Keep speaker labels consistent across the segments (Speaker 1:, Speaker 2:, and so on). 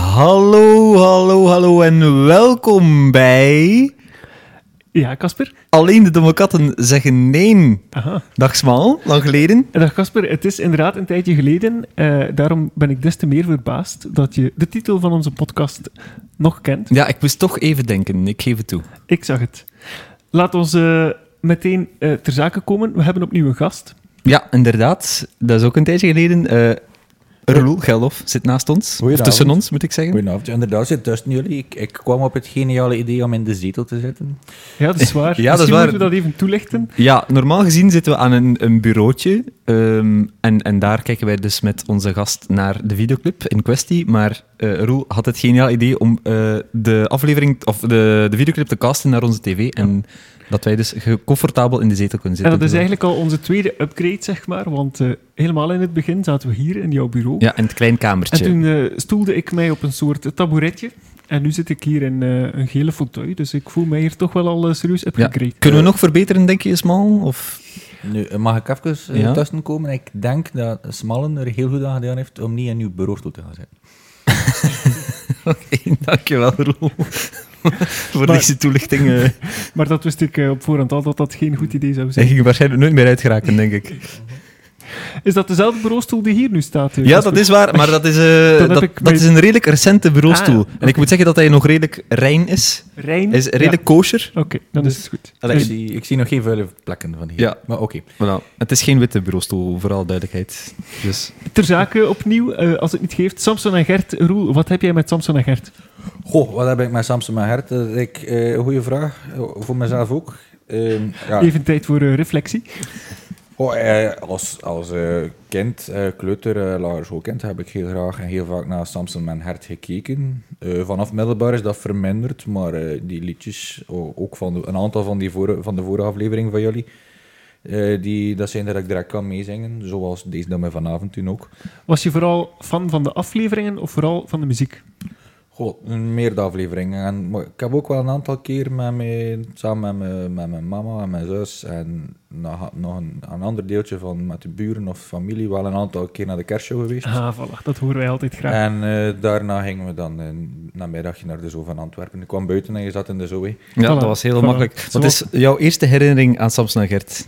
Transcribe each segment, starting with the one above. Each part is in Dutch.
Speaker 1: Hallo, hallo, hallo en welkom bij...
Speaker 2: Ja, Casper.
Speaker 1: Alleen de domme katten zeggen nee.
Speaker 2: Aha.
Speaker 1: Dag Smal, lang geleden.
Speaker 2: Dag Casper, het is inderdaad een tijdje geleden. eh, daarom ben ik des te meer verbaasd dat je de titel van onze podcast nog kent.
Speaker 1: Ja, ik moest toch even denken, ik geef het toe.
Speaker 2: Ik zag het. Laat ons eh, meteen eh, ter zake komen. We hebben opnieuw een gast.
Speaker 1: Ja, inderdaad, dat is ook een tijdje geleden. Eh Roel Geldof zit naast ons, of
Speaker 3: Goedenavond.
Speaker 1: tussen ons moet ik zeggen.
Speaker 3: Goedenavond. Inderdaad, zit tussen jullie. Ik, ik kwam op het geniale idee om in de zetel te zitten.
Speaker 2: Ja, dat is waar.
Speaker 1: Ja, dat is
Speaker 2: Misschien
Speaker 1: waar.
Speaker 2: moeten we dat even toelichten.
Speaker 1: Ja, normaal gezien zitten we aan een, een bureautje ehm, en, en daar kijken wij dus met onze gast naar de videoclip in kwestie. Maar eh, Roel had het geniaal idee om eh, de aflevering of de, de videoclip te casten naar onze tv en dat wij dus ge- comfortabel in de zetel kunnen
Speaker 2: En
Speaker 1: zitten.
Speaker 2: dat is eigenlijk al onze tweede upgrade, zeg maar. Want eh, helemaal in het begin zaten we hier in jouw bureau.
Speaker 1: Ja, in het klein
Speaker 2: En
Speaker 1: kamertje.
Speaker 2: toen eh, stoelde ik mij op een soort tabouretje. En nu zit ik hier in eh, een gele fauteuil. Dus ik voel mij hier toch wel al eh, serieus
Speaker 1: Ja.
Speaker 2: upgrade.
Speaker 1: Kunnen we nog verbeteren, denk je, Smal? Of...
Speaker 3: Nu, eh, mag ik even eh,
Speaker 1: Ja.
Speaker 3: tussenkomen? Ik denk dat Smallen er heel goed aan gedaan heeft om niet in uw bureaustoel te gaan zitten.
Speaker 1: Dankjewel, Roel. Voor
Speaker 2: Maar-
Speaker 1: deze toelichting. eh
Speaker 2: Maar dat wist ik eh, op voorhand al dat dat geen goed idee zou
Speaker 1: hij
Speaker 2: zijn.
Speaker 1: ging waarschijnlijk nooit meer uitgeraken, denk ik.
Speaker 2: Is dat dezelfde bureaustoel die hier nu staat? eh,
Speaker 1: Ja,
Speaker 2: Casper?
Speaker 1: dat is waar, maar dat is, eh,
Speaker 2: heb
Speaker 1: dat,
Speaker 2: ik
Speaker 1: dat
Speaker 2: bij-
Speaker 1: is een redelijk recente bureaustoel.
Speaker 2: Ah, ja,
Speaker 1: En ik moet zeggen dat hij nog redelijk rein is.
Speaker 2: Rein?
Speaker 1: Hij is redelijk
Speaker 2: Ja.
Speaker 1: kosher.
Speaker 2: Oké, dan is het goed. Eh,
Speaker 3: Dus Ik
Speaker 1: Allee,
Speaker 3: zie, ik zie nog geen vuile plekken van hier.
Speaker 1: Ja.
Speaker 3: Maar oké.
Speaker 1: voilà. Het is geen witte bureaustoel, vooral duidelijkheid. Dus.
Speaker 2: Ter zake opnieuw, eh, als het niet geeft. Samson en Gert, Roel, wat heb jij met Samson en Gert?
Speaker 3: Goh, wat heb ik met Samson mijn hart? Dat ik, eh goede vraag. Eh, voor mezelf ook. Ehm, ja.
Speaker 2: Even tijd voor eh, reflectie.
Speaker 3: Oh, eh, als als eh, kind, eh, kleuter, eh, lagere schoolkind, heb ik heel graag en heel vaak naar Samson mijn hart gekeken. Eh, vanaf middelbaar is dat verminderd, maar eh, die liedjes, o- ook van de- een aantal van, die voor, van de vorige aflevering van jullie, eh, die, dat zijn er dat ik direct kan meezingen, zoals deze dan met vanavond toen ook.
Speaker 2: Was je vooral fan van de afleveringen of vooral van de muziek?
Speaker 3: Goh, een meerdere afleveringen. En, maar ik heb ook wel een aantal keer met mijn, samen met mijn, met mijn mama en mijn zus en nog, nog een, een ander deeltje van met de buren of familie wel een aantal keer naar de kerstshow geweest.
Speaker 2: Ah, voilà, dat horen wij altijd graag.
Speaker 3: En eh, daarna gingen we dan een namiddagje naar de Zoo van Antwerpen. Ik kwam buiten en je zat in de Zoo. hè.
Speaker 1: Ja,
Speaker 2: Voilà,
Speaker 1: dat was heel
Speaker 2: voilà.
Speaker 1: makkelijk. Wat
Speaker 2: Zoals-
Speaker 1: is jouw eerste herinnering aan Samson en Gert?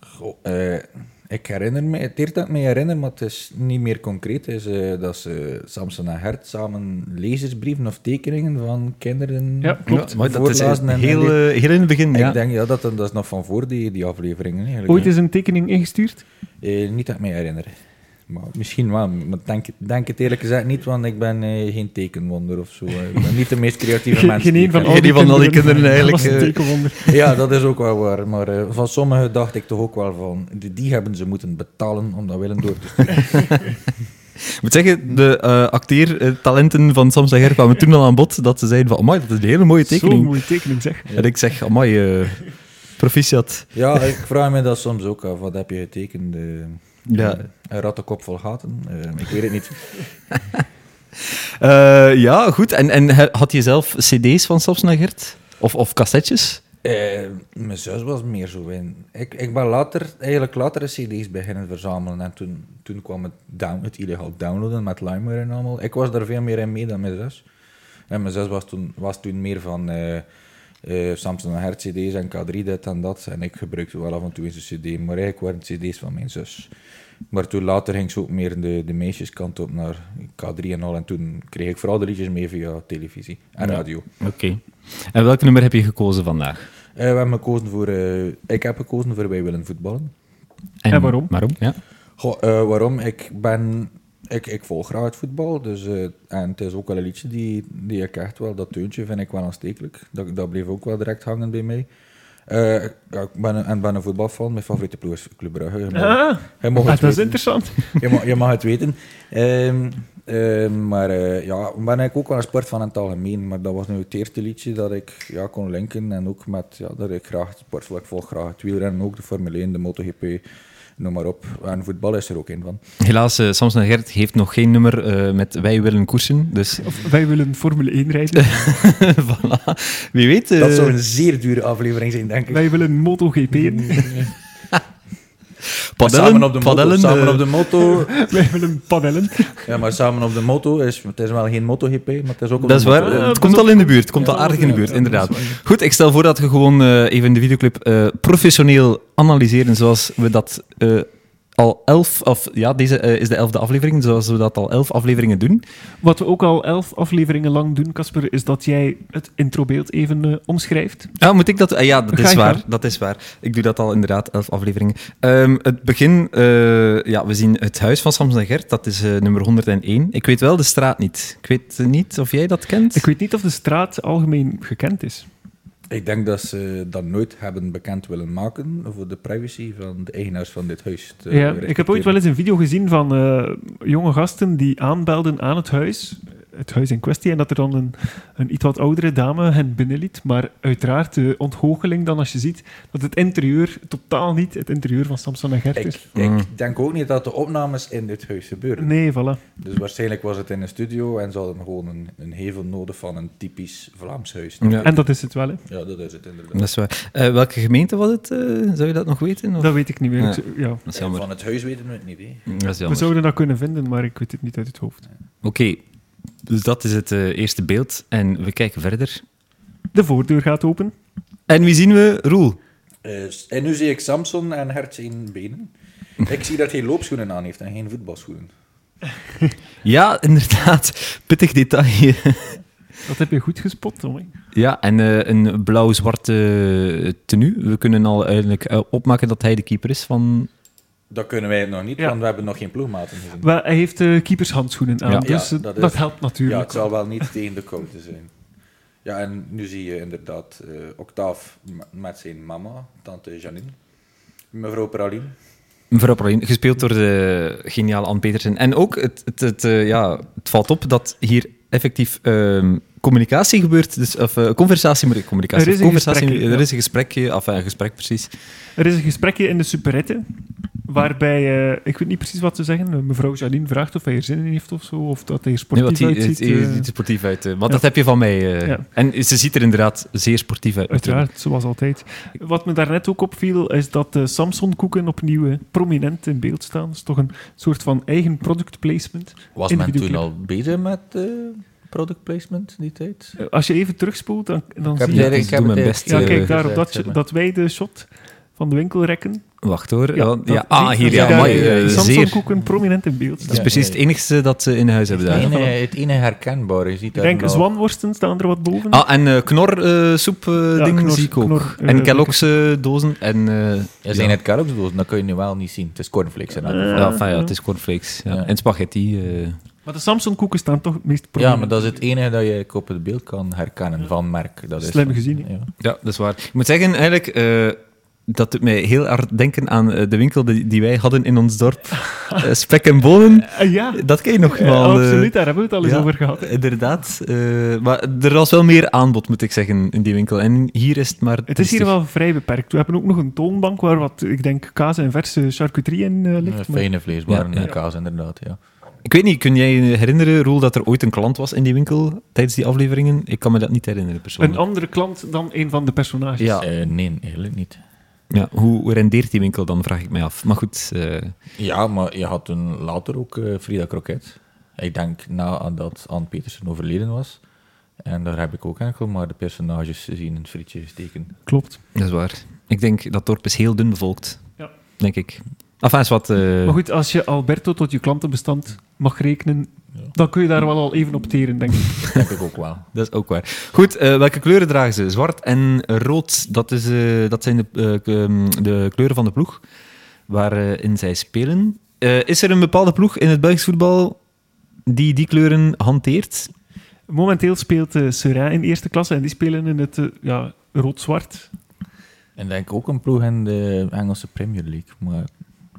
Speaker 3: Goh, eh, ik herinner me, het eerst dat ik me herinner, maar het is niet meer concreet, is eh, dat ze Samson en Hert samen lezersbrieven of tekeningen van kinderen
Speaker 2: Ja, klopt.
Speaker 1: Ja, maar dat is
Speaker 3: voorlazen. en-
Speaker 1: heel,
Speaker 3: en-
Speaker 1: eh, heel in het begin. Ja.
Speaker 3: Ik denk ja, dat, dat is nog van voor die, die afleveringen. Eigenlijk.
Speaker 2: Ooit is een tekening ingestuurd?
Speaker 3: Eh, niet dat ik me herinner. Maar misschien wel, maar ik denk, denk het eerlijk gezegd niet, want ik ben eh, geen tekenwonder of zo. eh. Ik ben niet de meest creatieve
Speaker 2: Geen,
Speaker 3: mens.
Speaker 2: geen
Speaker 3: die
Speaker 2: een
Speaker 3: ik
Speaker 2: van
Speaker 3: ken.
Speaker 2: al die
Speaker 1: Geen van al die kinderen
Speaker 2: Dat was een
Speaker 1: eigenlijk, eh,
Speaker 2: tekenwonder.
Speaker 3: Ja, dat is ook wel waar. Maar eh, van sommigen dacht ik toch ook wel van, die, die hebben ze moeten betalen om dat willen door te sturen.
Speaker 1: Ik moet zeggen, de eh, acteertalenten van Samson en Gert kwamen toen al aan bod. Dat ze zeiden van, amai, dat is een hele mooie
Speaker 2: Zo'n
Speaker 1: tekening.
Speaker 2: mooie tekening, zeg.
Speaker 1: En ik zeg, amai, eh, proficiat.
Speaker 3: Ja, ik vraag me dat soms ook af. Wat heb je getekend? eh?
Speaker 1: Ja.
Speaker 3: Een rattenkop vol gaten? Eh, ik weet het niet.
Speaker 1: Eh, ja, goed. En, en he- had je zelf cd's van Samson en Gert? Of, of cassettes?
Speaker 3: Eh, mijn zus was meer zo in. Ik, ik ben later, eigenlijk later cd's beginnen verzamelen. En toen, toen kwam het, down, het illegaal downloaden met LimeWare en allemaal. Ik was daar veel meer in mee dan mijn zus. En mijn zus was toen, was toen meer van eh eh, Samson en Hert cd's en K3 dit en dat. En ik gebruikte wel af en toe eens een cd. Maar eigenlijk waren het cd's van mijn zus. Maar toen later ging ze ook meer de, de meisjeskant op naar K3 en al. En toen kreeg ik vooral de liedjes mee via televisie en radio.
Speaker 1: Oké. En welk nummer heb je gekozen vandaag?
Speaker 3: Eh, we hebben gekozen voor, eh, ik heb gekozen voor Wij willen voetballen.
Speaker 2: En waarom?
Speaker 1: Waarom? Ja.
Speaker 3: Goh, eh, waarom? Ik ben... Ik, ik volg graag het voetbal, dus, eh, en het is ook wel een liedje die, die ik echt wel... Dat teuntje vind ik wel aanstekelijk. Dat, dat bleef ook wel direct hangen bij mij. Eh, ja, ik ben, een- en ben een voetbalfan. Mijn favoriete ploeg is Club Brugge. Je mag,
Speaker 2: Ah,
Speaker 3: je mag
Speaker 2: ah,
Speaker 3: het
Speaker 2: dat is
Speaker 3: weten.
Speaker 2: interessant.
Speaker 3: je, mag, je mag het weten. Ehm, ehm, maar eh, ja, ik ben eigenlijk ook wel een sport van in het algemeen. Maar dat was nu het eerste liedje dat ik ja, kon linken. En ook met ja, dat ik graag sport volg. Ik volg graag het wielrennen, ook de Formule 1, de MotoGP, noem maar op. En voetbal is er ook een van.
Speaker 1: Helaas, eh, Samson en Gert heeft nog geen nummer eh, met Wij willen koersen. Dus
Speaker 2: Of wij willen Formule 1 rijden.
Speaker 1: voilà. Wie weet. eh,
Speaker 3: Dat zou een zeer dure aflevering zijn, denk ik.
Speaker 2: wij willen MotoGP.
Speaker 3: Nee.
Speaker 1: Oké, Padellen,
Speaker 3: samen op de motto.
Speaker 1: padellen,
Speaker 3: Samen
Speaker 1: eh,
Speaker 3: op de motto.
Speaker 2: Wij willen padellen.
Speaker 3: Ja, maar samen op de motto is... Het is wel geen MotoGP, maar het is ook op
Speaker 1: Dat is
Speaker 3: de
Speaker 1: waar.
Speaker 3: motto.
Speaker 2: Ja,
Speaker 1: het
Speaker 2: pas
Speaker 1: komt
Speaker 2: op.
Speaker 1: al in de buurt. Het komt
Speaker 2: Ja,
Speaker 1: al aardig in de
Speaker 2: ja,
Speaker 1: buurt,
Speaker 2: ja,
Speaker 1: inderdaad.
Speaker 2: dat is waar.
Speaker 1: Goed, ik stel voor dat we gewoon eh, even de videoclip eh, professioneel analyseren zoals we dat eh, al elf... Of, ja, deze eh, is de elfde aflevering, zoals we dat al elf afleveringen doen.
Speaker 2: Wat we ook al elf afleveringen lang doen, Casper, is dat jij het introbeeld even eh, omschrijft.
Speaker 1: Ah, moet ik dat? ah, ja, dat
Speaker 2: Ga
Speaker 1: is
Speaker 2: je
Speaker 1: waar.
Speaker 2: gang.
Speaker 1: Dat is waar. Ik doe dat al inderdaad, elf afleveringen. Ehm, het begin, eh, ja, we zien het huis van Samson en Gert, dat is eh, nummer 101. Ik weet wel de straat niet. Ik weet eh, niet of jij dat kent.
Speaker 2: Ik weet niet of de straat algemeen gekend is.
Speaker 3: Ik denk dat ze dat nooit hebben bekend willen maken voor de privacy van de eigenaars van dit huis. te
Speaker 2: Ja, ik heb
Speaker 3: respecteren.
Speaker 2: ooit wel eens een video gezien van eh, jonge gasten die aanbelden aan het huis, het huis in kwestie, en dat er dan een, een iets wat oudere dame hen binnenliet. Maar uiteraard de ontgoocheling dan als je ziet dat het interieur totaal niet het interieur van Samson en Gert is.
Speaker 3: Ik,
Speaker 1: Mm.
Speaker 3: ik denk ook niet dat de opnames in dit huis gebeuren.
Speaker 2: Nee, voilà.
Speaker 3: Dus waarschijnlijk was het in een studio en ze hadden gewoon een, een hevel nodig van een typisch Vlaams huis.
Speaker 1: Ja.
Speaker 2: En dat is het wel, hè.
Speaker 3: Ja, dat is het inderdaad.
Speaker 1: Dat is waar. Eh, welke gemeente was het? eh? zou je dat nog weten? Of?
Speaker 2: Dat weet ik niet meer.
Speaker 1: Ja.
Speaker 2: Ik zou- Ja.
Speaker 1: Dat is
Speaker 3: En
Speaker 1: jammer.
Speaker 3: van het huis weten we het niet. Hè.
Speaker 1: Dat is
Speaker 2: We
Speaker 1: jammer.
Speaker 2: zouden dat kunnen vinden, maar ik weet het niet uit het hoofd.
Speaker 1: Oké, dus dat is het eh, eerste beeld. En we kijken verder.
Speaker 2: De voordeur gaat open.
Speaker 1: En wie zien we? Roel.
Speaker 3: Eh, en nu zie ik Samson en Hert zijn benen. Ik zie dat hij loopschoenen aan heeft en geen voetbalschoenen.
Speaker 1: Ja, inderdaad. Pittig detail.
Speaker 2: Dat heb je goed gespot, Tommy.
Speaker 1: ja, en eh, een blauw-zwarte tenue. We kunnen al eigenlijk eh, opmaken dat hij de keeper is van...
Speaker 3: Dat kunnen wij nog niet,
Speaker 2: Ja.
Speaker 3: want we hebben nog geen ploegmaten gezien.
Speaker 2: Wel, hij heeft eh, keepershandschoenen aan,
Speaker 1: Ja.
Speaker 2: dus
Speaker 3: Ja,
Speaker 2: eh,
Speaker 3: dat
Speaker 2: dat,
Speaker 3: is-
Speaker 2: helpt
Speaker 3: Ja,
Speaker 2: natuurlijk.
Speaker 3: het zal wel niet tegen de koude zijn. Ja, en nu zie je inderdaad eh Octaaf m- met zijn mama, tante Janine, mevrouw Praline.
Speaker 1: Mevrouw Praline, gespeeld door de geniale Ann Petersen. En ook, het, het, het, eh, ja, het valt op dat hier effectief ehm, communicatie gebeurt. Dus, of eh, conversatie, moet ik communicatie.
Speaker 2: Er is een
Speaker 1: conversatie,
Speaker 2: gesprekje,
Speaker 1: er
Speaker 2: ja.
Speaker 1: is een gesprekje, of een gesprek precies.
Speaker 2: Er is een gesprekje in de superette, waarbij, eh, ik weet niet precies wat ze zeggen, eh, mevrouw Janine vraagt of hij er zin in heeft of zo, of dat hij er
Speaker 1: Nee,
Speaker 2: sportief
Speaker 1: want die,
Speaker 2: uitziet.
Speaker 1: het- het-
Speaker 2: eh,
Speaker 1: het is sportief uit. eh, Want
Speaker 2: ja.
Speaker 1: dat heb je van mij. eh.
Speaker 2: Ja.
Speaker 1: En ze ziet er inderdaad zeer sportief uit. natuurlijk.
Speaker 2: uiteraard, zoals altijd. Wat me daarnet ook opviel, is dat de Samsung-koeken opnieuw eh, prominent in beeld staan. Dat is toch een soort van eigen product placement.
Speaker 3: Was
Speaker 2: In de men toen videoclip.
Speaker 3: al bezig met eh, product placement die tijd?
Speaker 2: Eh, Als je even terugspoelt, dan, dan
Speaker 3: Ik heb
Speaker 2: zie
Speaker 1: het
Speaker 2: je...
Speaker 1: eigenlijk- ik heb het best,
Speaker 2: Ja,
Speaker 1: eh,
Speaker 2: kijk, daar op dat,
Speaker 3: gezegd,
Speaker 2: dat wij de shot van de winkel rekken.
Speaker 1: Wacht hoor.
Speaker 2: Ja,
Speaker 1: Ja,
Speaker 2: dat-
Speaker 1: ja. Ah,
Speaker 2: zie-
Speaker 1: hier,
Speaker 2: zie
Speaker 1: ja,
Speaker 2: daar,
Speaker 1: amai,
Speaker 2: eh,
Speaker 1: eh, zeer.
Speaker 2: Samsung-koeken prominent in beeld
Speaker 1: Het is
Speaker 2: staan.
Speaker 3: Ja,
Speaker 1: precies
Speaker 3: nee.
Speaker 1: het enigste dat ze in huis hebben daar.
Speaker 2: ene-
Speaker 3: het ene herkenbaar is.
Speaker 2: Ik denk,
Speaker 3: nou-
Speaker 2: zwanworsten staan er wat boven.
Speaker 1: Ah, en eh knorsoep-dingen
Speaker 2: Ja, knor-
Speaker 1: zie ik ook.
Speaker 2: knor, eh,
Speaker 1: en Kellogg's eh, dozen. En, eh, ja,
Speaker 3: het Kellogg's dat kun je nu wel niet zien. Het is cornflakes en
Speaker 2: Eh,
Speaker 1: Ja, enfin, ja, het is cornflakes. Ja.
Speaker 3: Ja.
Speaker 1: En spaghetti. eh.
Speaker 2: Maar de Samsung-koeken staan toch het meest prominent.
Speaker 3: enige dat je op het beeld kan herkennen van merk. Dat
Speaker 2: is Slim van- gezien, hè?
Speaker 3: Ja.
Speaker 1: Ja, dat is waar. Ik moet zeggen, eigenlijk, eh, dat doet mij heel hard denken aan eh, de winkel die, die wij hadden in ons dorp. Eh, spek en bonen.
Speaker 2: Eh, ja,
Speaker 1: Dat ken je nog
Speaker 2: eh,
Speaker 1: wel. eh.
Speaker 2: absoluut, daar hebben we het al eens
Speaker 1: ja.
Speaker 2: over gehad.
Speaker 1: Inderdaad. eh, maar er was wel meer aanbod, moet ik zeggen, in die winkel. En hier is het maar...
Speaker 2: Het is hier
Speaker 1: rustig.
Speaker 2: wel vrij beperkt. We hebben ook nog een toonbank waar wat, ik denk, kaas en verse charcuterie in eh, ligt. maar-
Speaker 3: Fijne vleeswaren
Speaker 1: Ja, ja.
Speaker 3: en kaas, inderdaad. Ja.
Speaker 1: Ik weet niet, kun jij je herinneren, Roel, dat er ooit een klant was in die winkel tijdens die afleveringen? Ik kan me dat niet herinneren,
Speaker 2: Een
Speaker 1: persoonlijk.
Speaker 2: andere klant dan een van de personages.
Speaker 1: Ja.
Speaker 3: Eh, nee, eigenlijk niet.
Speaker 1: Ja, hoe rendeert die winkel dan, vraag ik mij af. Maar goed, eh,
Speaker 3: Ja, maar je had toen later ook eh, Frida Kroket. Ik denk nadat Ann Petersen overleden was. En daar heb ik ook enkel maar de personages zien in het frietje steken.
Speaker 2: Klopt.
Speaker 1: dat is waar. Ik denk dat dorp is heel dun bevolkt.
Speaker 2: Ja.
Speaker 1: Denk ik. Enfin, is wat... eh,
Speaker 2: Maar goed, als je Alberto tot je klantenbestand mag rekenen,
Speaker 3: Ja.
Speaker 2: dan kun je daar wel al even op teren, denk ik.
Speaker 3: Dat denk ik ook wel.
Speaker 1: Dat is ook waar. Goed, eh, welke kleuren dragen ze? Zwart en rood, dat, is, eh, dat zijn de, eh, k- ehm, de kleuren van de ploeg waarin zij spelen. Eh, is er een bepaalde ploeg in het Belgisch voetbal die die kleuren hanteert?
Speaker 2: Momenteel speelt eh Seraing in eerste klasse en die spelen in het eh, ja, rood-zwart.
Speaker 3: En denk ook een ploeg in de Engelse Premier League. Maar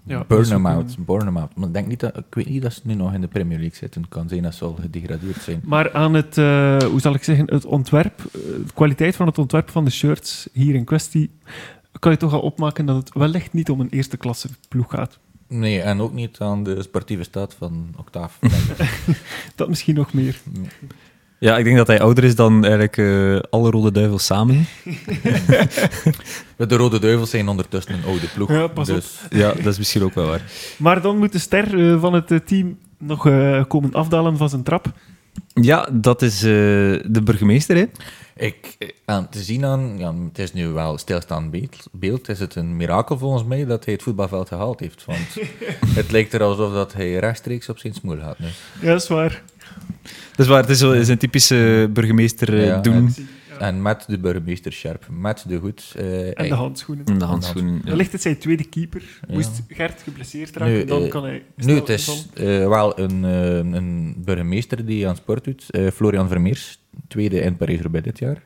Speaker 2: Ja,
Speaker 3: Burnham
Speaker 2: dat is ook eh,
Speaker 3: out, Burnham out. Maar ik, denk niet dat, ik weet niet dat ze nu nog in de Premier League zitten. Het kan zijn dat ze al gedegradeerd zijn.
Speaker 2: Maar aan het, eh, hoe zal ik zeggen, het ontwerp, eh, de kwaliteit van het ontwerp van de shirts hier in kwestie, kan je toch al opmaken dat het wellicht niet om een eerste klasse ploeg gaat.
Speaker 3: Nee, en ook niet aan de sportieve staat van Octaaf.
Speaker 2: Dat misschien nog meer.
Speaker 1: Ja, ik denk dat hij ouder is dan eigenlijk eh, alle rode duivels samen.
Speaker 3: De Rode Duivels zijn ondertussen een oude ploeg.
Speaker 2: Ja, pas op.
Speaker 3: dus
Speaker 1: Ja, dat is misschien ook wel waar.
Speaker 2: Maar dan moet de ster eh, van het eh, team nog eh, komen afdalen van zijn trap.
Speaker 1: Ja, dat is eh, de burgemeester, hè?
Speaker 3: ik, eh, aan te zien aan, ja, het is nu wel stilstaand beeld, beeld, is het een mirakel volgens mij dat hij het voetbalveld gehaald heeft. Want het lijkt er alsof dat hij rechtstreeks op zijn smoel dus. gaat nu.
Speaker 2: Ja, dat is waar.
Speaker 1: Dat is waar, het is, zo- is een typische burgemeester eh,
Speaker 3: Ja,
Speaker 1: doen.
Speaker 3: het- En met de burgemeester Scherp, met de goed. eh,
Speaker 2: En de handschoenen.
Speaker 1: In de handschoenen. ja.
Speaker 2: Wellicht is hij tweede keeper.
Speaker 3: Ja.
Speaker 2: Moest Gert geblesseerd raken,
Speaker 3: Nu,
Speaker 2: dan
Speaker 3: eh,
Speaker 2: kan hij...
Speaker 3: Nu,
Speaker 2: snel
Speaker 3: het is eh, wel een, eh, een burgemeester die aan sport doet. Eh, Florian Vermeers, tweede in parijs roubaix dit jaar,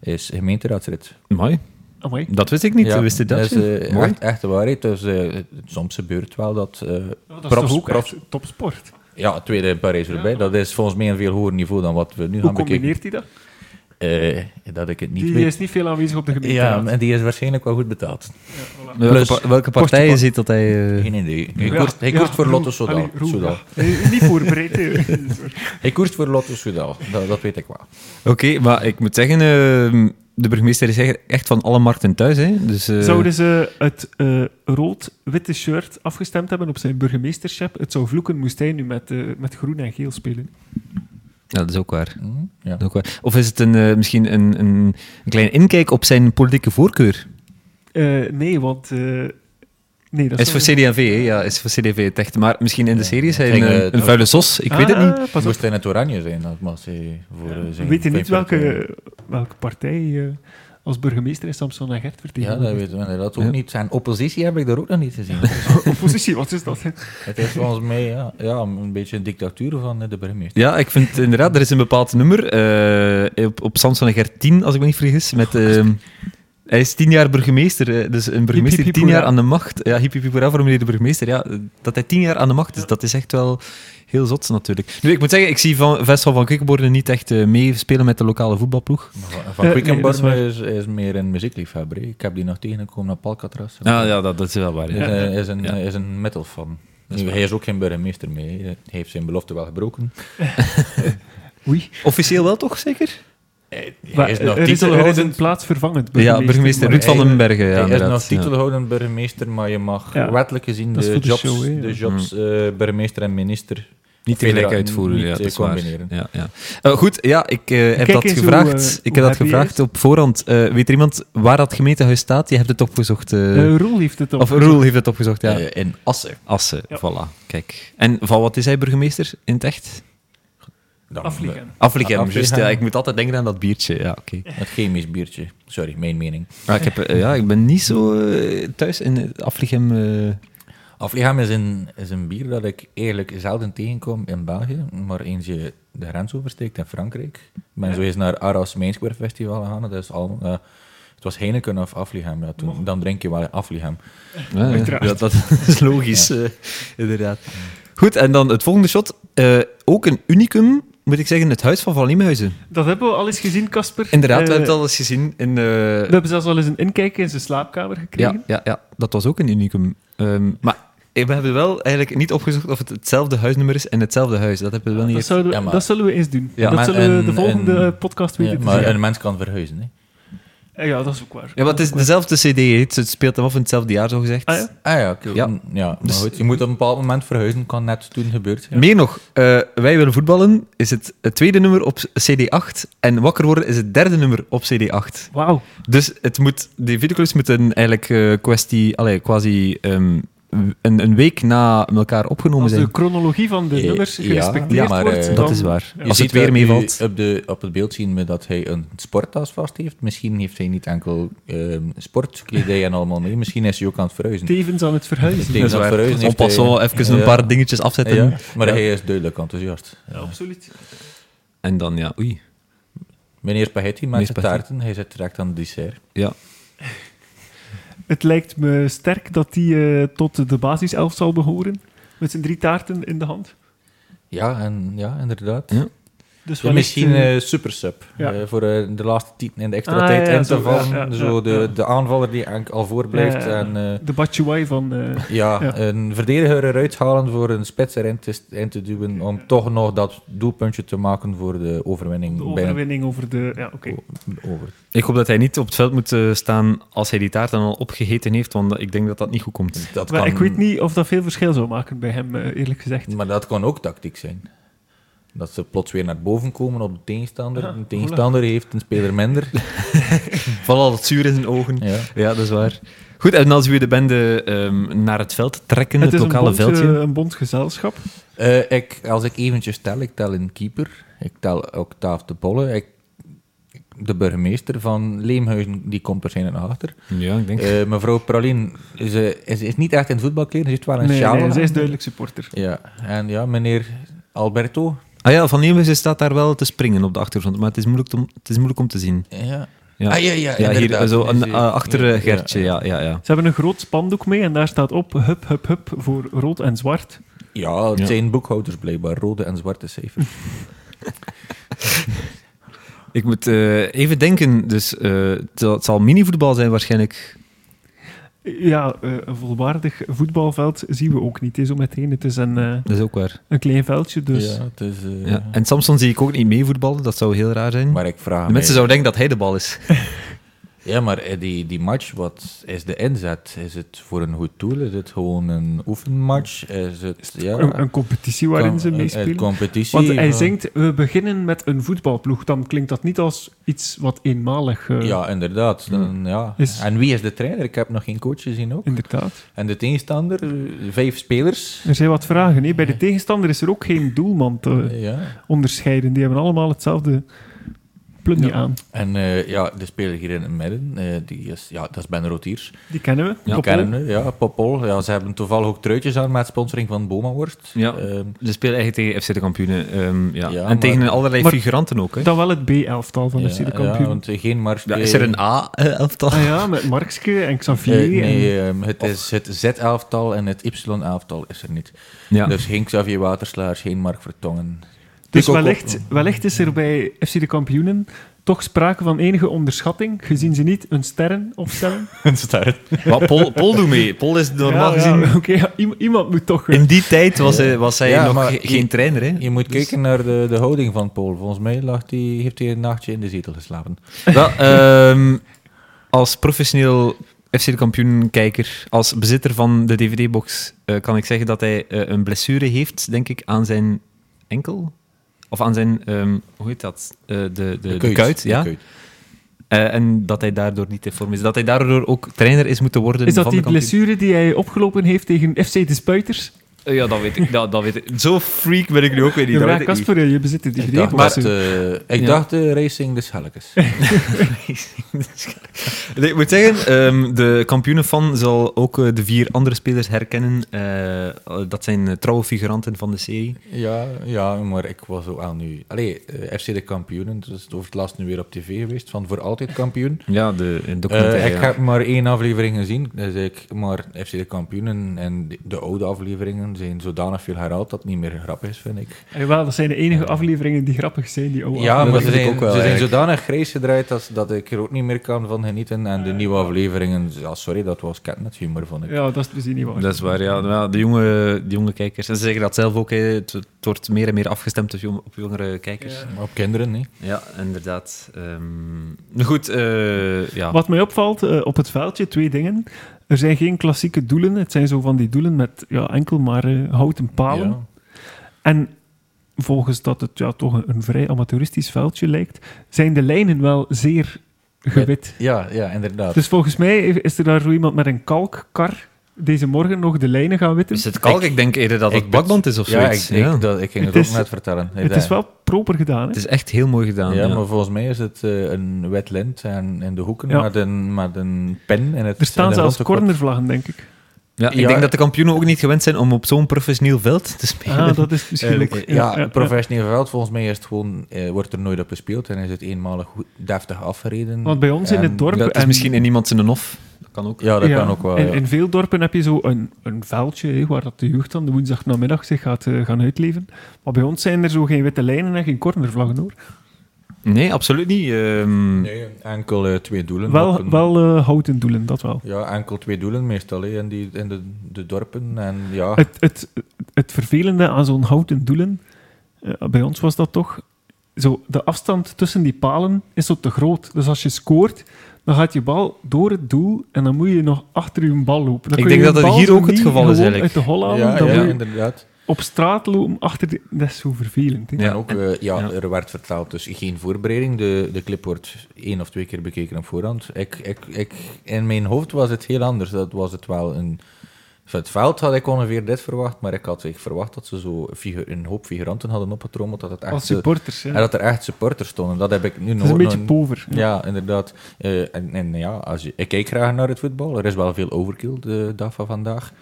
Speaker 3: is gemeenteraadslid.
Speaker 1: Mooi.
Speaker 2: Amai.
Speaker 1: Dat wist ik niet.
Speaker 3: Ja,
Speaker 1: wist je dat?
Speaker 3: is eh,
Speaker 1: Jim? Mooi.
Speaker 3: echt, echt de waarheid. Dus, eh, het- soms gebeurt wel dat... eh,
Speaker 2: Oh, dat is
Speaker 3: Props,
Speaker 2: toch ook
Speaker 3: props.
Speaker 2: echt topsport.
Speaker 3: ja, tweede in parijs
Speaker 2: Ja.
Speaker 3: roubaix dat is volgens mij een veel hoger niveau dan wat we nu
Speaker 2: Hoe
Speaker 3: gaan bekijken.
Speaker 2: combineert hij dat?
Speaker 3: Eh, dat ik het niet
Speaker 2: Die
Speaker 3: weet.
Speaker 2: is niet veel aanwezig op de gemeenteraad.
Speaker 3: ja, en die is waarschijnlijk wel goed betaald.
Speaker 2: Ja, voilà.
Speaker 1: Welke,
Speaker 3: plus-
Speaker 1: pa- welke partij
Speaker 3: Postje-
Speaker 1: is dit dat hij... eh,
Speaker 3: Geen idee. Hij
Speaker 2: Ja,
Speaker 3: koerst, hij
Speaker 2: ja,
Speaker 3: koerst voor
Speaker 2: Roel.
Speaker 3: Lotto Soudal.
Speaker 2: Allee, Roel,
Speaker 3: Soudal.
Speaker 2: ja. Eh, Niet voorbereid. eh.
Speaker 3: Hij koerst voor Lotto Soudal. Dat, dat weet ik wel.
Speaker 1: Oké, maar ik moet zeggen, ehm, de burgemeester is echt- echt van alle markten thuis. Hè? Dus, eh,
Speaker 2: Zouden ze het eh, rood-witte shirt afgestemd hebben op zijn burgemeesterschap? Het zou vloeken, moest hij nu met, eh, met groen en geel spelen.
Speaker 1: ja, dat is ook waar.
Speaker 3: Hm? Ja.
Speaker 1: Dat is ook waar. Of is het een, eh, misschien een, een, een klein inkijk op zijn politieke voorkeur?
Speaker 2: Eh, nee, want... eh, nee,
Speaker 1: Hij
Speaker 2: dat
Speaker 1: is voor CD&V, hè? Ja, is voor CD&V het echt. Maar misschien in de
Speaker 3: Ja,
Speaker 1: serie is
Speaker 3: dat
Speaker 1: hij een,
Speaker 3: ging, eh,
Speaker 1: een, een vuile sos. Ik weet het niet.
Speaker 2: Ah, Pas op.
Speaker 3: Moest hij in het oranje zijn, dat mag hij voor eh, zijn...
Speaker 2: We weten niet
Speaker 3: vijf partijen.
Speaker 2: welke, welke partij eh, als burgemeester in Samson en Gert
Speaker 3: Ja,
Speaker 2: vertegenwoordigt.
Speaker 3: dat weten we inderdaad ook
Speaker 1: Ja.
Speaker 3: niet. Zijn oppositie heb ik er ook nog niet gezien.
Speaker 2: Oppositie, wat is dat?
Speaker 3: het is volgens mij ja, ja, een beetje een dictatuur van eh, de burgemeester.
Speaker 1: Ja, ik vind inderdaad, er is een bepaald nummer eh, op, op Samson en Gert 10, als ik me niet vergis. Met, ehm, hij is tien jaar burgemeester, eh, dus een burgemeester
Speaker 2: hip,
Speaker 1: die tien jaar
Speaker 2: hoera.
Speaker 1: aan de macht. Ja, hip hip, hip, hoera voor meneer de burgemeester. Ja, dat hij tien jaar aan de macht is, dat is echt wel heel zot natuurlijk. Nu, ik moet zeggen, ik zie van, Vestal van Kikkenborne niet echt eh, meespelen met de lokale voetbalploeg.
Speaker 3: Maar Van, van
Speaker 2: Eh,
Speaker 3: Quickenborn
Speaker 2: nee, dat
Speaker 3: is, is meer een muziekliefhebber. hè. Ik heb die nog tegengekomen op Alcatraz.
Speaker 1: Ah, ja, dat, is wel waar.
Speaker 3: Is, eh, is een, eh, is een metal fan. Dus
Speaker 1: Dat is waar.
Speaker 3: hij is ook geen burgemeester mee. hè. Hij heeft zijn belofte wel gebroken.
Speaker 2: Oei.
Speaker 1: Officieel wel toch, zeker?
Speaker 2: Eh, Maar
Speaker 3: Hij is nog
Speaker 2: er, is, er is een
Speaker 3: titelhoudend.
Speaker 2: plaatsvervangend
Speaker 1: Ja, burgemeester
Speaker 2: maar
Speaker 1: Ruud van
Speaker 3: hij-
Speaker 1: den Bergen. Ja,
Speaker 3: Hij is
Speaker 1: inderdaad.
Speaker 3: nog
Speaker 1: Ja.
Speaker 3: titelhoudend burgemeester, maar je mag
Speaker 2: Ja.
Speaker 3: wettelijk gezien
Speaker 2: Dat is
Speaker 3: de
Speaker 2: voor de
Speaker 3: jobs,
Speaker 2: show, hè,
Speaker 3: de
Speaker 2: ja.
Speaker 3: jobs eh, burgemeester en minister
Speaker 1: Mm. Niet
Speaker 3: Federa-
Speaker 1: tegelijk uitvoeren,
Speaker 3: niet,
Speaker 1: ja,
Speaker 3: eh,
Speaker 1: dat is waar.
Speaker 3: combineren.
Speaker 1: Ja, ja. Eh, goed, ja, ik eh, heb
Speaker 2: Kijk
Speaker 1: dat
Speaker 2: eens hoe,
Speaker 1: gevraagd.
Speaker 2: eh,
Speaker 1: ik
Speaker 2: hoe
Speaker 1: heb dat
Speaker 2: happy
Speaker 1: gevraagd
Speaker 2: hij
Speaker 1: op voorhand. Eh, weet er iemand waar dat gemeentehuis staat? Je hebt het opgezocht. eh,
Speaker 2: Eh, Roel heeft het al.
Speaker 1: of Roel heeft het opgezocht, ja.
Speaker 3: eh, in Assen.
Speaker 1: Assen,
Speaker 2: Ja.
Speaker 1: voilà. Kijk. En van wat is hij burgemeester in het echt?
Speaker 3: Dan, eh,
Speaker 2: Afliegen.
Speaker 1: Afligem,
Speaker 3: Afligem.
Speaker 1: juist. Ja, ik moet altijd denken aan dat biertje. Ja, oké.
Speaker 3: Het eh, chemisch biertje. Sorry, mijn mening.
Speaker 1: Maar ik, heb, eh, ja, ik ben niet zo eh, thuis in eh, Afligem.
Speaker 3: Aflichaam is een, is een bier dat ik eigenlijk zelden tegenkom in België. Maar eens je de grens oversteekt in Frankrijk. Ik ben zo eens naar Arras Main Square Festival gegaan. Dat is al, eh, het was Heineken of Aflichaam. Ja, toen, dan drink je wel Aflichaam.
Speaker 1: Ja, ja,
Speaker 2: Uiteraard.
Speaker 1: dat, dat is logisch, eh, inderdaad. Goed, en dan het volgende shot. Eh, ook een unicum, moet ik zeggen, het huis van Van Leemhuizen.
Speaker 2: Dat hebben we al eens gezien, Casper.
Speaker 1: Inderdaad,
Speaker 2: Eh,
Speaker 1: we hebben het al eens gezien in... eh,
Speaker 2: we hebben zelfs al eens een inkijk in zijn slaapkamer
Speaker 1: ja,
Speaker 2: gekregen.
Speaker 1: ja, ja, dat was ook een unicum. Ehm, maar we hebben wel eigenlijk niet opgezocht of het hetzelfde huisnummer is en hetzelfde huis. Dat hebben we wel
Speaker 2: dat,
Speaker 1: niet...
Speaker 2: zouden we,
Speaker 3: Ja, maar-
Speaker 2: dat zullen we eens doen.
Speaker 1: Ja,
Speaker 2: dat
Speaker 3: maar
Speaker 2: zullen we
Speaker 3: een-
Speaker 2: de volgende
Speaker 3: een-
Speaker 2: podcast weten
Speaker 3: Ja,
Speaker 2: te
Speaker 3: maar
Speaker 2: zeggen.
Speaker 3: een mens kan verhuizen. Hè.
Speaker 2: Eh, ja, dat is ook waar.
Speaker 1: Ja, maar het is dezelfde cd, hè. het speelt hem af in hetzelfde jaar, zo gezegd.
Speaker 2: Ah, ja?
Speaker 3: Ah ja, oké.
Speaker 1: Ja.
Speaker 3: Mm, ja maar
Speaker 1: Dus-
Speaker 3: goed, je moet op een bepaald moment verhuizen. Kan net toen gebeurd zijn.
Speaker 1: Meer nog, eh, Wij willen voetballen is het, het tweede nummer op CD8 en Wakker worden is het derde nummer op CD8.
Speaker 2: Wauw.
Speaker 1: Dus het moet, die videoclips moeten eigenlijk eh, kwestie, allee, quasi ehm, een, een week na elkaar opgenomen
Speaker 2: Als de
Speaker 1: zijn.
Speaker 2: chronologie van de
Speaker 3: Eh,
Speaker 2: nummers
Speaker 3: ja,
Speaker 2: gerespecteerd
Speaker 3: ja, maar,
Speaker 2: wordt,
Speaker 3: eh,
Speaker 1: Dat
Speaker 2: dan-
Speaker 1: is waar.
Speaker 2: Ja.
Speaker 1: Als
Speaker 3: Je
Speaker 1: het
Speaker 3: ziet
Speaker 1: weer
Speaker 3: dat
Speaker 1: meevalt.
Speaker 3: nu Op, de, op het beeld zien we dat hij een sporttas vast heeft. Misschien heeft hij niet enkel ehm sportkledij en allemaal mee. Misschien is hij ook aan het verhuizen.
Speaker 2: Tevens aan het verhuizen.
Speaker 3: Tegen dat verhuizen
Speaker 1: En
Speaker 3: heeft
Speaker 1: pas
Speaker 3: hij-
Speaker 1: zo even een
Speaker 3: eh, Ja.
Speaker 1: paar dingetjes afzetten.
Speaker 3: Ja, maar
Speaker 1: Ja.
Speaker 3: hij is duidelijk enthousiast.
Speaker 2: Ja, absoluut.
Speaker 1: En dan, ja, oei.
Speaker 3: Meneer Spaghetti maakt de
Speaker 1: Spaghetti.
Speaker 3: taarten. Hij zit direct aan het dessert.
Speaker 1: Ja.
Speaker 2: Het lijkt me sterk dat die eh, tot de basiself zal behoren. Met zijn drie taarten in de hand.
Speaker 3: Ja, en, ja inderdaad.
Speaker 1: Ja.
Speaker 2: Dus
Speaker 3: Ja,
Speaker 2: wellicht,
Speaker 3: misschien
Speaker 2: eh,
Speaker 3: eh, super sub.
Speaker 2: ja.
Speaker 3: Eh, voor eh, de laatste tien in de extra
Speaker 2: Ah,
Speaker 3: tijd
Speaker 2: ja, ja,
Speaker 3: in te
Speaker 2: zo,
Speaker 3: vallen.
Speaker 2: ja, ja,
Speaker 3: zo
Speaker 2: ja,
Speaker 3: de,
Speaker 2: ja.
Speaker 3: de aanvaller die eigenlijk al voorblijft.
Speaker 2: Ja, ja, ja.
Speaker 3: En eh,
Speaker 2: de Batshuayi van... eh,
Speaker 3: ja,
Speaker 2: Ja.
Speaker 3: een verdediger eruit halen voor een spits erin te, in te duwen. Om toch nog dat doelpuntje te maken voor de overwinning.
Speaker 2: de
Speaker 3: bij-
Speaker 2: overwinning over de... Ja, oké.
Speaker 3: Oh, over.
Speaker 1: Ik hoop dat hij niet op het veld moet eh, staan als hij die taart dan al opgegeten heeft, want ik denk dat dat niet goed komt.
Speaker 3: Dat
Speaker 2: Maar
Speaker 3: kan,
Speaker 2: ik weet niet of dat veel verschil zou maken bij hem, eh, eerlijk gezegd.
Speaker 3: Maar dat kan ook tactiek zijn. Dat ze plots weer naar boven komen op de tegenstander.
Speaker 2: Ja,
Speaker 3: een tegenstander heeft een speler minder.
Speaker 1: Van al het zuur in zijn ogen.
Speaker 3: ja.
Speaker 1: Ja, dat is waar. Goed, en als we de bende ehm, naar het veld trekken, het,
Speaker 2: het is een
Speaker 1: lokale
Speaker 2: bond,
Speaker 1: veldje.
Speaker 2: eh, een bond gezelschap.
Speaker 3: Eh, ik, als ik eventjes tel, ik tel een keeper, ik tel Octaaf de Bolle, ik, de burgemeester van Leemhuizen, die komt waarschijnlijk nog achter.
Speaker 1: Ja, ik denk.
Speaker 3: Eh, mevrouw Pralin is, eh, is, is niet echt in voetbalkleren, ze zit wel een
Speaker 2: Nee,
Speaker 3: sjaal
Speaker 2: nee,
Speaker 3: aan.
Speaker 2: zij is duidelijk supporter.
Speaker 3: Ja, en ja, meneer Alberto,
Speaker 1: ah ja, Van Nieuwenhuizen staat daar wel te springen op de achtergrond, maar het is moeilijk om, het is moeilijk om te zien.
Speaker 3: ja.
Speaker 1: Ja.
Speaker 3: Ah, ja, ja,
Speaker 1: Ja, hier
Speaker 3: inderdaad.
Speaker 1: eh, zo
Speaker 3: Is
Speaker 1: een,
Speaker 3: hij-
Speaker 1: eh, achter
Speaker 3: ja,
Speaker 1: eh, Gertje, ja, ja, ja.
Speaker 2: Ze hebben een groot spandoek mee en daar staat op hup, hup, hup voor rood en zwart.
Speaker 3: Ja, het
Speaker 1: Ja.
Speaker 3: zijn boekhouders blijkbaar, rode en zwarte cijfers.
Speaker 1: Ik moet eh, even denken, dus eh, het zal- het zal minivoetbal zijn waarschijnlijk.
Speaker 2: Ja, eh, een volwaardig voetbalveld zien we ook niet hè, zo meteen. Het is een, eh,
Speaker 1: Dat is ook waar.
Speaker 2: een klein veldje, dus...
Speaker 3: ja, het is, eh,
Speaker 1: Ja. En Samson zie ik ook niet meevoetballen, dat zou heel raar zijn.
Speaker 3: Maar ik vraag
Speaker 1: de mensen
Speaker 3: mij-
Speaker 1: zouden denken dat hij de bal is.
Speaker 3: Ja, maar eh, die, die match, wat is de inzet? Is het voor een goed doel? Is het gewoon een oefenmatch? Is het ja,
Speaker 2: Een, een competitie waarin
Speaker 3: kan-
Speaker 2: ze
Speaker 3: een- een
Speaker 2: meespelen.
Speaker 3: competitie. eh,
Speaker 2: Want hij
Speaker 3: van-
Speaker 2: zingt, we beginnen met een voetbalploeg. Dan klinkt dat niet als iets wat eenmalig eh,
Speaker 3: Ja, inderdaad. Dan, ja.
Speaker 2: Hmm. Is-
Speaker 3: En wie is de trainer? Ik heb nog geen coach gezien ook.
Speaker 2: Inderdaad.
Speaker 3: En de tegenstander, eh, vijf spelers.
Speaker 2: Er zijn wat vragen. Hè? Bij de tegenstander is er ook geen doelman te
Speaker 3: Ja.
Speaker 2: onderscheiden. Die hebben allemaal hetzelfde plunje
Speaker 3: Ja.
Speaker 2: aan.
Speaker 3: En eh, ja, de speler hier in het midden, eh, die is, ja, dat is Ben Rotiers.
Speaker 2: Die kennen we.
Speaker 3: Die
Speaker 2: Koppel.
Speaker 3: kennen we, ja, Popol. Ja, ze hebben toevallig ook truitjes aan met sponsoring van Bomaworst.
Speaker 1: Ja.
Speaker 3: Ehm,
Speaker 1: Ze spelen eigenlijk tegen FC de kampioenen. ehm, ja.
Speaker 3: Ja,
Speaker 1: en
Speaker 3: maar-
Speaker 1: tegen allerlei
Speaker 2: Maar-
Speaker 1: figuranten ook. Hè.
Speaker 2: Dan wel het B-elftal van de
Speaker 3: ja,
Speaker 2: Cide
Speaker 3: ja,
Speaker 2: Kampioen.
Speaker 3: want geen Mars.
Speaker 1: Ja, is er een A-elftal?
Speaker 2: Ah ja, met Markske en Xavier.
Speaker 3: Eh,
Speaker 2: en...
Speaker 3: nee, ehm, het is het Z-elftal en het Y-elftal is er niet.
Speaker 1: Ja.
Speaker 3: Dus geen Xavier Waterslaars, geen Mark Vertongen.
Speaker 2: Dus
Speaker 3: Ik ook op-
Speaker 2: wellicht, wellicht is er bij FC de Kampioenen toch sprake van enige onderschatting, gezien ze niet hun sterren opstellen.
Speaker 3: Een ster.
Speaker 1: Maar Pol, Pol doet mee. Pol is normaal
Speaker 2: Ja, ja,
Speaker 1: gezien...
Speaker 2: Oké, ja, iem- iemand moet toch... eh,
Speaker 1: In die tijd was hij, was hij
Speaker 3: Ja,
Speaker 1: nog
Speaker 3: maar
Speaker 1: ge-
Speaker 3: je-
Speaker 1: geen trainer. Hè.
Speaker 3: Je moet kijken naar de, de houding van Paul. Volgens mij lag die, heeft hij een nachtje in de zetel geslapen.
Speaker 1: Wel, ehm, als professioneel FC de kampioen-kijker, als bezitter van de DVD-box, eh, kan ik zeggen dat hij eh, een blessure heeft, denk ik, aan zijn enkel. Of aan zijn, ehm, hoe heet dat? Eh, de, de, de kuit. ja.
Speaker 3: de kuit.
Speaker 1: Eh, en dat hij daardoor niet in vorm is. Dat hij daardoor ook trainer is moeten worden.
Speaker 2: is dat
Speaker 1: van
Speaker 2: die
Speaker 1: de kampioen.
Speaker 2: blessure die hij opgelopen heeft tegen FC de Spuiters?
Speaker 1: Eh, ja, dat weet ik. Dat, dat weet ik. Zo freak ben ik nu ook weer niet.
Speaker 2: Ja,
Speaker 1: Dat
Speaker 2: maar
Speaker 1: weet ik niet.
Speaker 2: Casper, eh, je bezit het
Speaker 3: Ik
Speaker 2: idee.
Speaker 3: dacht,
Speaker 2: Maar,
Speaker 3: dat, eh, ik
Speaker 1: Ja.
Speaker 3: dacht eh, Racing de Schelkes.
Speaker 1: Nee, ik moet zeggen, ehm, de kampioenenfan zal ook eh, de vier andere spelers herkennen. Eh, dat zijn eh, trouwe figuranten van de serie.
Speaker 3: ja, ja, maar ik was ook aan nu... Allee, eh, FC de kampioenen, dat is het over het laatst nu weer op tv geweest, van voor altijd kampioen.
Speaker 1: Ja, de, de
Speaker 3: Eh, ik heb maar één aflevering gezien, dus ik, maar FC de kampioenen en de, de oude afleveringen zijn zodanig veel herhaald dat het niet meer grappig is, vind ik.
Speaker 2: Eh, wel, dat zijn de enige afleveringen die grappig zijn. Die oude
Speaker 3: ja, maar
Speaker 2: afleveringen.
Speaker 3: ze
Speaker 1: vind ik
Speaker 3: zijn,
Speaker 1: ook wel,
Speaker 3: ze zijn
Speaker 1: eigenlijk.
Speaker 3: zodanig grijs gedraaid dat, dat ik er ook niet meer kan van genieten. En de nieuwe afleveringen, ja, sorry, dat was catnet humor, vond ik.
Speaker 2: Ja, dat is dus niet waar.
Speaker 1: Dat is waar, ja. Ja, de, jonge, de jonge kijkers. En ze zeggen dat zelf ook. hè. Het, het wordt meer en meer afgestemd op, jong- op jongere kijkers. Ja,
Speaker 3: Maar op kinderen, nee.
Speaker 1: inderdaad. Ehm, nou goed, eh,
Speaker 3: Ah.
Speaker 1: ja.
Speaker 2: Wat mij opvalt eh, op het veldje, twee dingen. Er zijn geen klassieke doelen. Het zijn zo van die doelen met ja, enkel maar eh, houten palen.
Speaker 3: Ja.
Speaker 2: En volgens dat het ja, toch een, een vrij amateuristisch veldje lijkt, zijn de lijnen wel zeer gewit.
Speaker 3: Ja, ja, inderdaad.
Speaker 2: Dus volgens mij is er daar zo iemand met een kalkkar deze morgen nog de lijnen gaan witten.
Speaker 1: is het kalk? Ik, denk eerder dat
Speaker 3: ik
Speaker 1: het bakband is of
Speaker 3: ja, ik,
Speaker 1: zoiets. Ja,
Speaker 3: ik, dat, ik ging het,
Speaker 2: Het is-
Speaker 3: ook net vertellen.
Speaker 2: het is wel proper gedaan. Hè?
Speaker 1: Het is echt heel mooi gedaan.
Speaker 3: Ja,
Speaker 1: Ja,
Speaker 3: maar volgens mij is het eh, een wet lint en in de hoeken
Speaker 2: Ja.
Speaker 3: met, een, met een pen. En het,
Speaker 2: Er staan
Speaker 3: en de
Speaker 2: zelfs
Speaker 3: rond de kop.
Speaker 2: cornervlaggen, denk ik.
Speaker 1: Ja, ik
Speaker 3: Ja.
Speaker 1: denk dat de kampioenen ook niet gewend zijn om op zo'n professioneel veld te spelen.
Speaker 2: Ah, dat is misschien ook...
Speaker 3: Eh, ja, professioneel veld, volgens mij is het gewoon, eh, wordt er nooit op gespeeld en is het eenmalig goed, deftig afgereden.
Speaker 2: Want bij ons in
Speaker 3: En
Speaker 2: het dorp...
Speaker 1: Dat is
Speaker 2: en-
Speaker 1: misschien in iemand zijn hof. Dat kan ook.
Speaker 3: Ja, dat
Speaker 2: Ja.
Speaker 3: kan ook wel.
Speaker 2: In,
Speaker 3: ja.
Speaker 2: in veel dorpen heb je zo een, een veldje hè, waar dat de jeugd dan de woensdagnamiddag zich gaat eh, gaan uitleven. Maar bij ons zijn er zo geen witte lijnen en geen cornervlaggen hoor.
Speaker 1: Nee, absoluut niet. Ehm,
Speaker 3: Nee, enkel eh, twee doelen. op
Speaker 2: Wel,
Speaker 3: een-
Speaker 2: wel eh, houten doelen, dat wel.
Speaker 3: Ja, enkel twee doelen meestal hè, in, die, in de, de dorpen. En ja,
Speaker 1: Ah.
Speaker 2: Het, het, het vervelende aan zo'n houten doelen, eh, bij ons was dat toch, zo, de afstand tussen die palen is zo te groot. Dus als je scoort, dan gaat je bal door het doel en dan moet je nog achter je bal lopen. Dan
Speaker 1: Ik
Speaker 2: kun
Speaker 1: denk
Speaker 2: je
Speaker 1: dat
Speaker 2: je
Speaker 1: dat
Speaker 2: bal
Speaker 1: hier
Speaker 2: zo
Speaker 1: ook het
Speaker 2: niet
Speaker 1: geval is,
Speaker 2: gewoon
Speaker 1: eigenlijk.
Speaker 2: Uit de hol halen,
Speaker 3: ja,
Speaker 2: dan
Speaker 3: ja,
Speaker 2: moet je
Speaker 3: inderdaad.
Speaker 2: op straat lopen achter die... Dat is zo vervelend. hè.
Speaker 1: Ja.
Speaker 3: En ook, eh, ja,
Speaker 1: ja.
Speaker 3: er werd vertaald, dus geen voorbereiding. De, de clip wordt één of twee keer bekeken op voorhand. Ik, ik, ik, in mijn hoofd was het heel anders. Dat was het wel een... van Het veld had ik ongeveer dit verwacht, maar ik had echt verwacht dat ze zo figu- een hoop figuranten hadden opgetrommeld. Dat het echt,
Speaker 2: Als
Speaker 3: eh,
Speaker 2: supporters, ja.
Speaker 3: en dat er echt supporters stonden. Dat heb ik nu
Speaker 2: Het
Speaker 3: nog
Speaker 2: is een beetje
Speaker 3: nog-
Speaker 2: pover. ja.
Speaker 3: Ja, inderdaad. Eh, en, en ja, als je, ik kijk graag naar het voetbal. Er is wel veel overkill de dag van vandaag.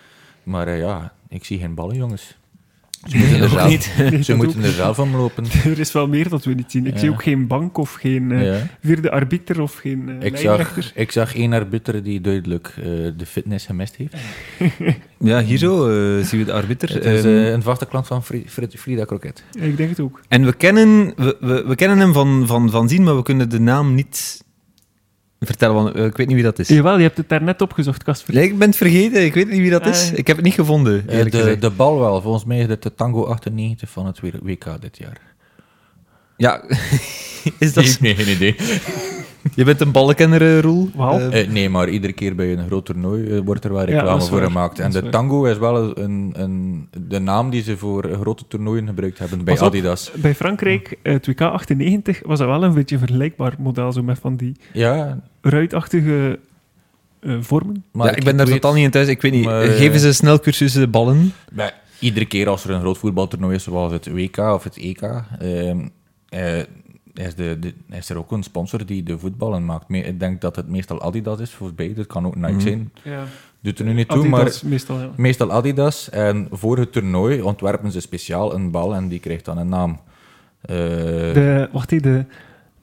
Speaker 3: Maar eh, ja, ik zie geen ballen, jongens. Ze moeten er
Speaker 1: ook
Speaker 3: zelf,
Speaker 1: niet.
Speaker 2: Nee,
Speaker 3: ze
Speaker 2: dat
Speaker 3: moeten
Speaker 2: ook.
Speaker 3: er zelf om lopen.
Speaker 2: Er is wel meer dat we niet zien. Ik
Speaker 3: Ja.
Speaker 2: zie ook geen bank of geen eh,
Speaker 3: Ja.
Speaker 2: vierde arbiter of geen eh
Speaker 3: Ik,
Speaker 2: lijnrechter.
Speaker 3: zag, ik zag één arbiter die duidelijk eh, de fitness gemist heeft.
Speaker 1: ja, hier zo eh, zien we de arbiter.
Speaker 3: Het is
Speaker 1: Ehm,
Speaker 3: eh, een vaste klant van Fri- Fri- Frida Kroket.
Speaker 2: Ja, Ik denk het ook.
Speaker 1: En we kennen, we, we, we kennen hem van, van, van zien, maar we kunnen de naam niet vertellen, want eh, ik weet niet wie dat is.
Speaker 2: Jawel, je hebt het daarnet opgezocht, Casper.
Speaker 1: Nee, ik ben het vergeten, ik weet niet wie dat is.
Speaker 2: Ah.
Speaker 1: Ik heb het niet gevonden,
Speaker 3: Eh,
Speaker 1: eerlijk
Speaker 3: de,
Speaker 1: gezegd.
Speaker 3: de bal wel. Volgens mij is het de Tango 98 van het WK dit jaar.
Speaker 1: Ja, is dat... zo?
Speaker 3: meer geen idee.
Speaker 1: Je bent een balkenner, eh, Roel.
Speaker 2: Wauw.
Speaker 1: Eh,
Speaker 3: Eh, nee, maar iedere keer bij een groot toernooi eh, wordt er wel reclame
Speaker 2: dat is
Speaker 3: voor
Speaker 2: waar.
Speaker 3: gemaakt. En
Speaker 2: Dat is
Speaker 3: de
Speaker 2: waar.
Speaker 3: tango is wel een, een, de naam die ze voor grote toernooien gebruikt hebben bij
Speaker 2: Pas op.
Speaker 3: Adidas.
Speaker 2: Bij Frankrijk, eh, het WK 98, was dat wel een beetje een vergelijkbaar model, zo met van die
Speaker 3: Ja,
Speaker 2: ruitachtige eh, vormen.
Speaker 3: maar
Speaker 1: ja, ik ben daar
Speaker 3: weet-
Speaker 1: totaal niet in thuis, ik weet niet.
Speaker 3: maar,
Speaker 1: Eh,
Speaker 3: eh,
Speaker 1: Geven ze snel cursussen de ballen?
Speaker 3: bij- iedere keer als er een groot voetbaltoernooi is, zoals het WK of het EK, ehm, eh, is, de, de- is er ook een sponsor die de voetballen maakt. Me- Ik denk dat het meestal Adidas is voor beide. Het kan ook Nike
Speaker 1: Mhm.
Speaker 3: zijn.
Speaker 2: Ja,
Speaker 3: Doet er nu niet toe, maar
Speaker 2: Adidas meestal, ja.
Speaker 3: Meestal Adidas. En voor het toernooi ontwerpen ze speciaal een bal en die krijgt dan een naam. Eh,
Speaker 2: De, wacht even, de,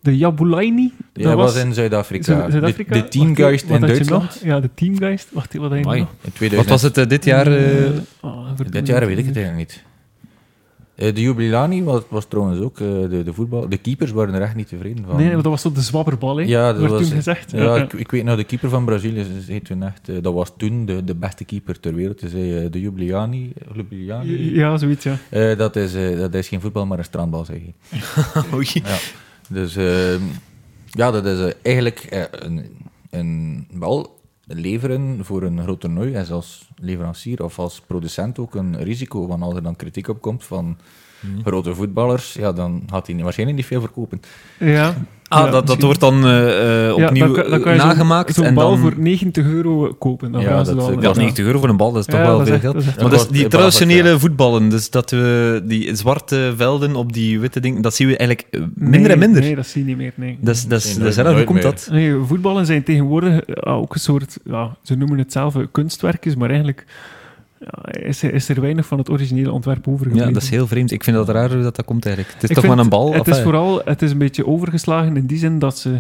Speaker 2: de Jabulaini.
Speaker 3: die
Speaker 2: dat
Speaker 3: was,
Speaker 2: was
Speaker 3: in
Speaker 2: Zu-
Speaker 3: Zuid-Afrika.
Speaker 2: Zuid-Afrika.
Speaker 3: de, de teamgeist
Speaker 2: Wacht,
Speaker 3: in
Speaker 2: wat had je
Speaker 3: Duitsland.
Speaker 2: nog? Ja, de teamgeist. Wacht, wat had je
Speaker 1: Amai.
Speaker 2: nog?
Speaker 3: In 2000.
Speaker 1: Wat was het eh, dit jaar? eh,
Speaker 2: Eh, oh, verdomme.
Speaker 3: Dit jaar weet ik het eigenlijk niet. Eh, de Jubilani was, was trouwens ook eh, de, de voetbal. De keepers waren er echt niet tevreden van.
Speaker 2: Nee, maar dat was zo de zwabberbal, hè?
Speaker 3: Ja, dat
Speaker 2: werd
Speaker 3: was-
Speaker 2: toen gezegd.
Speaker 3: ja, ik, ik weet nou, de keeper van Brazilië ze zei toen echt, eh, dat was toen de, de beste keeper ter wereld. Ze zei eh, de Jubilani, Jubilani
Speaker 2: ja, zoiets, ja.
Speaker 3: eh, dat, is, eh, dat is geen voetbal, maar een strandbal, zeg je.
Speaker 1: oei.
Speaker 3: Ja. Dus ehm, ja, dat is eh, eigenlijk eh, een, een bal leveren voor een groot toernooi. En als leverancier of als producent ook een risico. Want als er dan kritiek op komt van
Speaker 1: Mhm.
Speaker 3: grote voetballers, ja, dan gaat hij waarschijnlijk niet veel verkopen.
Speaker 2: ja.
Speaker 1: Ah,
Speaker 2: Ja,
Speaker 1: dat, dat
Speaker 2: misschien.
Speaker 1: wordt dan eh, eh,
Speaker 2: Ja,
Speaker 1: opnieuw
Speaker 2: dan kan- dan
Speaker 1: eh,
Speaker 2: kan je zo'n-
Speaker 1: nagemaakt.
Speaker 2: Zo'n
Speaker 1: en
Speaker 2: bal
Speaker 1: dan...
Speaker 2: voor 90 euro kopen. Dan
Speaker 3: Ja,
Speaker 2: gaan ze
Speaker 3: dat,
Speaker 2: dan,
Speaker 3: eh,
Speaker 1: Ja,
Speaker 3: dat
Speaker 2: ja.
Speaker 1: 90 euro voor een bal, dat is toch
Speaker 2: Ja,
Speaker 1: wel
Speaker 2: dat is
Speaker 1: veel
Speaker 2: echt-
Speaker 1: geld.
Speaker 2: dat is echt
Speaker 1: Maar
Speaker 3: wel-
Speaker 1: dat is die
Speaker 3: dat is wel
Speaker 1: traditionele
Speaker 3: veel.
Speaker 1: voetballen, dus dat we die zwarte velden op die witte dingen, dat zien we eigenlijk eh, minder en
Speaker 2: Nee,
Speaker 1: minder.
Speaker 2: Nee, dat zie je niet meer, nee.
Speaker 1: Dat is, dat is,
Speaker 3: Nee,
Speaker 1: dat is
Speaker 3: nooit-
Speaker 1: erg. Hoe komt
Speaker 3: nooit
Speaker 1: dat?
Speaker 2: Nee, voetballen zijn tegenwoordig eh, ook een soort, ja, ze noemen het zelf eh, kunstwerkjes, maar eigenlijk ja, is, er- is er weinig van het originele ontwerp overgebleven.
Speaker 1: Ja, dat is heel vreemd. Ik vind dat raar hoe dat, dat komt eigenlijk. Het is
Speaker 2: Ik
Speaker 1: toch
Speaker 2: vind-
Speaker 1: maar een bal?
Speaker 2: Het
Speaker 1: enfin.
Speaker 2: is vooral het is een beetje overgeslagen in die zin dat ze,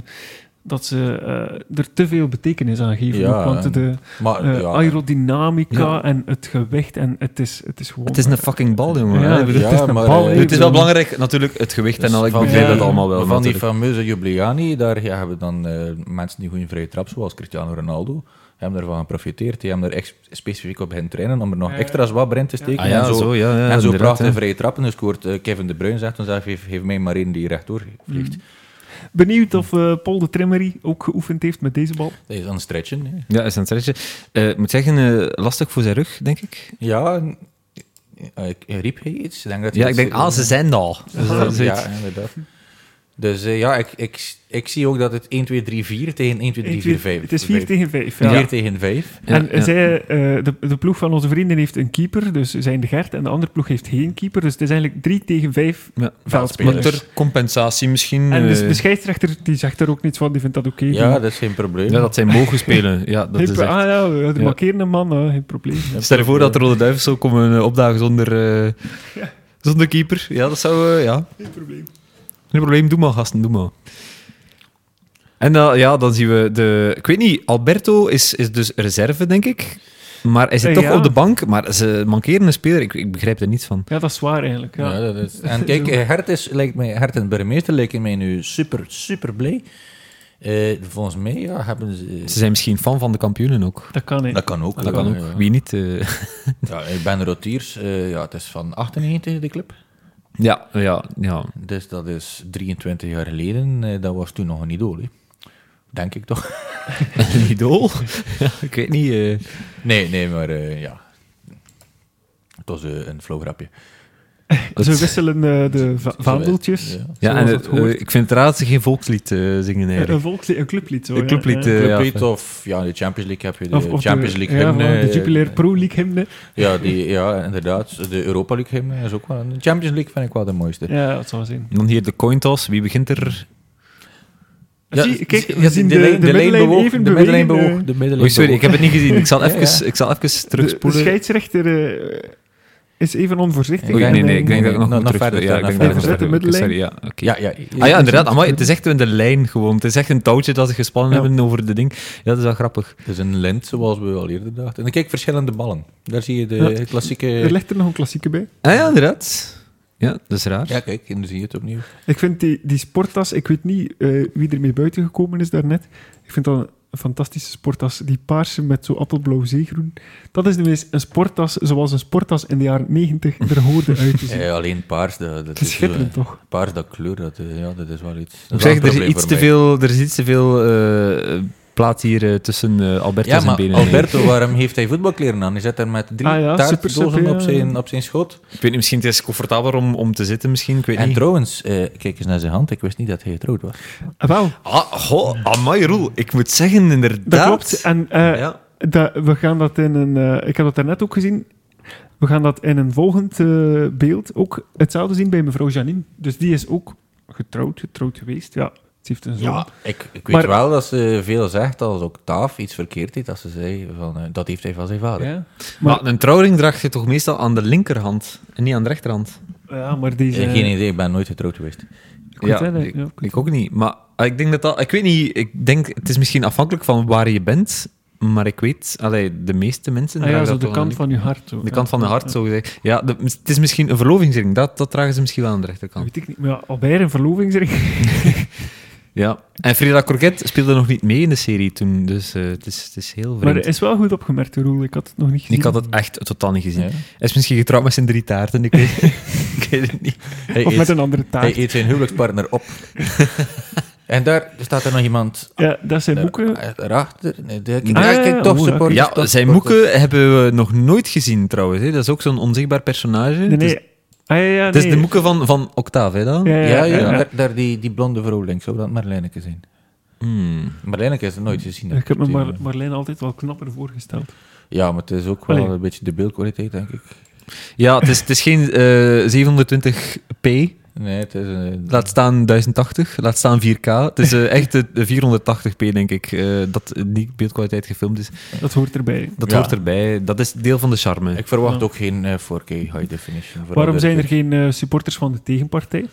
Speaker 2: dat ze eh, er te veel betekenis aan geven.
Speaker 3: Ja,
Speaker 2: ook, want
Speaker 3: en-
Speaker 2: de
Speaker 3: Maar
Speaker 2: eh,
Speaker 3: Ah, ja,
Speaker 2: aerodynamica
Speaker 1: Ja.
Speaker 2: en het gewicht, en het is, het is gewoon...
Speaker 1: Het is een fucking bal, jongen.
Speaker 2: Ja,
Speaker 1: Ik bedoel,
Speaker 3: ja,
Speaker 2: het is een
Speaker 3: maar,
Speaker 2: bal.
Speaker 3: eh,
Speaker 2: hè.
Speaker 1: Het is wel belangrijk, natuurlijk, het gewicht en
Speaker 3: dus
Speaker 1: al. Ik
Speaker 3: van-
Speaker 1: begrijp
Speaker 2: ja,
Speaker 1: dat allemaal wel.
Speaker 3: Van die
Speaker 1: natuurlijk.
Speaker 3: fameuze Jubiliani, daar ja, hebben dan eh, mensen die goede vrije trap, zoals Cristiano Ronaldo, hebben ervan geprofiteerd. Die hebben er echt specifiek op gaan trainen om er nog
Speaker 2: Ja.
Speaker 3: extra zwart brein te steken.
Speaker 1: Ah ja,
Speaker 3: en zo,
Speaker 1: zo, ja, ja,
Speaker 3: en zo
Speaker 1: inderdaad,
Speaker 3: prachtige
Speaker 1: hè.
Speaker 3: vrije trappen. Dus scoort eh, Kevin De Bruyne zegt dan zelf, geef, geef mij maar één die rechtdoor vliegt.
Speaker 2: Benieuwd of eh, Paul de Trimmery ook geoefend heeft met deze bal.
Speaker 3: Dat is aan het stretchen. hè.
Speaker 1: Ja, is een stretchje. Eh, Ik moet zeggen, eh, lastig voor zijn rug, denk ik.
Speaker 3: Ja, en- eh, ik- riep hij iets? Ik Denk dat hij
Speaker 1: Ja, ik
Speaker 3: iets-
Speaker 1: denk, ah, ze zijn er al. Dus dat is iets-
Speaker 3: ja, inderdaad. Dus eh, ja, ik, ik, ik zie ook dat het 1, 2, 3, 4 tegen 1, 2, 3, 4, 5.
Speaker 2: Het is 4 tegen 5.
Speaker 3: vier
Speaker 2: Ja.
Speaker 3: tegen 5.
Speaker 1: Ja,
Speaker 2: en eh,
Speaker 1: ja.
Speaker 2: zij, eh, de, de ploeg van onze vrienden heeft een keeper, dus zijn de Gert. En de andere ploeg heeft geen keeper. Dus het is eigenlijk 3 tegen 5
Speaker 1: Ja. Maar
Speaker 2: veldspelers.
Speaker 1: ter compensatie misschien.
Speaker 2: En dus de,
Speaker 1: eh,
Speaker 2: de scheidsrechter die zegt daar ook niets van, die vindt dat oké. Die-
Speaker 3: Ja, dat is geen probleem.
Speaker 1: Ja, dat zijn mogen spelen. Ja, dat
Speaker 2: Geen
Speaker 1: is
Speaker 2: pro-
Speaker 1: echt...
Speaker 2: Ah ja, we we
Speaker 1: Ja.
Speaker 2: markeren een man, ah, geen probleem.
Speaker 1: Stel je voor dat de Rode Duivels zo komen eh, opdagen zonder, eh, zonder keeper. Ja, dat zou... eh, ja.
Speaker 2: Geen probleem.
Speaker 1: Geen probleem, doe maar, gasten, doe maar. En dan, ja, dan zien we de... Ik weet niet, Alberto is, is dus reserve, denk ik. Maar hij zit
Speaker 2: Eh,
Speaker 1: toch
Speaker 2: ja.
Speaker 1: op de bank. Maar ze mankeren een speler. Ik, ik begrijp er niet van.
Speaker 2: Ja, dat is waar eigenlijk. Ja.
Speaker 3: Ja, dat is... En kijk, eh, Hert, is, lijkt mij, Hert en Burgemeester lijken mij nu super, super blij. Eh, volgens mij ja, hebben ze...
Speaker 1: Ze zijn misschien fan van de kampioenen ook.
Speaker 2: Dat kan niet.
Speaker 3: Dat kan ook.
Speaker 1: Dat kan ook.
Speaker 3: ja.
Speaker 1: Wie niet? eh.
Speaker 3: Ja, ik ben Rotiers. eh, ja, het is van 98 de club.
Speaker 1: Ja, ja, ja.
Speaker 3: Dus dat is 23 jaar geleden. eh, dat was toen nog een idool. hè. Denk ik toch?
Speaker 1: Een idool? Ja, ik weet niet. eh.
Speaker 3: Nee, nee, maar eh, ja. Het was eh, een flow grapje.
Speaker 2: Ze wisselen eh, de va- vaandeltjes.
Speaker 3: Ja.
Speaker 1: Ja, en
Speaker 2: Zoals
Speaker 1: het-
Speaker 2: het hoort.
Speaker 1: eh, ik vind het raar dat ze geen volkslied eh, zingen
Speaker 2: Een-
Speaker 1: eigenlijk.
Speaker 2: Een volkslied, een clublied. Zo,
Speaker 1: Een
Speaker 2: ja,
Speaker 1: clublied,
Speaker 2: ja.
Speaker 1: eh,
Speaker 3: Clublied
Speaker 1: ja.
Speaker 3: of ja, de Champions League heb je. De
Speaker 2: Of, of
Speaker 3: Champions League
Speaker 2: ja,
Speaker 3: hymne.
Speaker 2: van de
Speaker 3: eh,
Speaker 2: Jupiler Pro League hymne.
Speaker 3: Ja, die, ja, inderdaad. De Europa League hymne is ook wel... De Champions League vind ik wel de mooiste.
Speaker 2: Ja, dat zal wel zien.
Speaker 1: Dan hier de coin toss. Wie begint er?
Speaker 3: Ja,
Speaker 2: Zie, kijk,
Speaker 3: ja,
Speaker 2: we zien de, de,
Speaker 3: lijn-
Speaker 2: middenlijn
Speaker 3: lijn bewoog,
Speaker 2: even
Speaker 3: de middenlijn
Speaker 2: bewegen,
Speaker 3: bewoog,
Speaker 2: eh.
Speaker 3: de middenlijn
Speaker 1: Oei, sorry,
Speaker 3: bewoog.
Speaker 1: ik heb het niet gezien. Ik zal
Speaker 3: Ja, ja.
Speaker 1: even, Ik zal even
Speaker 2: De, de
Speaker 1: terugspoelen.
Speaker 2: scheidsrechter eh, is even onvoorzichtig.
Speaker 1: Oei,
Speaker 2: En,
Speaker 1: nee, nee,
Speaker 2: eh,
Speaker 1: ik denk dat ik nog
Speaker 3: Nog-
Speaker 1: moet
Speaker 3: nog
Speaker 1: terug...
Speaker 3: verder,
Speaker 1: ja, ik
Speaker 3: nog
Speaker 1: denk dat ik nog
Speaker 2: verder.
Speaker 1: verder... moet. Oké,
Speaker 2: Verder
Speaker 1: sorry, ja, oké.
Speaker 3: Ja, ja.
Speaker 1: Ah ja, inderdaad.
Speaker 2: dat
Speaker 1: Amai,
Speaker 2: is
Speaker 1: het is echt in de lijn gewoon. Het is echt een touwtje dat ze gespannen
Speaker 2: Ja.
Speaker 1: hebben over de ding. Ja, dat is wel grappig.
Speaker 3: Het is een lint, zoals we al eerder dachten. En dan kijk, verschillende ballen. Daar zie je de
Speaker 2: Ja.
Speaker 3: klassieke...
Speaker 2: Er ligt er nog een klassieke bij.
Speaker 1: Ah ja, inderdaad. Ja, dat is raar.
Speaker 3: Ja, kijk, en dan zie je het opnieuw.
Speaker 2: Ik vind die, die sporttas, ik weet niet eh, wie er mee buiten gekomen is daarnet. Ik vind dat een fantastische sporttas. Die paarse met zo appelblauw zeegroen. Dat is nu eens een sporttas zoals een sporttas in de jaren 90 er hoorde uit te zien.
Speaker 3: Eh, alleen paars, dat, dat
Speaker 2: Het is schitterend,
Speaker 3: zo, eh,
Speaker 2: toch?
Speaker 3: Paars, dat kleur, dat, eh, ja, dat is wel iets... dat
Speaker 1: Ik
Speaker 3: is wel
Speaker 1: zeg,
Speaker 3: een
Speaker 1: er is
Speaker 3: probleem
Speaker 1: iets
Speaker 3: voor
Speaker 1: te
Speaker 3: mij.
Speaker 1: veel, er is iets te veel eh, plaat hier eh, tussen eh, Alberto
Speaker 3: Ja,
Speaker 1: zijn
Speaker 3: maar
Speaker 1: benen.
Speaker 3: Alberto, waarom heeft hij voetbalkleren aan? Hij zit daar met drie
Speaker 2: Ah ja,
Speaker 3: taartdozen
Speaker 2: super, super,
Speaker 3: op,
Speaker 2: ja.
Speaker 3: zijn, op zijn schot.
Speaker 1: Ik weet niet, misschien het is comfortabeler om, om te zitten, misschien. Ik weet
Speaker 3: En
Speaker 1: niet.
Speaker 3: trouwens, eh, kijk eens naar zijn hand. Ik wist niet dat hij getrouwd was.
Speaker 2: Ah, wel,
Speaker 1: Ah, goh, amai Roel. Ik moet zeggen, inderdaad.
Speaker 2: dat klopt. En eh,
Speaker 1: Ja.
Speaker 2: dat- we gaan dat in een... eh, ik heb dat daarnet ook gezien. We gaan dat in een volgend eh, beeld ook hetzelfde zien bij mevrouw Janine. Dus die is ook getrouwd, getrouwd geweest. Ja, ze heeft een zoon.
Speaker 3: Ja, ik, ik weet
Speaker 2: Ah. Maar-
Speaker 3: wel dat ze veel zegt als Octaaf iets verkeerd deed. Dat ze zei, van, eh, dat heeft hij van zijn vader.
Speaker 2: Ja.
Speaker 1: Maar, een trouwring draag je toch meestal aan de linkerhand en niet aan de rechterhand?
Speaker 2: Ja, maar deze...
Speaker 3: Eh, Geen idee, ik ben nooit getrouwd geweest.
Speaker 2: Ik weet het, hè,
Speaker 1: ik,
Speaker 2: ja, ik weet
Speaker 1: ik ook niet. Maar ah, ik denk dat dat... Ik weet niet, ik denk... Het is misschien afhankelijk van waar je bent, maar ik weet... Allee, de meeste mensen...
Speaker 2: Ah ja,
Speaker 1: dragen
Speaker 2: zo
Speaker 1: dat
Speaker 2: de
Speaker 1: toch aan
Speaker 2: kant van je hart. Zo.
Speaker 1: De kant van de hart, zo gezegd. Ja, de- het is misschien een verlovingsring. Dat, dat dragen ze misschien wel aan de
Speaker 2: Dat
Speaker 1: rechterkant.
Speaker 2: weet ik niet. Maar ja, Albert in verlovingsring.
Speaker 1: Ja. En Frida Croquet speelde nog niet mee in de serie toen, dus eh, het, is, het is heel
Speaker 2: Maar
Speaker 1: vreemd.
Speaker 2: er is wel goed opgemerkt, Roel. Ik had het nog niet gezien.
Speaker 1: Ik had het echt totaal niet gezien.
Speaker 3: Ja.
Speaker 1: Hij is misschien getrouwd met zijn drie taarten, ik weet, ik weet het niet.
Speaker 3: Hij,
Speaker 2: Of
Speaker 3: eet,
Speaker 2: met een andere
Speaker 3: hij
Speaker 2: taart.
Speaker 3: eet zijn huwelijkspartner op. en daar staat er nog iemand
Speaker 2: Ja, dat zijn boeken.
Speaker 3: erachter. Nee, de,
Speaker 2: Ah,
Speaker 3: ja, kijk, toch
Speaker 2: oh,
Speaker 3: supporters.
Speaker 1: Ja,
Speaker 3: toch
Speaker 1: zijn
Speaker 3: supporters.
Speaker 1: moeken hebben we nog nooit gezien trouwens. Hè. Dat is ook zo'n onzichtbaar personage.
Speaker 2: Nee,
Speaker 1: Het, is,
Speaker 2: nee. Ah, ja, ja,
Speaker 1: het is
Speaker 2: nee.
Speaker 1: de moeken van, van Octave, hè, dan?
Speaker 2: Ja,
Speaker 3: Ja, ja,
Speaker 1: ja.
Speaker 3: Daar, daar die, die blonde vrouw links, zou dat Marlijneke zijn?
Speaker 1: Hmm.
Speaker 3: Marlijneke is er nooit gezien. hè.
Speaker 2: Ik heb me
Speaker 3: Die-
Speaker 2: Mar- Marlijn altijd wel knapper voorgesteld.
Speaker 3: Ja, maar het is ook wel
Speaker 2: Allee.
Speaker 3: een beetje de beeldkwaliteit, denk ik.
Speaker 1: Ja, het is, het is geen eh, 720p.
Speaker 3: Nee, het is eh, een...
Speaker 1: Laat staan 1080, laat staan 4K. Het is eh, echt de 480p, denk ik, eh, dat die beeldkwaliteit gefilmd is.
Speaker 2: Dat hoort erbij.
Speaker 1: Dat
Speaker 3: Ja.
Speaker 1: hoort erbij. Dat is deel van de charme.
Speaker 3: Ik verwacht
Speaker 2: Ja.
Speaker 3: ook geen eh, 4K high definition. voor
Speaker 2: Waarom
Speaker 3: alle
Speaker 2: zijn er
Speaker 3: deur.
Speaker 2: geen eh, supporters van de tegenpartij?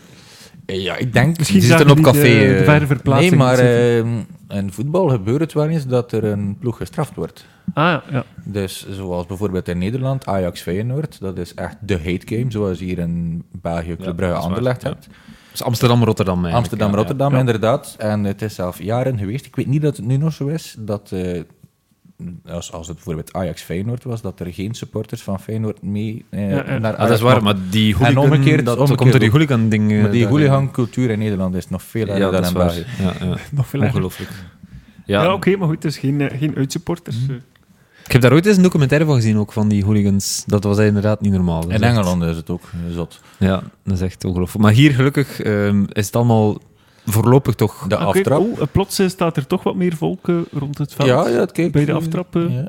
Speaker 3: Eh, Ja, ik denk...
Speaker 2: Misschien
Speaker 1: zitten
Speaker 2: zagen
Speaker 1: op
Speaker 2: die
Speaker 1: café,
Speaker 2: De, de
Speaker 1: eh.
Speaker 2: verre verplaatsing.
Speaker 3: Nee, maar
Speaker 2: zitten.
Speaker 3: eh, in voetbal gebeurt het wel eens dat er een ploeg gestraft wordt.
Speaker 1: eh,
Speaker 2: ah, ja.
Speaker 3: Dus zoals bijvoorbeeld in Nederland, Ajax Feyenoord, dat is echt de hate game, zoals hier in België Club
Speaker 1: dat
Speaker 3: Brugge
Speaker 1: is waar,
Speaker 3: Anderlecht
Speaker 1: ja.
Speaker 3: hebt.
Speaker 1: Dus Amsterdam-Rotterdam eigenlijk.
Speaker 3: Amsterdam,
Speaker 1: ja, ja.
Speaker 3: Rotterdam,
Speaker 2: Ja.
Speaker 3: inderdaad. En het is zelf jaren geweest. Ik weet niet dat het nu nog zo is dat. eh, als, als het bijvoorbeeld Ajax Feyenoord was, dat er geen supporters van Feyenoord mee eh,
Speaker 2: Ja, ja.
Speaker 3: naar
Speaker 1: Ah, dat is
Speaker 3: Ajax
Speaker 1: waar,
Speaker 3: mochten.
Speaker 1: maar die hooligan...
Speaker 3: omgekeerd,
Speaker 1: dat,
Speaker 3: omgekeerd
Speaker 1: komt door die
Speaker 3: ook.
Speaker 1: hooligan-ding. eh,
Speaker 3: Maar die
Speaker 1: daar-
Speaker 3: hooligancultuur in Nederland is nog veel
Speaker 1: Ja, dat
Speaker 3: erger dan
Speaker 1: is
Speaker 3: in
Speaker 1: waar.
Speaker 3: België.
Speaker 1: Ja, ja.
Speaker 2: Nog veel erger.
Speaker 1: Ongelooflijk.
Speaker 2: Ja,
Speaker 1: Ja, Mhm.
Speaker 2: oké, maar goed, dus geen, eh, geen uitsupporters. eh.
Speaker 1: Ik heb daar ooit eens een documentaire van gezien, ook, van die hooligans. Dat was inderdaad niet normaal. Dat
Speaker 3: In
Speaker 1: is echt-
Speaker 3: Engeland is het ook zot.
Speaker 1: Ja, dat is echt ongelooflijk. Maar hier, gelukkig, ehm, is het allemaal voorlopig toch...
Speaker 3: De
Speaker 2: Ah, kijk,
Speaker 3: aftrap.
Speaker 2: oh, eh, plots eh, staat er toch wat meer volk eh, rond het
Speaker 1: oh,
Speaker 2: veld.
Speaker 3: ja, ja, kijk.
Speaker 2: Bij de aftrap, eh.
Speaker 3: Ja.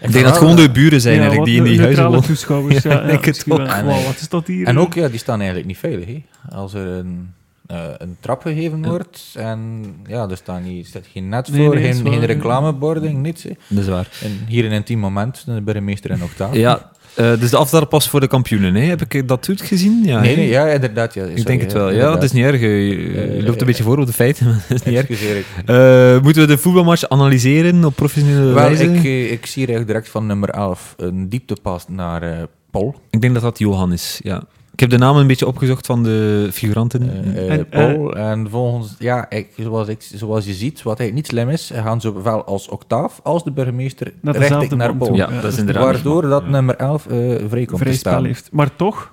Speaker 1: Ik denk dat het gewoon de buren zijn
Speaker 2: Ja,
Speaker 1: eigenlijk,
Speaker 2: wat
Speaker 1: die in
Speaker 2: de
Speaker 1: die huizen
Speaker 2: neutrale
Speaker 1: wonen.
Speaker 2: toeschouwers, ja. ja,
Speaker 1: ik denk het
Speaker 2: misschien wel.
Speaker 1: ook.
Speaker 2: Wauw, wat is dat hier? eh,
Speaker 3: En ook, ja, die staan eigenlijk niet veilig. Hè? Als er een, eh, een trap gegeven wordt. En ja, er staan niet, er staat geen net voor,
Speaker 2: Nee, nee, is
Speaker 3: geen,
Speaker 2: waar,
Speaker 3: geen
Speaker 2: ja.
Speaker 3: reclameborden, niets. hè.
Speaker 1: Dat is waar.
Speaker 3: En hier een intiem moment, de burgemeester en octaaf.
Speaker 1: Ja, eh, dus de afdaalpas voor de kampioenen, hè? Heb ik dat goed gezien? Ja,
Speaker 3: nee,
Speaker 1: hè?
Speaker 3: nee, ja, inderdaad. Ja,
Speaker 1: Ik denk het wel. Ja, dat is niet erg. Je,
Speaker 3: Eh,
Speaker 1: je loopt een
Speaker 3: eh,
Speaker 1: beetje voor op de feiten, maar dat is niet erg.
Speaker 3: Excuseer ik.
Speaker 1: Eh, moeten we de voetbalmatch analyseren op professionele
Speaker 3: Wel,
Speaker 1: wijze?
Speaker 3: ik,
Speaker 1: Ik,
Speaker 3: eh, ik zie eigenlijk direct van nummer 11 een dieptepas naar eh, Paul.
Speaker 1: denk dat dat Johan is, ja. Ik heb de naam een beetje opgezocht van de figuranten.
Speaker 3: Eh, eh,
Speaker 2: En,
Speaker 3: Paul. en volgens, ja, ik, zoals, ik, zoals je ziet, wat hij niet slim is, gaan zowel als Octaaf als de burgemeester
Speaker 2: Naar
Speaker 3: recht
Speaker 2: dezelfde
Speaker 3: naar
Speaker 2: man
Speaker 3: Paul.
Speaker 2: toe.
Speaker 1: Ja, dat is inderdaad
Speaker 3: Waardoor dat
Speaker 1: Ja.
Speaker 3: nummer 11 eh vrij komt te
Speaker 2: vrij spel
Speaker 3: staan.
Speaker 2: heeft. Maar toch,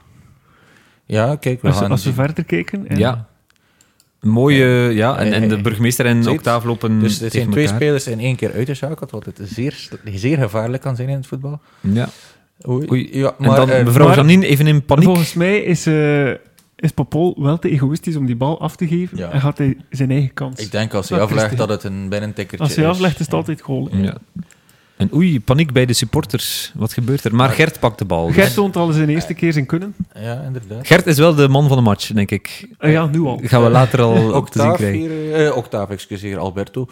Speaker 3: Ja, kijk, we
Speaker 2: als,
Speaker 3: gaan
Speaker 2: als we
Speaker 3: zien.
Speaker 2: verder kijken... en-
Speaker 1: ja. Een Mooie, ja, en, en de burgemeester en
Speaker 3: Zit.
Speaker 1: Octaaf lopen
Speaker 3: Dus er zijn
Speaker 1: tegen
Speaker 3: twee
Speaker 1: elkaar.
Speaker 3: spelers in één keer uitgeschakeld, wat het zeer, sl- zeer gevaarlijk kan zijn in het voetbal.
Speaker 1: Ja. Oei.
Speaker 3: Ja,
Speaker 1: En dan
Speaker 3: eh,
Speaker 1: mevrouw
Speaker 2: maar-
Speaker 1: Janine even in paniek.
Speaker 2: Volgens mij is, eh is Popol wel te egoïstisch om die bal af te geven
Speaker 3: Ja.
Speaker 2: en gaat hij zijn eigen kans.
Speaker 3: Ik denk als hij
Speaker 2: Dat is
Speaker 3: aflegt
Speaker 2: die.
Speaker 3: dat het een binnentikkertje
Speaker 2: Als hij aflegt is het altijd goal.
Speaker 1: Ja. En oei, paniek bij de supporters. Wat gebeurt er? Maar Gert pakt de bal. dus.
Speaker 2: Gert toont al zijn
Speaker 3: Eh,
Speaker 2: eerste keer zijn kunnen.
Speaker 3: Ja, inderdaad.
Speaker 1: Gert is wel de man van de match, denk ik.
Speaker 2: Eh, ja, nu al.
Speaker 1: Gaan we later al op te zien
Speaker 3: Octaaf,
Speaker 1: krijgen.
Speaker 3: hier, eh, Octaaf, excuseer, Alberto.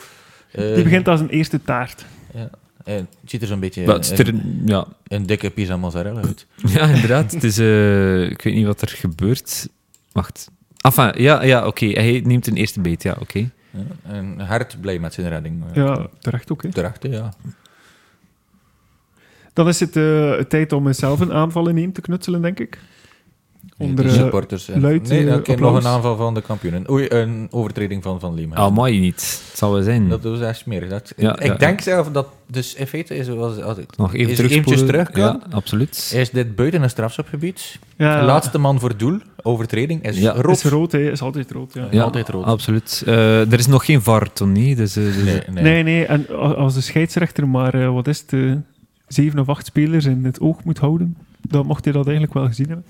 Speaker 3: Eh,
Speaker 2: Die begint als een eerste taart.
Speaker 3: ja. Eh, het ziet er zo'n beetje
Speaker 1: Maar het is
Speaker 3: een,
Speaker 1: er- ja.
Speaker 3: een dikke pizza mozzarella uit.
Speaker 1: ja, inderdaad. Het is, eh, ik weet niet wat er gebeurt. Wacht. Enfin, ja, ja oké. Hij neemt een eerste beet, ja, oké.
Speaker 3: Ja, en Hart blij met zijn redding. eh,
Speaker 2: Ja, terecht ook. Hè.
Speaker 3: Terecht, hè, ja.
Speaker 2: Dan is het eh, tijd om zelf een aanval ineen te knutselen, denk ik. Onder,
Speaker 3: Die
Speaker 2: eh,
Speaker 3: supporters. en-
Speaker 2: luid,
Speaker 3: nee,
Speaker 2: eh,
Speaker 3: oké, nog
Speaker 2: applaus.
Speaker 3: een aanval van de kampioenen. Oei, een overtreding van Van Leem.
Speaker 1: Ah, mooi niet. Het zal wel zijn.
Speaker 3: Dat was echt smerig. Dat,
Speaker 1: Hm. Ja,
Speaker 3: ik
Speaker 1: ja,
Speaker 3: denk zelf dat... Dus in feite is, was, als ik,
Speaker 1: Nog even
Speaker 3: is er eventjes
Speaker 1: terugspoelen.
Speaker 3: terug kan.
Speaker 1: Ja, absoluut.
Speaker 3: Is dit buiten een strafschopgebied?
Speaker 2: Ja,
Speaker 3: Laatste man voor doel. Overtreding is
Speaker 1: Ja.
Speaker 3: rood.
Speaker 2: Is rood, hè. Is altijd rood, ja.
Speaker 1: Ja,
Speaker 3: altijd rood.
Speaker 1: Absoluut. Eh, er is nog geen VAR, Tony. Dus, eh, dus-
Speaker 3: Nee, nee.
Speaker 2: Nee. nee, En a- als de scheidsrechter maar, eh, wat is het, eh, zeven of acht spelers in het oog moet houden, dan mocht hij dat eigenlijk wel gezien hebben.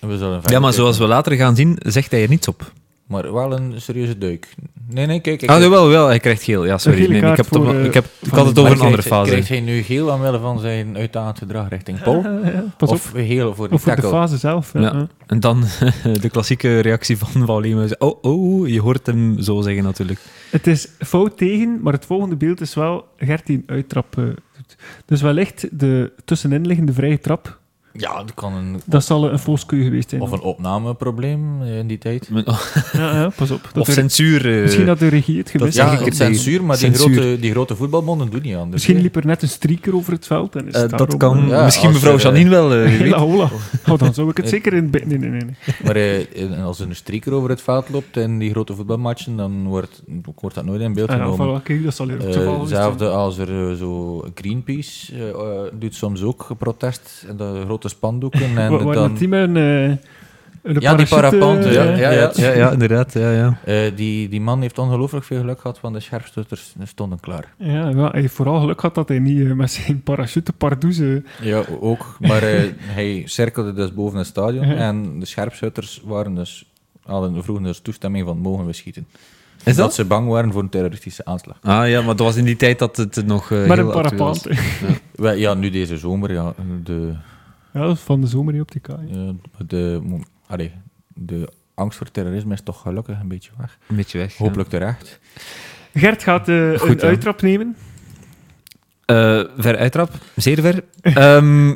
Speaker 3: We zullen verder
Speaker 1: Ja, maar
Speaker 3: kijken.
Speaker 1: zoals we later gaan zien, zegt hij er niets op.
Speaker 3: Maar wel een serieuze deuk. Nee, nee, kijk. ik-
Speaker 1: Ah, jawel, wel, hij krijgt geel. Ja, sorry.
Speaker 2: eh, gele
Speaker 1: Nee, nee, ik,
Speaker 2: kaart
Speaker 1: heb toch
Speaker 2: voor,
Speaker 1: wel-
Speaker 2: eh,
Speaker 1: ik, heb, ik
Speaker 2: Van
Speaker 1: had het
Speaker 2: Leem.
Speaker 1: over een
Speaker 3: Maar
Speaker 1: andere
Speaker 3: krijgt-
Speaker 1: fase.
Speaker 3: Krijgt hij nu geel omwille van zijn uitdagend gedrag richting Paul?
Speaker 2: Eh, ja, pas op.
Speaker 3: Oh. of geel voor de
Speaker 2: Of voor de
Speaker 3: tackle?
Speaker 2: fase zelf. Ja.
Speaker 1: Ja. En dan de klassieke reactie van Van Leeuwen. Oh, oh, je hoort hem zo zeggen natuurlijk.
Speaker 2: Het is fout tegen, maar het volgende beeld is wel Gert die een uittrap eh, doet. Dus wellicht de tusseninliggende vrije trap,
Speaker 3: ja, dat kan een...
Speaker 2: dat zal een fooskeu geweest zijn.
Speaker 3: Of een
Speaker 2: dan.
Speaker 3: opnameprobleem eh, in die tijd.
Speaker 2: Ja, ja, pas op. Dat
Speaker 1: of
Speaker 2: er-
Speaker 1: censuur. eh,
Speaker 2: misschien had de regie het gemist.
Speaker 1: zeg
Speaker 3: Ja,
Speaker 1: ik er
Speaker 3: het censuur, maar die
Speaker 1: Censuur.
Speaker 3: grote, die grote voetbalbonden doen niet anders.
Speaker 2: Misschien
Speaker 3: hè.
Speaker 2: liep er net een streaker over het veld. En is
Speaker 1: eh,
Speaker 2: het
Speaker 1: dat
Speaker 2: daarom,
Speaker 1: kan.
Speaker 2: eh,
Speaker 3: Ja,
Speaker 1: misschien
Speaker 3: als
Speaker 1: mevrouw
Speaker 3: er, eh,
Speaker 1: Janine wel. eh, wie weet.
Speaker 2: Hela hola. Oh, dan zou ik het zeker in het be- Nee, nee, nee. nee.
Speaker 3: Maar eh, en als er een streaker over het veld loopt in die grote voetbalmatchen, dan wordt, wordt dat nooit in beeld
Speaker 2: Ah, ja,
Speaker 3: genomen.
Speaker 2: voilà, kijk, dat zal hier ook
Speaker 3: Eh,
Speaker 2: toeval geweest zijn.
Speaker 3: Hetzelfde als er eh, zo Greenpeace eh, eh, doet soms ook protest. En de grote spandoeken. En
Speaker 2: Wa- Waar
Speaker 3: dan,
Speaker 2: dat die met een, eh, een
Speaker 3: Ja,
Speaker 2: parachute,
Speaker 3: die parapente,
Speaker 2: eh,
Speaker 1: ja,
Speaker 3: eh,
Speaker 1: ja, ja, ja, ja, inderdaad. Ja, ja.
Speaker 3: eh, die, die man heeft ongelooflijk veel geluk gehad, want de scherpstutters stonden klaar.
Speaker 2: Ja, ja, hij heeft vooral geluk gehad dat hij niet eh, met zijn parachute pardoeze...
Speaker 3: Ja, ook. Maar eh, hij cirkelde dus boven het stadion.
Speaker 2: Ja.
Speaker 3: En de scherpschutters waren dus, hadden vroegen dus toestemming van mogen we schieten.
Speaker 1: Is
Speaker 3: dat
Speaker 1: dat?
Speaker 3: ze bang waren voor een terroristische aanslag.
Speaker 1: Ah ja, maar dat was in die tijd dat het eh, nog. eh,
Speaker 2: met
Speaker 1: heel
Speaker 2: een
Speaker 1: actueel was.
Speaker 2: parapente.
Speaker 3: Wij- ja, nu deze zomer, ja, de,
Speaker 2: Ja, dat is van de zomer niet op de kaai.
Speaker 3: eh, de, mo- allee, de angst voor terrorisme is toch gelukkig een beetje weg.
Speaker 1: Een beetje weg. ja.
Speaker 3: Hopelijk terecht.
Speaker 2: Gert gaat eh,
Speaker 1: Goed,
Speaker 2: een
Speaker 1: ja.
Speaker 2: uittrap nemen.
Speaker 1: Eh, ver uittrap, zeer ver. Ehm,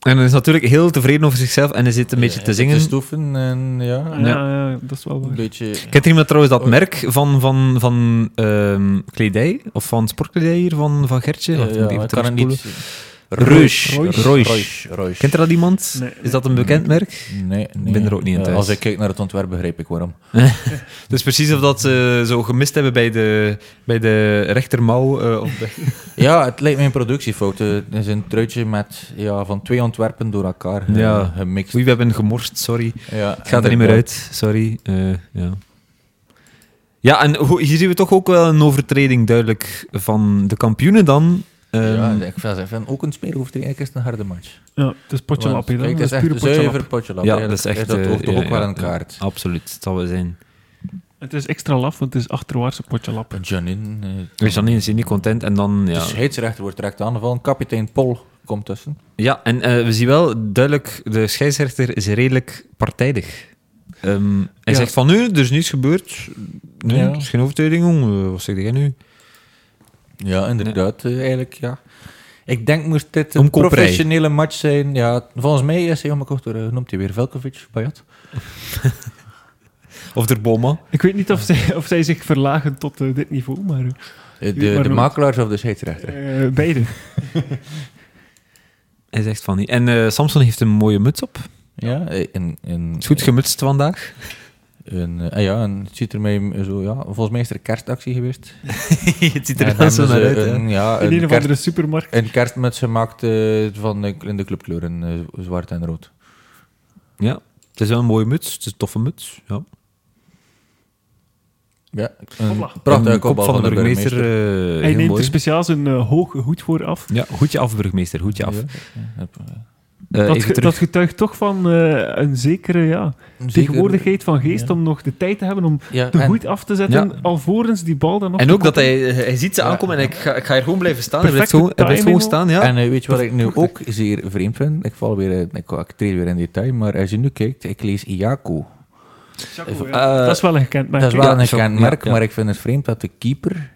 Speaker 1: en hij is natuurlijk heel tevreden over zichzelf en hij zit een beetje
Speaker 3: Eh,
Speaker 1: te zingen.
Speaker 3: Te stoeven en ja,
Speaker 2: Ah, Ja, ja. dat is wel
Speaker 3: een
Speaker 2: waar.
Speaker 3: beetje...
Speaker 1: Kent er iemand trouwens dat merk van, van, van ehm, kledij? Of van sportkledij hier, van, van Gertje?
Speaker 3: eh,
Speaker 1: Wacht,
Speaker 3: ja,
Speaker 1: moet ik
Speaker 3: ik
Speaker 1: even
Speaker 3: kan het
Speaker 1: terugspoelen.
Speaker 3: niet...
Speaker 1: Reusch.
Speaker 2: Reusch.
Speaker 1: Reusch.
Speaker 3: Reusch. Reusch.
Speaker 1: Kent er dat iemand?
Speaker 2: Nee,
Speaker 1: Is dat een bekend merk?
Speaker 3: Nee, nee.
Speaker 1: ben er ook niet in
Speaker 3: Eh,
Speaker 1: thuis.
Speaker 3: Als ik kijk naar het ontwerp, begrijp ik waarom.
Speaker 1: Dus precies of dat ze zo gemist hebben bij de, bij de rechtermouw. eh, of bij-
Speaker 3: Ja, het lijkt me een productiefout. Eh, Het is een truitje met, ja, van twee ontwerpen door elkaar eh,
Speaker 1: Ja.
Speaker 3: gemixt.
Speaker 1: Oei, we hebben gemorst, sorry.
Speaker 3: Ja,
Speaker 1: Het gaat er niet meer
Speaker 3: inderdaad.
Speaker 1: uit, sorry. Eh, ja. ja, en ho- hier zien we toch ook wel een overtreding duidelijk van de kampioenen dan. Ehm,
Speaker 3: ja, ik vind- ik vind ook een smerig overtreding is het een harde match.
Speaker 2: Ja, het is potje
Speaker 3: Want,
Speaker 2: lap, hè, dan.
Speaker 3: Kijk,
Speaker 2: Dat
Speaker 3: het
Speaker 2: is
Speaker 3: is
Speaker 2: pure
Speaker 3: echt
Speaker 2: potje
Speaker 3: zuiver
Speaker 2: lap.
Speaker 3: potje lap.
Speaker 1: Ja,
Speaker 3: eigenlijk.
Speaker 1: dat is echt,
Speaker 3: dat
Speaker 1: eh,
Speaker 3: hoort toch
Speaker 1: ja,
Speaker 3: ook wel
Speaker 1: ja,
Speaker 3: een
Speaker 1: ja.
Speaker 3: kaart.
Speaker 1: Absoluut, het zal wel zijn.
Speaker 2: Het is extra laf, want het is achterwaartse potje lap.
Speaker 3: Janine. eh,
Speaker 1: Dus dan is hij niet content en dan... Ja,
Speaker 3: De scheidsrechter wordt direct aangevallen. Kapitein Pol komt tussen.
Speaker 1: ja en eh, we zien wel duidelijk, de scheidsrechter is redelijk partijdig. Ehm, hij
Speaker 2: Ja.
Speaker 1: zegt van nu, er is niets gebeurd. Nee,
Speaker 3: Ja.
Speaker 1: het is geen overtreding, jong. Eh, Wat zeg jij nu?
Speaker 3: Ja, inderdaad, eh, eigenlijk, ja. Ik denk moest dit een
Speaker 1: Omkoperij.
Speaker 3: professionele match zijn. Ja, volgens mij is hij omgekocht door, eh, noemt hij weer Velkovic, Bayat.
Speaker 1: Of de Boma.
Speaker 2: Ik weet niet of zij, of zij zich verlagen tot eh, dit niveau, maar
Speaker 3: Eh,
Speaker 2: Wie
Speaker 3: De,
Speaker 2: maar
Speaker 3: de
Speaker 2: noemt.
Speaker 3: makelaars of de scheidsrechter.
Speaker 2: eh, eh, beide.
Speaker 1: Hij zegt van niet. En eh, Samson heeft een mooie muts op.
Speaker 3: Ja, eh, en, en,
Speaker 1: Is goed gemutst vandaag.
Speaker 3: en, eh, ah ja, en het ziet er mij m- zo, ja, volgens mij is er een kerstactie geweest.
Speaker 1: het eh, ziet
Speaker 3: En
Speaker 1: wel
Speaker 3: hebben ze een, ja,
Speaker 2: In
Speaker 3: een,
Speaker 2: een of
Speaker 3: kerst-
Speaker 2: andere supermarkt.
Speaker 3: een kerstmuts gemaakt eh, van de, in de clubkleuren, eh, zwart en rood.
Speaker 1: Ja, het is wel een mooie muts. Het is een toffe muts. Ja.
Speaker 3: Ja,
Speaker 2: Hopla.
Speaker 3: een prachtige
Speaker 1: Een
Speaker 3: kopbal van de burgemeester.
Speaker 1: eh,
Speaker 2: Hij
Speaker 1: heel
Speaker 2: neemt
Speaker 1: mooi.
Speaker 2: er speciaal zijn eh, hoge hoed voor af.
Speaker 1: Ja, hoedje af, burgemeester. Hoedje af.
Speaker 3: Ja.
Speaker 1: Eh,
Speaker 2: Dat,
Speaker 1: even
Speaker 2: ge-
Speaker 1: terug.
Speaker 2: dat getuigt toch van eh, een zekere ja,
Speaker 3: Zeker-
Speaker 2: tegenwoordigheid van geest
Speaker 3: Ja.
Speaker 2: om nog de tijd te hebben om
Speaker 3: Ja,
Speaker 2: de
Speaker 3: en-
Speaker 2: hoed af te zetten,
Speaker 1: Ja.
Speaker 2: alvorens die bal dan nog
Speaker 1: En
Speaker 2: te
Speaker 1: ook dat
Speaker 2: koppen.
Speaker 1: hij, eh, hij ziet ze
Speaker 3: Ja.
Speaker 1: aankomen en ik ga, ik ga hier gewoon blijven staan. Hij blijft
Speaker 2: Perfecte
Speaker 1: gewoon, hij blijft gewoon
Speaker 2: timing
Speaker 1: staan, ja.
Speaker 3: En eh, weet je wat ik nu ook zeer vreemd vind? Ik val weer, eh, ik, ik treed weer in detail, maar als je nu kijkt, ik lees Iaco.
Speaker 2: Chapeau,
Speaker 1: Even-
Speaker 2: ja.
Speaker 1: eh,
Speaker 2: dat is wel een gekend merk.
Speaker 3: dat is
Speaker 1: ja,
Speaker 3: wel een
Speaker 1: zo-
Speaker 3: gekend
Speaker 1: ja,
Speaker 3: merk,
Speaker 1: ja.
Speaker 3: maar ik vind het vreemd dat de keeper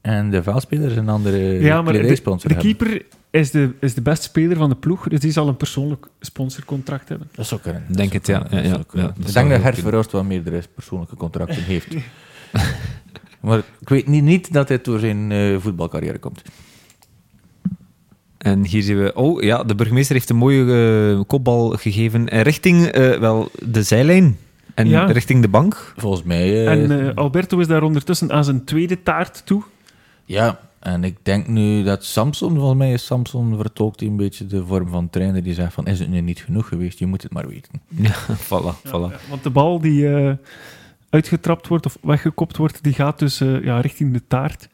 Speaker 3: en de veldspeler een andere
Speaker 2: ja, maar de,
Speaker 3: eh, kledijsponsor
Speaker 2: de
Speaker 3: hebben.
Speaker 2: keeper is de, is de beste speler van de ploeg, dus die zal een persoonlijk sponsorcontract hebben.
Speaker 3: Dat zou kunnen.
Speaker 1: Denk het, ja. Ja, ja,
Speaker 3: zou kunnen.
Speaker 1: ja, dat
Speaker 3: ik
Speaker 1: zou
Speaker 3: denk dat
Speaker 1: heel
Speaker 3: Hert Verhulst wel meerdere persoonlijke contracten heeft. maar ik weet niet, niet dat dit door zijn eh, voetbalcarrière komt.
Speaker 1: En hier zien we, oh ja, de burgemeester heeft een mooie eh, kopbal gegeven eh, richting eh, wel de zijlijn en
Speaker 2: Ja.
Speaker 1: richting de bank.
Speaker 3: Volgens mij... eh,
Speaker 2: En eh, Alberto is daar ondertussen aan zijn tweede taart toe.
Speaker 3: Ja, en ik denk nu dat Samson, volgens mij is Samson vertolkt die een beetje de vorm van trainer die zegt van is het nu niet genoeg geweest, je moet het maar weten.
Speaker 1: Ja, voilà, voilà.
Speaker 2: Ja, want de bal die eh, uitgetrapt wordt of weggekopt wordt, die gaat dus eh, ja, richting de taart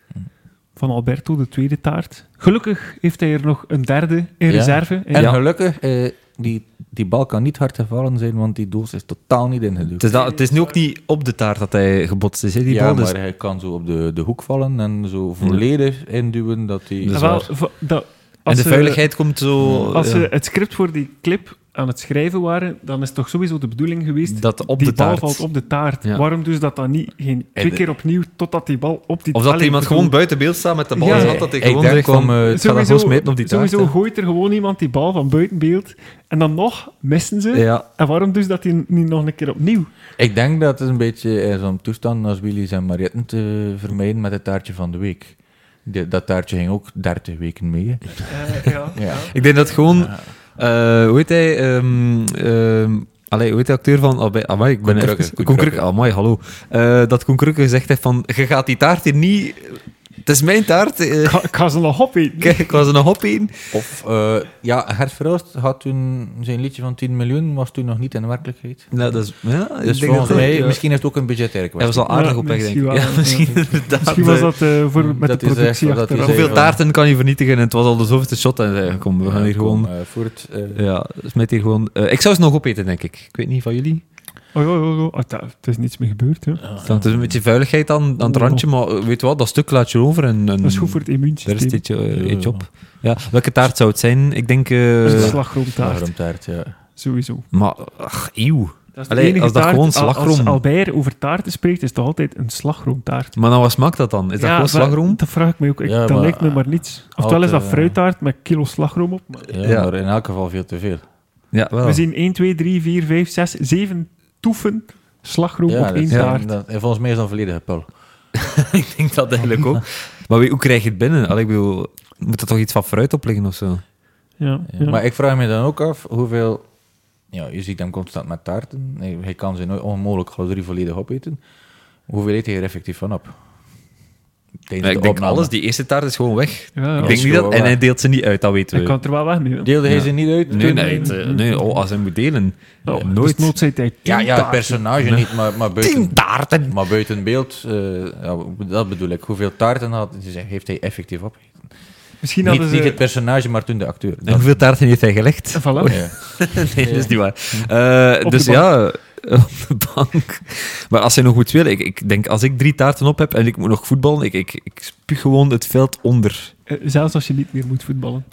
Speaker 2: van Alberto, de tweede taart. Gelukkig heeft hij er nog een derde in
Speaker 3: Ja.
Speaker 2: reserve. En
Speaker 3: En gelukkig, eh, die, die bal kan niet hard gevallen zijn, want die doos is totaal niet
Speaker 1: Het,
Speaker 3: ingeduwd.
Speaker 1: is dat, het is nu ook niet op de taart dat hij gebotst is, hè, die
Speaker 3: ja,
Speaker 1: bal. Dus
Speaker 3: maar hij kan zo op de, de hoek vallen en zo volledig induwen dat hij...
Speaker 1: Dus-
Speaker 2: Ah, wel,
Speaker 1: waar.
Speaker 2: va- dat-
Speaker 1: en
Speaker 2: als
Speaker 1: de
Speaker 2: ze-
Speaker 1: vuiligheid komt zo...
Speaker 2: Als
Speaker 1: ja,
Speaker 2: ze het script voor die clip aan het schrijven waren, dan is het toch sowieso de bedoeling geweest
Speaker 1: dat op
Speaker 2: die
Speaker 1: de
Speaker 2: bal
Speaker 1: taart.
Speaker 2: valt op de taart.
Speaker 1: Ja.
Speaker 2: Waarom dus dat dan niet geen twee
Speaker 3: de-
Speaker 2: keer opnieuw totdat die bal op die
Speaker 1: Of dat
Speaker 2: Allee,
Speaker 1: iemand
Speaker 2: ik bedoel,
Speaker 1: gewoon buiten beeld staat met de bal.
Speaker 2: Ja,
Speaker 1: in de
Speaker 2: ja,
Speaker 1: hand, dat hij
Speaker 3: ik
Speaker 1: gewoon
Speaker 3: denk
Speaker 1: zegt van...
Speaker 3: van, eh, het gaat er
Speaker 1: sowieso-
Speaker 3: gewoon smeten op die taart.
Speaker 2: Sowieso
Speaker 3: hè.
Speaker 2: gooit er gewoon iemand die bal van buiten beeld en dan nog missen ze.
Speaker 1: ja,
Speaker 2: En waarom dus dat die niet nog een keer opnieuw?
Speaker 3: Ik denk dat het een beetje eh, zo'n toestand als Willy's en Marietten te vermijden met het taartje van de week. De- dat taartje ging ook 30 weken mee. hè.
Speaker 2: Eh, ja.
Speaker 3: Ja.
Speaker 1: ik denk dat gewoon... eh, hoe heet hij? ehm, ehm, allee, hoe heet de acteur van... Albe- amai, ik ben
Speaker 3: Koen Krukke,
Speaker 1: even-
Speaker 3: Koen
Speaker 1: Koen
Speaker 3: Krukke.
Speaker 1: Krukke, amai, hallo. Eh, dat Koen Krukke gezegd heeft van... Je gaat die taart hier niet... Het is mijn taart. eh,
Speaker 2: Ik ga- Ik ga ze nog opeten.
Speaker 1: Kijk, ik was er nog op in.
Speaker 3: Of, eh, ja, Gert Verhulst had toen zijn liedje van 10 miljoen, was toen nog niet in werkelijkheid.
Speaker 1: Nou, dat is... Ja, ik
Speaker 3: Dus
Speaker 1: denk
Speaker 3: volgens
Speaker 1: dat- eh,
Speaker 3: mij,
Speaker 1: ja.
Speaker 3: misschien is het ook een budgetaire
Speaker 1: Hij
Speaker 3: kwestie.
Speaker 1: was al aardig
Speaker 2: Ja,
Speaker 1: op weg, denk
Speaker 2: misschien
Speaker 1: ik.
Speaker 2: wel,
Speaker 1: Ja,
Speaker 2: ja.
Speaker 1: misschien inderdaad.
Speaker 2: Misschien was
Speaker 1: eh,
Speaker 2: dat eh, voor, met
Speaker 3: dat
Speaker 2: de
Speaker 3: is echt
Speaker 2: productie
Speaker 3: wat dat
Speaker 2: achteraf.
Speaker 3: is,
Speaker 1: Hoeveel
Speaker 3: eh,
Speaker 1: taarten kan je vernietigen? En het was al de zoveelste shot. En zei, kom, we gaan hier gewoon...
Speaker 3: Kom, eh, voort, eh,
Speaker 1: Ja, smet hier gewoon... eh, ik zou ze nog opeten, denk ik. Ik weet niet van jullie.
Speaker 2: Oh, oh, oh, oh. Ah, daar- het is niets meer gebeurd. Hè.
Speaker 1: Dan het is een beetje vuiligheid aan, aan het
Speaker 2: Oh.
Speaker 1: randje, maar eh, weet je wat, dat stuk laat je over en, en
Speaker 2: Dat is goed voor het
Speaker 1: daar
Speaker 2: immuunsysteem.
Speaker 1: zit je, eh, eet je
Speaker 3: Ja.
Speaker 1: op. Ja, welke taart zou het zijn? Ik denk... eh,
Speaker 2: Dat is de
Speaker 3: taart.
Speaker 2: slagroomtaart,
Speaker 3: taart, ja.
Speaker 2: sowieso.
Speaker 1: maar, ach, eeuw.
Speaker 2: Dat is de
Speaker 1: Allee,
Speaker 2: enige
Speaker 1: als dat
Speaker 2: taart-
Speaker 1: gewoon
Speaker 2: al-
Speaker 1: slagroom-
Speaker 2: Als Albert over taarten spreekt, is het altijd een slagroomtaart.
Speaker 1: Maar nou, wat smaakt dat dan? Is dat
Speaker 2: Ja,
Speaker 1: gewoon
Speaker 2: maar
Speaker 1: slagroom?
Speaker 2: Dat vraag ik mij ook. Ik,
Speaker 3: Ja,
Speaker 2: dat
Speaker 3: maar,
Speaker 2: lijkt me
Speaker 3: eh,
Speaker 2: maar niets. Oftewel is dat
Speaker 3: eh,
Speaker 2: fruittaart met kilo slagroom op. maar-
Speaker 3: Ja,
Speaker 1: Ja.
Speaker 3: Maar in elk geval veel te veel.
Speaker 1: Ja, wel.
Speaker 2: We zien 1, 2, 3, 4, 5, 6, 7 toefen slagroom
Speaker 3: Ja,
Speaker 2: op
Speaker 3: dat
Speaker 2: één
Speaker 3: is-
Speaker 2: taart.
Speaker 3: dat- en volgens mij is dat een volledige pul.
Speaker 1: ik denk dat eigenlijk ook. Maar wie, hoe krijg je het binnen? Allee, ik bedoel, moet er toch iets van fruit op liggen of zo?
Speaker 2: Ja,
Speaker 3: Ja,
Speaker 2: ja.
Speaker 3: Maar ik vraag me dan ook af hoeveel... Ja, je ziet hem constant met taarten. Hij, hij kan ze nooit onmogelijk alle drie volledig opeten. Hoeveel eet hij er effectief van op? Tijdens de
Speaker 1: ik denk
Speaker 3: opname.
Speaker 1: alles, die eerste taart is gewoon weg.
Speaker 2: Ja,
Speaker 1: ik
Speaker 2: ja.
Speaker 1: denk
Speaker 3: is
Speaker 1: niet dat,
Speaker 3: gewoon
Speaker 1: en
Speaker 3: waar.
Speaker 1: hij deelt ze niet uit, dat weten
Speaker 2: Hij
Speaker 1: we.
Speaker 2: kan er wel weg mee. hè.
Speaker 3: Deelde hij
Speaker 1: Ja.
Speaker 3: ze niet uit?
Speaker 1: Nee,
Speaker 3: toen?
Speaker 1: nee, het, eh, nee oh, als hij moet delen.
Speaker 2: Nou,
Speaker 1: eh, nooit.
Speaker 2: Dus zei hij
Speaker 3: Ja, ja, het
Speaker 2: taarten.
Speaker 3: personage niet, maar, maar buiten...
Speaker 1: Tien taarten!
Speaker 3: Maar buiten beeld, eh, ja, dat bedoel ik. Hoeveel taarten had, heeft hij effectief op?
Speaker 2: Misschien
Speaker 3: Niet,
Speaker 2: hadden ze... Eh,
Speaker 3: niet het personage, maar toen de acteur.
Speaker 1: En hoeveel taarten heeft hij gelegd?
Speaker 2: Voilà.
Speaker 3: Ja.
Speaker 1: Nee, dat is niet waar. Eh,
Speaker 2: Op
Speaker 1: dus
Speaker 2: de bank.
Speaker 1: ja, op de bank. Maar als hij nog goed wil, ik, ik denk als ik drie taarten op heb en ik moet nog voetballen, ik, ik, ik spuug gewoon het veld onder.
Speaker 2: Eh, Zelfs als je niet meer moet voetballen.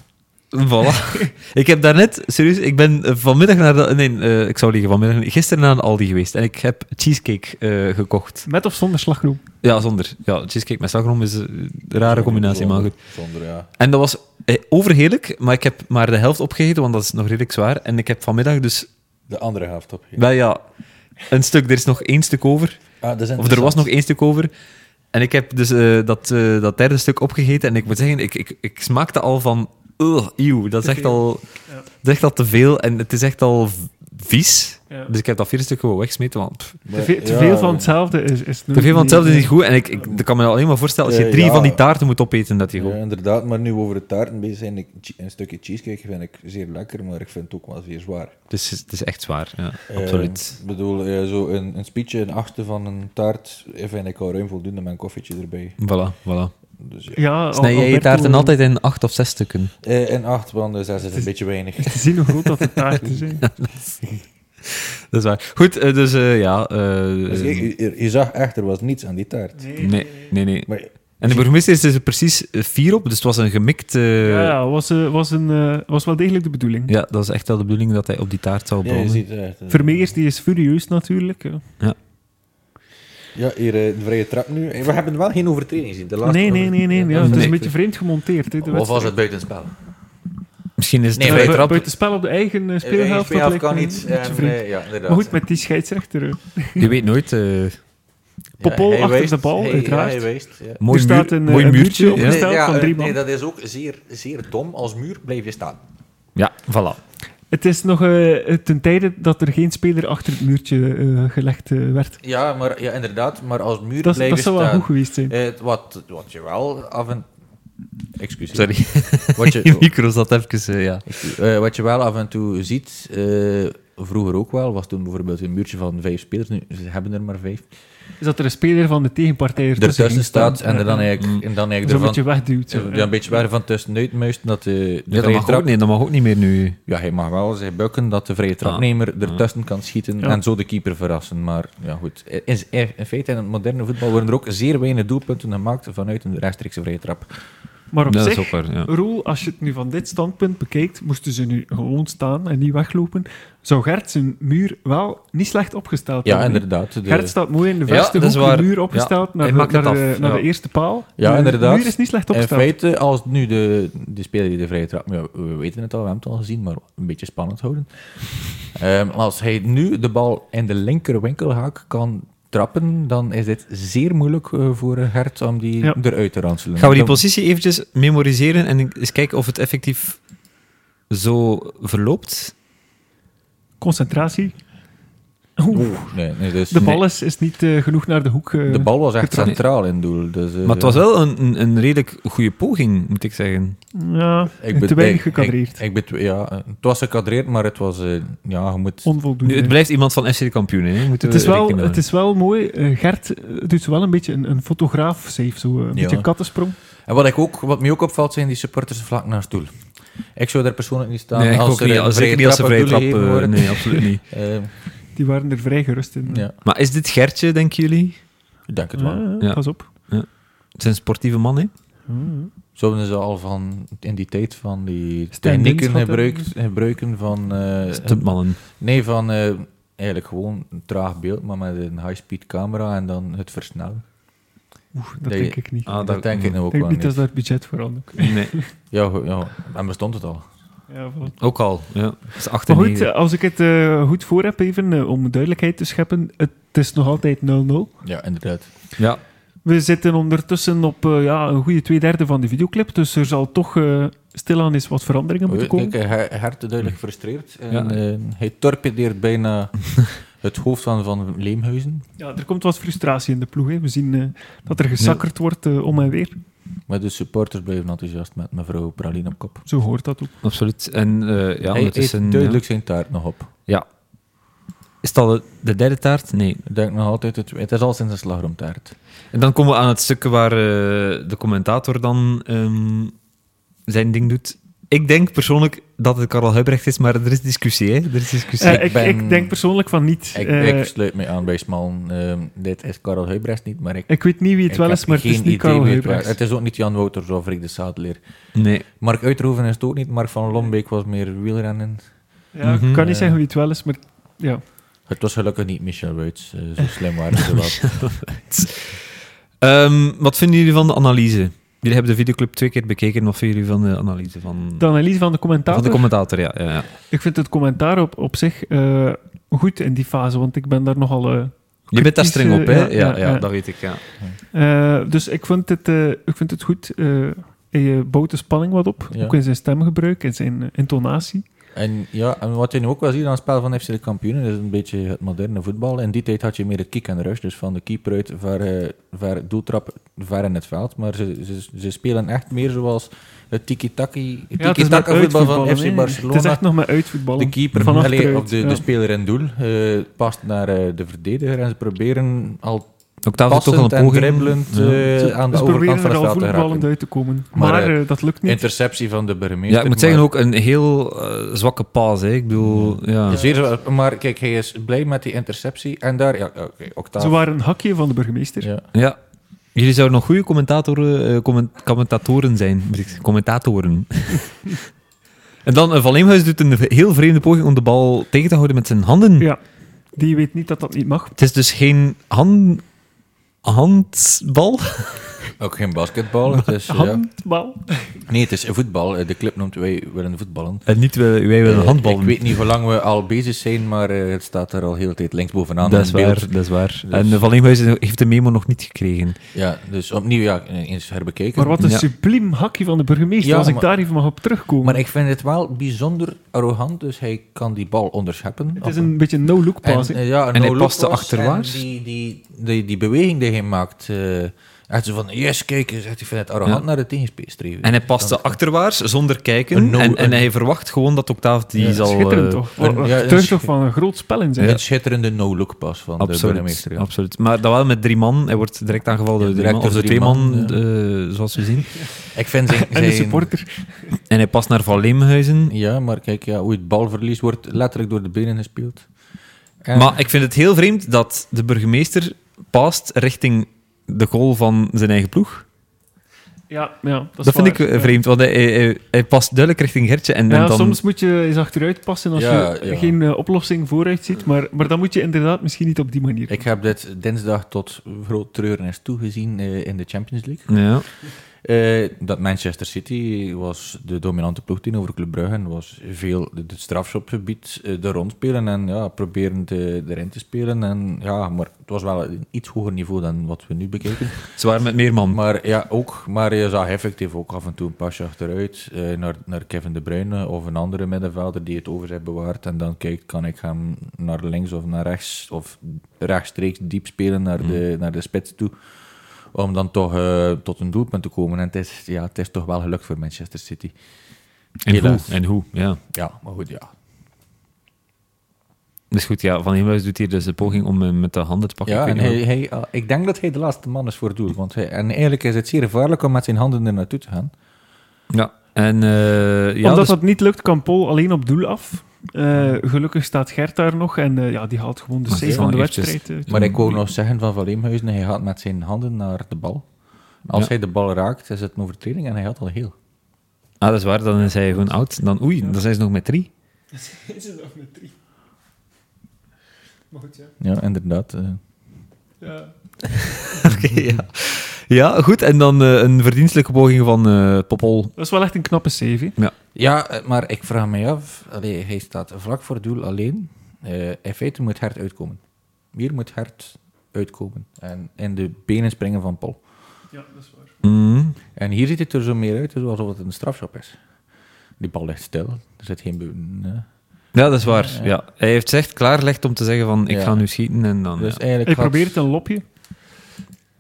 Speaker 1: Voilà. ik heb daarnet, serieus, ik ben eh, vanmiddag naar de, nee, eh, ik zou liegen, vanmiddag, gisteren naar de Aldi geweest en ik heb cheesecake eh, gekocht.
Speaker 2: Met of zonder slagroom?
Speaker 1: Ja, zonder. Ja, cheesecake met slagroom is eh, een rare combinatie, maar goed.
Speaker 4: Zonder, ja.
Speaker 1: En dat was eh, overheerlijk, maar ik heb maar de helft opgegeten, want dat is nog redelijk zwaar. En ik heb vanmiddag dus,
Speaker 4: De andere helft op.
Speaker 1: wel ja, een stuk, er is nog één stuk over.
Speaker 4: Ah, dat is
Speaker 1: Of er was
Speaker 4: interessant.
Speaker 1: nog één stuk over. En ik heb dus eh, dat, eh, dat derde stuk opgegeten. En ik moet zeggen, ik, ik, ik smaakte al van... Ugh, eeuw, dat is echt al,
Speaker 2: Ja.
Speaker 1: dat is echt al te veel. En het is echt al v- vies.
Speaker 2: Ja.
Speaker 1: Dus ik heb dat vierde stuk gewoon weggesmeten. Want pff,
Speaker 2: Te,
Speaker 4: Maar-
Speaker 2: ve- te
Speaker 4: ja,
Speaker 2: veel van hetzelfde is, is
Speaker 1: te veel van hetzelfde is niet goed. En ik, ik
Speaker 2: Ja.
Speaker 1: dat kan me alleen maar voorstellen, als je
Speaker 4: Eh,
Speaker 1: drie
Speaker 4: ja.
Speaker 1: van die taarten moet opeten, dat je
Speaker 4: Ja,
Speaker 1: gewoon...
Speaker 4: inderdaad, maar nu we over de taarten bezig zijn, ik, een stukje cheesecake vind ik zeer lekker, maar ik vind het ook wel zeer zwaar.
Speaker 1: Dus het is- het is echt zwaar, ja,
Speaker 4: Eh,
Speaker 1: absoluut.
Speaker 4: Ik bedoel, eh, zo een, een speechje, een achtste van een taart, eh, vind ik al ruim voldoende met een koffietje erbij.
Speaker 1: Voilà, voilà.
Speaker 4: Dus, ja.
Speaker 2: Ja, Al-
Speaker 1: Snij jij je
Speaker 2: Alberto,
Speaker 1: taarten altijd in acht of zes stukken?
Speaker 4: Eh, en acht, want de zes is een
Speaker 2: is-
Speaker 4: beetje weinig.
Speaker 2: Te zien hoe groot dat de taarten zijn.
Speaker 1: Dat is waar. Goed, eh, dus eh, ja... eh,
Speaker 4: Dus kijk, je, je- je zag echt, er was niets aan die taart.
Speaker 1: nee, nee, nee.
Speaker 4: Maar
Speaker 1: En de burgemeester is er precies eh, vier op, dus het was een gemikt... eh,
Speaker 2: Ja, ja, was, eh, was, een, eh, was wel degelijk de bedoeling.
Speaker 1: Ja, dat is echt wel de bedoeling dat hij op die taart zou
Speaker 4: ja, je
Speaker 1: branden.
Speaker 4: ziet echt... eh,
Speaker 2: Vermeers die is furieus natuurlijk. hè.
Speaker 4: Ja, hier eh, de vrije trap nu. Eh, We hebben wel geen overtreding zien. De laatste
Speaker 2: Nee, nee, nee, nee. Ja, het is
Speaker 1: Nee.
Speaker 2: een beetje vreemd gemonteerd. Hè,
Speaker 4: Of
Speaker 2: de
Speaker 4: was
Speaker 2: wedstrijd.
Speaker 4: het buitenspel?
Speaker 1: Misschien is het...
Speaker 4: Nee,
Speaker 1: eh,
Speaker 4: vrije
Speaker 2: bu-
Speaker 4: trap?
Speaker 2: buitenspel op de eigen eh, speelhelft. dat
Speaker 4: Speelhelft
Speaker 2: lijkt
Speaker 4: kan
Speaker 2: me
Speaker 4: niet.
Speaker 2: een beetje
Speaker 4: en,
Speaker 2: vreemd.
Speaker 4: eh, ja, inderdaad.
Speaker 2: Maar goed, met die scheidsrechter. eh,
Speaker 1: je weet nooit. eh
Speaker 2: Popol
Speaker 4: hij
Speaker 2: achter
Speaker 4: wijst,
Speaker 2: de bal,
Speaker 4: hij- ja,
Speaker 2: uiteraard.
Speaker 4: hij wijst, ja.
Speaker 1: mooi
Speaker 2: Er
Speaker 1: muur-
Speaker 2: staat een, eh,
Speaker 1: mooi
Speaker 2: een
Speaker 1: muurtje.
Speaker 2: muurtje op.
Speaker 1: ja.
Speaker 2: Nee, stijl van
Speaker 3: eh,
Speaker 2: drie man.
Speaker 3: Nee, dat is ook zeer, zeer dom. Als muur blijf je staan.
Speaker 1: ja, voilà.
Speaker 2: Het is nog eh, ten tijde dat er geen speler achter het muurtje eh, gelegd eh, werd.
Speaker 3: Ja, maar, ja inderdaad. Maar als muur
Speaker 2: Dat,
Speaker 3: blijf
Speaker 2: dat
Speaker 3: je
Speaker 2: zou wel
Speaker 3: staan.
Speaker 2: goed geweest zijn.
Speaker 3: Eh, wat, wat je wel af en... Excuseer.
Speaker 1: Sorry,
Speaker 3: Wat je,
Speaker 1: je micro zat even... eh, ja.
Speaker 3: eh, wat je wel af en toe ziet, eh, vroeger ook wel, was toen bijvoorbeeld een muurtje van vijf spelers. Nu, ze hebben er maar vijf.
Speaker 2: Is dat er een speler van de tegenpartij ertussen
Speaker 3: Ertussen
Speaker 2: ging
Speaker 3: staat
Speaker 2: staan,
Speaker 3: en er dan
Speaker 2: eh,
Speaker 3: eigenlijk, en dan
Speaker 2: Zo'n
Speaker 3: eigenlijk
Speaker 2: beetje
Speaker 3: ervan...
Speaker 2: wegduwt.
Speaker 3: eh, Ja, een beetje waar van tussenuit muist dat de, de
Speaker 1: Ja, dat
Speaker 3: vrije
Speaker 1: mag
Speaker 3: trap
Speaker 1: ook niet, dat mag ook niet meer nu.
Speaker 3: Ja, hij mag wel zich bukken dat de vrije trapnemer ertussen kan schieten
Speaker 2: Ja.
Speaker 3: en zo de keeper verrassen. Maar ja, goed. In, in feite, in het moderne voetbal worden er ook zeer weinig doelpunten gemaakt vanuit een rechtstreekse vrije trap.
Speaker 2: Maar op
Speaker 1: dat
Speaker 2: zich,
Speaker 1: is ook waar, ja.
Speaker 2: Roel, als je het nu van dit standpunt bekijkt, moesten ze nu gewoon staan en niet weglopen, zou Gert zijn muur wel niet slecht opgesteld
Speaker 3: Ja,
Speaker 2: hebben.
Speaker 3: inderdaad. De-
Speaker 2: Gert staat mooi in de
Speaker 1: Ja,
Speaker 2: verste
Speaker 1: dat is
Speaker 2: hoek,
Speaker 1: waar.
Speaker 2: de muur opgesteld
Speaker 1: Ja, hij
Speaker 2: naar,
Speaker 1: maakt
Speaker 2: de,
Speaker 1: het
Speaker 2: naar, de,
Speaker 1: af,
Speaker 2: naar
Speaker 1: ja.
Speaker 2: de eerste paal.
Speaker 3: Ja,
Speaker 2: de,
Speaker 3: inderdaad.
Speaker 2: De muur is niet slecht
Speaker 3: in
Speaker 2: opgesteld.
Speaker 3: feite, als nu de, de speler die de vrije trap... Ja, we weten het al, we hebben het al gezien, maar een beetje spannend houden. Ehm, als hij nu de bal in de linker winkelhaak kan trappen, dan is dit zeer moeilijk eh, voor Gert om die
Speaker 2: Ja.
Speaker 3: eruit te ranselen.
Speaker 1: Gaan we die
Speaker 3: Dan-
Speaker 1: positie eventjes memoriseren en eens kijken of het effectief zo verloopt?
Speaker 2: Concentratie. Oeh,
Speaker 3: Nee, nee, dus...
Speaker 2: de bal is, is niet eh, genoeg naar de hoek. eh,
Speaker 3: De bal was echt
Speaker 1: getrapt.
Speaker 3: centraal in doel. Dus, eh,
Speaker 1: Hm. Maar het was wel een, een, een redelijk goede poging, moet ik zeggen.
Speaker 2: Ja,
Speaker 3: ik bet-
Speaker 2: te weinig
Speaker 3: ik-
Speaker 2: gekadreerd.
Speaker 3: Ik, ik bet- ja, eh, het was gekadreerd, maar het was... eh, ja, je moet...
Speaker 1: Nu,
Speaker 2: Onvoldoende.
Speaker 1: het blijft iemand van FC de kampioen, hè? Moeten
Speaker 2: Mhm. Het
Speaker 1: we
Speaker 2: is, wel,
Speaker 1: rekening
Speaker 2: het
Speaker 1: houden.
Speaker 2: is wel mooi. eh, Gert eh, doet wel een beetje een, een fotograaf safe, zo eh, een
Speaker 3: Ja.
Speaker 2: beetje een kattensprong.
Speaker 3: En wat, ik ook, wat mij ook opvalt, zijn die supporters vlak naast doel. Ik zou daar persoonlijk niet staan.
Speaker 1: Nee, ik
Speaker 3: als
Speaker 1: ook
Speaker 3: er
Speaker 1: niet.
Speaker 3: een
Speaker 1: Als, zeker
Speaker 3: vrije
Speaker 1: niet als ze
Speaker 3: trap
Speaker 1: vrije
Speaker 3: op
Speaker 1: trap...
Speaker 3: doel gegeven
Speaker 1: eh,
Speaker 3: wordt.
Speaker 1: nee, absoluut niet.
Speaker 3: Eh,
Speaker 2: Die waren er vrij gerust in.
Speaker 3: ja,
Speaker 1: Maar is dit Gertje, denken jullie?
Speaker 3: ik denk het
Speaker 2: Ja,
Speaker 3: wel.
Speaker 2: ja,
Speaker 1: Ja.
Speaker 2: Ah, Pas op.
Speaker 1: Het is een sportieve man, hè?
Speaker 3: Zo hebben ze al van in die tijd van die
Speaker 2: Standings
Speaker 3: technieken
Speaker 2: had hij.
Speaker 3: gebruikt, gebruiken van... eh,
Speaker 1: Stuntmannen.
Speaker 3: nee, van eh, eigenlijk gewoon een traag beeld, maar met een high-speed camera en dan het versnellen.
Speaker 2: Oeh, dat
Speaker 3: Nee,
Speaker 2: denk ik niet.
Speaker 1: Ah,
Speaker 3: dat,
Speaker 1: dat-
Speaker 3: denk ik nou
Speaker 2: ik
Speaker 3: ook
Speaker 2: denk
Speaker 3: wel
Speaker 2: niet dat
Speaker 3: niet.
Speaker 2: ze daar budget voor hadden.
Speaker 1: Nee,
Speaker 3: Ja, goed, ja, en bestond het al.
Speaker 2: Ja, voilà.
Speaker 1: ook al. Ja. Dat is
Speaker 2: Maar
Speaker 1: 8
Speaker 2: goed, eh, als ik het eh, goed voor heb, even eh, om duidelijkheid te scheppen. Het is nog altijd 0-0.
Speaker 3: Ja, inderdaad.
Speaker 1: Ja.
Speaker 2: We zitten ondertussen op eh, ja, een goede twee derde van de videoclip. Dus er zal toch eh, stilaan eens wat veranderingen
Speaker 3: Oh,
Speaker 2: moeten komen.
Speaker 3: Kijk, hij hij hart eh,
Speaker 2: Hm.
Speaker 3: duidelijk gefrustreerd. En,
Speaker 1: Ja.
Speaker 3: eh, hij torpedeert bijna het hoofd van, van Leemhuizen.
Speaker 2: Ja, er komt wat frustratie in de ploeg. Hè. We zien eh, dat er gesakkerd wordt eh, om en weer.
Speaker 3: Maar de supporters blijven enthousiast met mevrouw Praline op kop.
Speaker 2: Zo hoort dat ook.
Speaker 1: absoluut. En eh ja,
Speaker 3: hij eet
Speaker 1: ondertussen...
Speaker 3: duidelijk zijn taart nog op.
Speaker 1: Ja. Is dat de, de derde taart? Nee.
Speaker 3: Ik denk nog altijd, het, het is al sinds een slagroomtaart.
Speaker 1: En dan komen we aan het stuk waar eh, de commentator dan ehm, zijn ding doet. Ik denk persoonlijk dat het Karel Huibrecht is, maar er is discussie, hè? Er is discussie.
Speaker 2: Eh,
Speaker 3: ik
Speaker 2: ik,
Speaker 3: ben-
Speaker 2: ik denk persoonlijk van niet.
Speaker 3: Ik,
Speaker 2: Eh,
Speaker 3: ik sluit me aan bij Smallen. Ehm, dit is Karel Huibrecht niet, maar ik,
Speaker 2: ik weet niet wie het
Speaker 3: ik
Speaker 2: wel
Speaker 3: heb
Speaker 2: is, maar het
Speaker 3: geen
Speaker 2: is niet
Speaker 3: idee
Speaker 2: Karel
Speaker 3: wie het
Speaker 2: Huibrechts.
Speaker 3: was. Het is ook niet Jan Wouters of Rick de Zadeleer.
Speaker 2: eh.
Speaker 1: Nee.
Speaker 3: Mark Uitroeven is het ook niet. Mark van Lombeek was meer wielrennen.
Speaker 2: Ja,
Speaker 1: Mhm.
Speaker 2: ik kan niet
Speaker 3: Eh.
Speaker 2: zeggen wie het wel is, maar ja.
Speaker 3: Het was gelukkig niet Michel Wuits. eh, zo slim waren ze wel.
Speaker 1: Ehm, wat vinden jullie van de analyse? Jullie hebben de videoclip twee keer bekeken. Wat vinden jullie van de analyse van,
Speaker 2: De analyse van de
Speaker 1: van
Speaker 2: commentator.
Speaker 1: de commentator? Ja, ja, ja.
Speaker 2: ik vind het commentaar op, op zich eh, goed in die fase, want ik ben daar nogal... eh,
Speaker 1: Je bent daar
Speaker 2: Kritisch,
Speaker 1: streng op, hè?
Speaker 2: eh, ja,
Speaker 1: ja,
Speaker 2: ja,
Speaker 1: ja,
Speaker 2: ja.
Speaker 1: dat weet ik, ja.
Speaker 2: eh, dus ik vind het, eh, ik vind het goed. eh hij bouwt de spanning wat op,
Speaker 3: Ja.
Speaker 2: ook in zijn stemgebruik, in zijn eh, intonatie.
Speaker 3: En ja, en wat je nu ook wel ziet aan het spel van FC de Kampioenen, is een beetje het moderne voetbal. In die tijd had je meer het kick en rush, dus van de keeper uit, ver, eh, ver doeltrap, ver in het veld. Maar ze, ze, ze spelen echt meer zoals het tiki-taki
Speaker 2: het is
Speaker 3: tiki-taka
Speaker 2: maar
Speaker 3: voetbal van
Speaker 2: uitvoetballen,
Speaker 3: FC
Speaker 2: hè. Het is
Speaker 3: Barcelona.
Speaker 2: echt nog maar uitvoetballen.
Speaker 3: De keeper,
Speaker 2: Van
Speaker 3: allee,
Speaker 2: achteruit,
Speaker 3: of de, dus
Speaker 2: ja.
Speaker 3: de speler in doel, eh, past naar eh, de verdediger en ze proberen al
Speaker 1: Octave toch al
Speaker 3: passend
Speaker 1: een
Speaker 3: en
Speaker 1: poging.
Speaker 3: dribbelend eh, aan de
Speaker 2: dus
Speaker 3: overkant
Speaker 2: proberen
Speaker 3: van
Speaker 2: er
Speaker 3: het
Speaker 2: al
Speaker 3: veld te
Speaker 2: voetballend
Speaker 3: raken.
Speaker 2: uit te komen. Maar,
Speaker 3: Maar,
Speaker 2: eh, dat lukt niet.
Speaker 3: Interceptie van de burgemeester.
Speaker 1: Ja, ik moet
Speaker 3: maar-
Speaker 1: zeggen, ook een heel eh, zwakke paas, hè? Ik bedoel, ja.
Speaker 3: Ja, Zeer, zwaar. maar kijk, hij is blij met die interceptie. En daar, ja, oké, Octave.
Speaker 2: Ze waren een hakje van de burgemeester.
Speaker 3: Ja.
Speaker 1: Ja. Jullie zouden nog goede commentatoren, eh, comment- commentatoren zijn. moet ik zeggen. Commentatoren. en dan, eh, Van Leemhuis doet een heel vreemde poging om de bal tegen te houden met zijn handen.
Speaker 2: Ja. Die weet niet dat dat niet mag.
Speaker 1: Het is dus geen hand, handbal.
Speaker 3: Ook geen basketbal. Het is, ja.
Speaker 2: Handbal.
Speaker 3: Nee, het is voetbal. Eh, De club noemt wij willen voetballen.
Speaker 1: En niet, wij, wij willen
Speaker 3: Eh,
Speaker 1: handballen.
Speaker 3: Ik weet niet hoe lang we al bezig zijn, maar eh, het staat er al heel de tijd linksbovenaan.
Speaker 1: dat is
Speaker 3: in beeld.
Speaker 1: waar, dat is waar. En eh, Van Leemhuis heeft de memo nog niet gekregen.
Speaker 3: Ja, dus opnieuw, ja, eens herbekeken.
Speaker 2: Maar wat een
Speaker 1: Ja.
Speaker 2: subliem hakje van de burgemeester,
Speaker 3: Ja,
Speaker 2: als ik
Speaker 3: maar-
Speaker 2: daar even mag op terugkomen.
Speaker 3: Maar ik vind het wel bijzonder arrogant, dus hij kan die bal onderscheppen.
Speaker 2: het is een beetje een no-look pass.
Speaker 3: En, eh, ja,
Speaker 1: En hij
Speaker 3: no-look
Speaker 1: paste
Speaker 3: was,
Speaker 1: achterwaarts.
Speaker 3: en Die, die, die, die beweging die hij maakt. eh echt zo van, yes, kijk, eens, echt, ik vind het arrogant
Speaker 1: Ja.
Speaker 3: naar de tegenspeler streven.
Speaker 1: En hij paste achterwaarts, zonder kijken.
Speaker 3: Een no-
Speaker 1: en, en
Speaker 3: een-
Speaker 1: hij verwacht gewoon dat Octave die
Speaker 3: Ja,
Speaker 1: zal... eh,
Speaker 2: Schitterend toch? Wat-
Speaker 3: een- ja,
Speaker 2: wat getuigt
Speaker 3: een-
Speaker 2: toch van een groot spel in zijn.
Speaker 3: Een schitterende no-look pas van de
Speaker 1: Absoluut,
Speaker 3: burgemeester. ja.
Speaker 1: absoluut. Maar dat wel met drie man. Hij wordt direct aangevallen
Speaker 3: Ja,
Speaker 1: door drie
Speaker 3: direct
Speaker 1: man. Of de
Speaker 3: door
Speaker 1: twee
Speaker 3: drie
Speaker 1: man,
Speaker 3: man,
Speaker 1: eh, zoals we zien.
Speaker 3: Ik vind zijn,
Speaker 2: En de
Speaker 3: zijn-
Speaker 2: supporter.
Speaker 1: En hij past naar Van Leemhuizen.
Speaker 3: Ja, maar kijk, ja, hoe het balverlies wordt letterlijk door de benen gespeeld. En-
Speaker 1: Maar ik vind het heel vreemd dat de burgemeester past richting de goal van zijn eigen ploeg.
Speaker 2: Ja, ja, dat is
Speaker 1: Dat, vind ik
Speaker 2: waar.
Speaker 1: eh, vreemd, want hij, hij, hij- hij past duidelijk richting Gertje. En,
Speaker 2: Ja,
Speaker 1: en dan...
Speaker 2: soms moet je eens achteruit passen als
Speaker 3: Ja,
Speaker 2: je
Speaker 3: ja.
Speaker 2: geen eh, oplossing vooruit ziet. Maar, maar dan moet je inderdaad misschien niet op die manier.
Speaker 3: Ik heb dit dinsdag tot groot treurenis toegezien eh, in de Champions League.
Speaker 1: Ja.
Speaker 3: Eh, dat Manchester City was de dominante ploeg tegenover Club Brugge. en was veel de- het strafschopgebied eh, er rondspelen en ja, proberen te, erin te spelen. En, ja, maar het was wel een iets hoger niveau dan wat we nu bekijken.
Speaker 1: Ze waren met meer man.
Speaker 3: Maar ja, ook. Maar je zag effectief ook af en toe een pasje achteruit eh, naar, naar Kevin De Bruyne of een andere middenvelder die het over zich bewaart. En dan kijkt, kan ik hem naar links of naar rechts of rechtstreeks diep spelen naar, de, naar de spits toe. Om dan toch eh, tot een doelpunt te komen. En het is, ja, het is toch wel gelukt voor Manchester City.
Speaker 1: en, hoe,
Speaker 3: helaas.
Speaker 1: en hoe, ja.
Speaker 3: Ja, maar goed, ja.
Speaker 1: Dus goed, ja, Van Leemhuizen doet hier dus de poging om hem met de handen te pakken.
Speaker 3: ja
Speaker 1: Ik weet
Speaker 3: en
Speaker 1: niet
Speaker 3: hij,
Speaker 1: hoe-
Speaker 3: hij, eh, ik denk dat hij de laatste man is voor het doel. Want hij, en eigenlijk is het zeer gevaarlijk om met zijn handen er naartoe te gaan.
Speaker 1: ja. En, eh, ja,
Speaker 2: Omdat
Speaker 1: dus-
Speaker 2: dat niet lukt, kan Paul alleen op doel af. Eh, gelukkig staat Gert daar nog en eh, ja, die haalt gewoon de
Speaker 1: Maar
Speaker 2: save
Speaker 1: ja,
Speaker 2: van de
Speaker 1: eventjes.
Speaker 2: wedstrijd. eh.
Speaker 3: Maar ik wou nog zeggen van Van Leemhuizen, hij gaat met zijn handen naar de bal. Als
Speaker 1: Ja.
Speaker 3: hij de bal raakt, is het een overtreding en hij had al heel.
Speaker 1: Ah, dat is waar, dan is hij gewoon oud. Dan, oei, dan zijn ze nog met drie.
Speaker 3: Ja, inderdaad. eh.
Speaker 1: Oké, ja. ja, goed. En dan eh, een verdienstelijke poging van eh, Popol.
Speaker 2: Dat is wel echt een knappe save. hè.
Speaker 3: Ja, eh, maar ik vraag me af, allee, hij staat vlak voor het doel alleen. Eh, in feite moet Hert uitkomen. Hier moet Hert uitkomen en in de benen springen van Paul.
Speaker 1: Mm.
Speaker 3: En hier ziet het er zo meer uit alsof het een strafschop is. Die bal ligt stil, er zit geen... be- nee.
Speaker 1: Ja, dat is waar. Ja, Hij heeft zich echt klaargelegd om te zeggen van, ik
Speaker 3: Ja.
Speaker 1: ga nu schieten en dan...
Speaker 3: Dus
Speaker 1: ja.
Speaker 3: eigenlijk
Speaker 2: Hij
Speaker 3: gaat-
Speaker 2: probeert een lopje.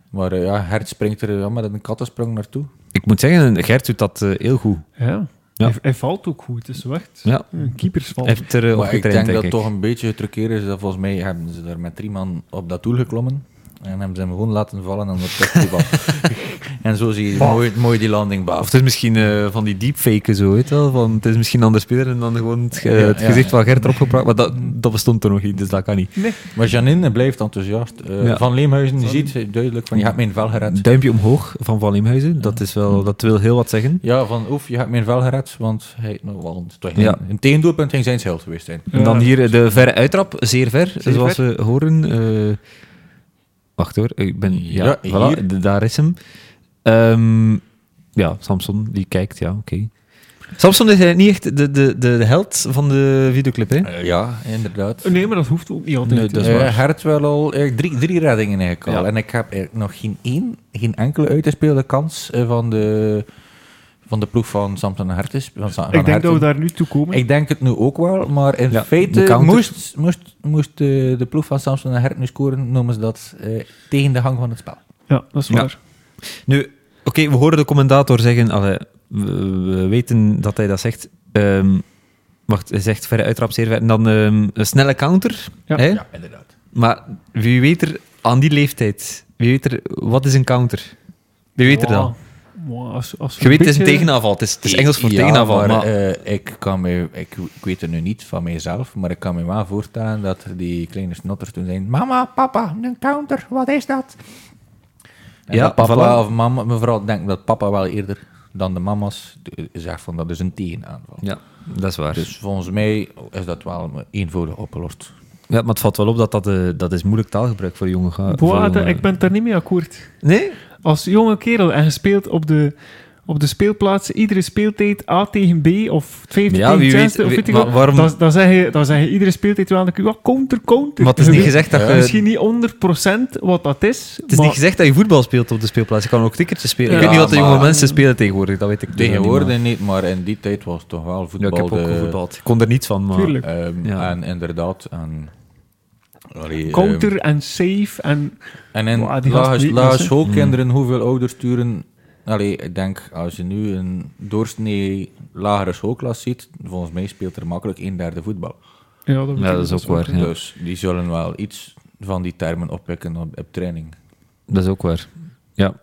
Speaker 3: Maar eh, ja, Hert springt er ja, met een kattensprong naartoe.
Speaker 1: Ik moet zeggen, Gert doet dat eh, heel goed.
Speaker 3: Oh.
Speaker 2: Ja.
Speaker 1: Ja.
Speaker 2: Hij, hij valt ook goed, het is wel echt
Speaker 1: Ja.
Speaker 2: een keepersval.
Speaker 1: Hij heeft er eh, op
Speaker 3: Maar ik
Speaker 1: getraind,
Speaker 3: denk dat
Speaker 1: ik.
Speaker 3: toch een beetje het truceren is dat volgens mij hebben ze er met drie man op dat doel geklommen en hebben ze hem gewoon laten vallen en dat was. En zo zie je
Speaker 5: Bah.
Speaker 3: mooi, mooi die landing
Speaker 1: Of
Speaker 3: baaf.
Speaker 1: het is misschien eh, van die deepfaken zo, weet je wel. Van, het is misschien anders speler en dan gewoon het, ge-
Speaker 3: Ja,
Speaker 1: het
Speaker 3: ja,
Speaker 1: gezicht
Speaker 3: ja.
Speaker 1: van Gert erop geplakt. Maar dat, dat bestond er nog niet, dus dat kan niet.
Speaker 3: Maar Janine blijft enthousiast. Eh,
Speaker 1: Ja.
Speaker 3: Van Leemhuizen ziet duidelijk van, je hebt mijn vel gered.
Speaker 1: Duimpje omhoog van Van Leemhuizen, dat, is wel, dat wil heel wat zeggen.
Speaker 3: Ja, van oef, je hebt mijn vel gered, want hij, nou, wel, toch
Speaker 1: Ja.
Speaker 3: een, een tegendoelpunt ging zijn zelf geweest zijn.
Speaker 1: En dan
Speaker 2: Ja.
Speaker 1: hier eh, de verre uittrap, zeer ver,
Speaker 2: Zeer
Speaker 1: zoals we horen. eh, wacht hoor, ik ben... Ja,
Speaker 3: Ja,
Speaker 1: voilà,
Speaker 3: hier.
Speaker 1: d- daar is hem. Ehm, ja, Samson, die kijkt, ja, oké. Samson is eh, niet echt de, de, de, de held van de videoclip, hè?
Speaker 3: Eh, ja, inderdaad.
Speaker 2: Nee, maar dat hoeft ook niet altijd.
Speaker 1: Nee, dat is
Speaker 3: Eh,
Speaker 1: waar.
Speaker 3: Hert wel al eh, drie, drie reddingen eigenlijk al.
Speaker 1: Ja.
Speaker 3: En ik heb eigenlijk nog geen één, geen enkele uitgespeelde kans eh, van, de, van de ploeg van Samson en Hert. is- Van, Sa- van
Speaker 2: ik denk dat we
Speaker 3: Herten.
Speaker 2: daar nu toe komen.
Speaker 3: Ik denk het nu ook wel, maar in
Speaker 1: Ja, de
Speaker 3: feite
Speaker 1: counter.
Speaker 3: moest, moest, moest eh, de, de ploeg van Samson en Hert nu scoren, noemen ze dat eh, tegen de gang van het spel.
Speaker 2: Ja, dat is
Speaker 1: Ja.
Speaker 2: waar.
Speaker 1: Nu, oké, we horen de commentator zeggen, allee, we, we weten dat hij dat zegt. Ehm, wacht, hij zegt verre uittrap, zeer ver. En dan ehm, een snelle counter.
Speaker 2: Ja.
Speaker 1: hè?
Speaker 3: inderdaad.
Speaker 1: Maar wie weet er aan die leeftijd, wie weet er, wat is een counter? Wie weet er dan?
Speaker 2: Wow, als, als we
Speaker 1: Je weet, het is een
Speaker 2: beetje-
Speaker 1: tegenaanval. Het is, het is Engels voor tegenaanval. Maar,
Speaker 3: eh, ik, kan me, ik, ik weet het nu niet van mijzelf, maar ik kan me wel voorstellen dat die kleine snotters toen zeiden: Mama, papa, een counter, wat is dat? En
Speaker 1: Ja,
Speaker 3: dat papa
Speaker 1: voilà.
Speaker 3: of mama, mevrouw denkt dat papa wel eerder dan de mama's eh, zegt van dat is een tegenaanval.
Speaker 1: ja, dat is waar.
Speaker 3: Dus volgens mij is dat wel eenvoudig opgelost.
Speaker 1: Ja, maar het valt wel op dat dat, eh, dat is moeilijk taalgebruik voor jonge ga- voor eh,
Speaker 2: Boah,
Speaker 1: jonge-
Speaker 2: ik ben het daar niet mee akkoord.
Speaker 1: Nee?
Speaker 2: Als jonge kerel en gespeeld op de, op de speelplaats, iedere speeltijd A tegen B of 15
Speaker 1: Ja, wie
Speaker 2: tegen
Speaker 1: weet-
Speaker 2: 16 of
Speaker 1: wie-
Speaker 2: weet ik
Speaker 1: maar
Speaker 2: wat,
Speaker 1: waarom-
Speaker 2: dan, dan, zeg je, dan zeg je iedere speeltijd wel aan de ja, counter, counter.
Speaker 1: Maar het is
Speaker 2: Je
Speaker 1: niet
Speaker 2: weet eh,
Speaker 1: gezegd dat je...
Speaker 2: Misschien niet 100% wat dat is.
Speaker 1: Het is
Speaker 2: maar
Speaker 1: niet gezegd dat je voetbal speelt op de speelplaats. Je kan ook tikkertjes spelen.
Speaker 2: Ja,
Speaker 1: ik weet niet wat de jonge
Speaker 3: maar-
Speaker 1: mensen spelen tegenwoordig. Dat weet ik dus ook
Speaker 3: Tegenwoordig
Speaker 1: niet,
Speaker 3: niet, maar in die tijd was toch wel
Speaker 1: maar- Ja,
Speaker 3: voetbal
Speaker 1: ik heb ook
Speaker 3: de-
Speaker 1: gevoetbald. Ik kon er niets van, maar... eh,
Speaker 2: Tuurlijk.
Speaker 3: Ehm,
Speaker 1: Ja.
Speaker 3: En inderdaad, en, allee, ehm,
Speaker 2: Counter en safe en
Speaker 3: en in
Speaker 2: Wow, die
Speaker 3: lage,
Speaker 2: gasten die-
Speaker 3: lage
Speaker 2: gasten.
Speaker 1: Hmm.
Speaker 3: schoolkinderen, hoeveel ouders sturen... Allee, ik denk, als je nu een doorsnee lagere schoolklas ziet, volgens mij speelt er makkelijk een derde voetbal.
Speaker 2: Ja, dat, betekent
Speaker 1: Ja, dat is ook waar. Ja.
Speaker 3: Dus die zullen wel iets van die termen oppikken op, op training.
Speaker 1: Dat is ook waar. Ja.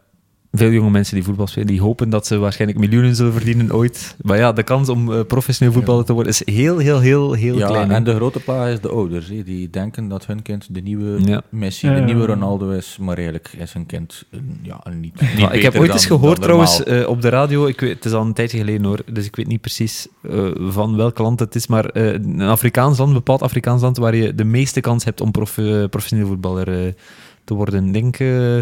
Speaker 1: Veel jonge mensen die voetbal spelen, die hopen dat ze waarschijnlijk miljoenen zullen verdienen ooit. Maar ja, de kans om eh, professioneel voetballer te worden is heel, heel, heel, heel
Speaker 3: ja,
Speaker 1: klein. hè.
Speaker 3: en de grote plaag is de ouders. hè. Die denken dat hun kind de nieuwe
Speaker 1: Ja.
Speaker 3: Messi,
Speaker 2: Ja,
Speaker 3: de
Speaker 2: ja.
Speaker 3: nieuwe Ronaldo is, maar eigenlijk is hun kind een, ja, een niet, niet
Speaker 1: Maar ik heb
Speaker 3: beter
Speaker 1: ooit eens
Speaker 3: dan-
Speaker 1: gehoord
Speaker 3: dan
Speaker 1: trouwens
Speaker 3: normaal.
Speaker 1: eh, op de radio, ik weet, het is al een tijdje geleden hoor, dus ik weet niet precies eh, van welk land het is, maar eh, een Afrikaans land, een bepaald Afrikaans land waar je de meeste kans hebt om prof, eh, professioneel voetballer eh, te worden. Ik Denk, eh,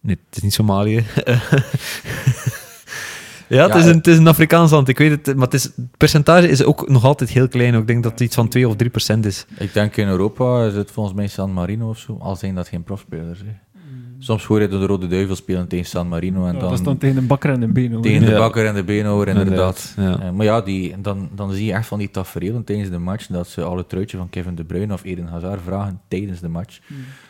Speaker 1: nee, het is niet Somalië. ja, het,
Speaker 3: Ja, eh,
Speaker 1: is een, het is een Afrikaans land, ik weet het, eh, maar het, is, het percentage is ook nog altijd heel klein. ook. Ik denk dat het iets van 2 of 3 procent is.
Speaker 3: Ik denk in Europa is het volgens mij San Marino of zo, al zijn dat geen profspelers. Hè. Soms hoor je de Rode Duivel spelen tegen San Marino en
Speaker 2: Ja,
Speaker 3: dan,
Speaker 2: dat is dan tegen een bakker en een been. hoor.
Speaker 3: tegen de
Speaker 1: Ja.
Speaker 3: bakker en de beenhouwer, inderdaad.
Speaker 1: Inderdaad, ja.
Speaker 3: Eh, maar ja, die, dan, dan zie je echt van die tafereelen tijdens de match dat ze alle truitje van Kevin De Bruyne of Eden Hazard vragen tijdens de match.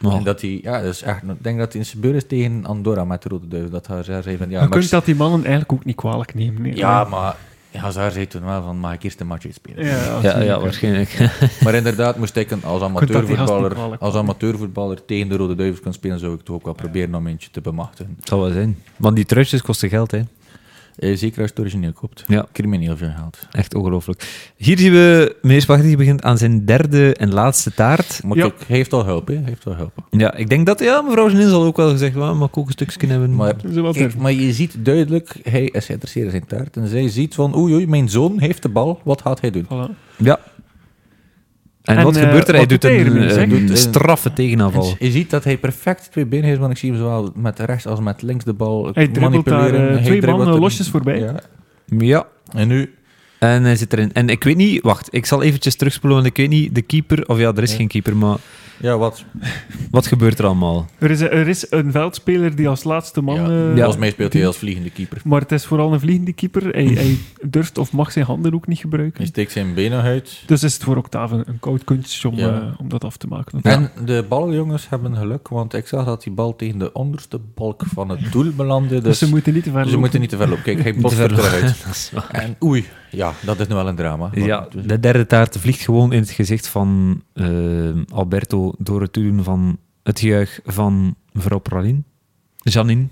Speaker 2: Oh.
Speaker 3: En dat die, ja, dat is echt, ik denk dat hij in zijn beurt is tegen Andorra met de Rode Duivel. Dat Hazard zei van, ja,
Speaker 2: je
Speaker 3: maar,
Speaker 2: kunt dat die mannen eigenlijk ook niet kwalijk nemen. nee.
Speaker 3: ja, maar Hazard zei toen wel van, mag ik eerst de match uitspelen?
Speaker 2: ja,
Speaker 1: Ja, ja,
Speaker 2: natuurlijk.
Speaker 1: waarschijnlijk.
Speaker 3: Maar inderdaad, moest ik een- als
Speaker 2: kunt dat die gast niet
Speaker 3: amateurvoetballer,
Speaker 2: kwalijk
Speaker 3: als amateurvoetballer tegen de Rode Duivels kunnen spelen, zou ik toch ook wel proberen om eentje te bemachtigen.
Speaker 1: Het zal wel zijn. Want die truitjes kosten geld, hè.
Speaker 3: Eh, zeker als het origineel koopt.
Speaker 1: Ja.
Speaker 3: Crimineel veel geld.
Speaker 1: Echt ongelooflijk. Hier zien we meneer Spaghetti begint aan zijn derde en laatste taart.
Speaker 3: Maar
Speaker 2: Ja.
Speaker 3: kijk, hij heeft al hulp, hè. Hij heeft al hulp.
Speaker 1: Ja, ik denk dat... Ja, mevrouw Janine zal ook wel gezegd hebben, mag ik ook een stukje hebben?
Speaker 3: Maar,
Speaker 2: Zo wat
Speaker 3: ik-
Speaker 2: er.
Speaker 3: maar je ziet duidelijk, hij is geïnteresseerd in zijn taart. En zij ziet van, oei, oei, mijn zoon heeft de bal. Wat gaat hij doen?
Speaker 2: Voilà.
Speaker 1: Ja. En,
Speaker 2: En,
Speaker 1: wat
Speaker 2: eh,
Speaker 1: gebeurt er? Hij
Speaker 2: wat
Speaker 1: doet
Speaker 2: doet hij
Speaker 1: een,
Speaker 2: ermee,
Speaker 1: eh,
Speaker 2: zeg?
Speaker 1: doet een
Speaker 3: Doet een-
Speaker 1: straffe tegenaanval.
Speaker 3: En je ziet dat hij perfect twee benen heeft, want ik zie hem zowel met rechts als met links de bal
Speaker 2: Hij dribbelt daar
Speaker 3: manipuleren.
Speaker 2: eh,
Speaker 3: Hij
Speaker 2: twee
Speaker 3: dribbelt
Speaker 2: mannen
Speaker 3: er-
Speaker 2: losjes voorbij.
Speaker 3: Ja.
Speaker 1: Ja.
Speaker 3: En nu
Speaker 1: En hij zit erin. En ik weet niet... Wacht, ik zal eventjes terugspoelen, want ik weet niet... De keeper... Of ja, er is
Speaker 3: Ja.
Speaker 1: geen keeper, maar...
Speaker 3: Ja, wat?
Speaker 1: Wat gebeurt er allemaal?
Speaker 2: Er, is, er is een veldspeler die als laatste man...
Speaker 3: ja,
Speaker 2: eh,
Speaker 3: Volgens mij speelt hij als vliegende keeper.
Speaker 2: Maar het is vooral een vliegende keeper. Hij, hij durft of mag zijn handen ook niet gebruiken.
Speaker 3: Hij steekt zijn benen uit.
Speaker 2: Dus is het voor Octave een koud kunstje om,
Speaker 3: Ja.
Speaker 2: eh, om dat af te maken.
Speaker 3: En de baljongens hebben geluk, want ik zag dat die bal tegen de onderste balk van het doel belandde.
Speaker 2: Dus
Speaker 3: Dus,
Speaker 2: ze moeten niet te ver
Speaker 3: ze
Speaker 2: lopen.
Speaker 3: moeten niet te ver lopen. Kijk, hij botst
Speaker 1: ver
Speaker 3: er eruit. En oei, ja, dat is nu wel een drama. Maar
Speaker 1: Ja,
Speaker 3: het was-
Speaker 1: de derde taart vliegt gewoon in het gezicht van eh, Alberto door het toedoen van het gejuich van mevrouw Pralin. Janine.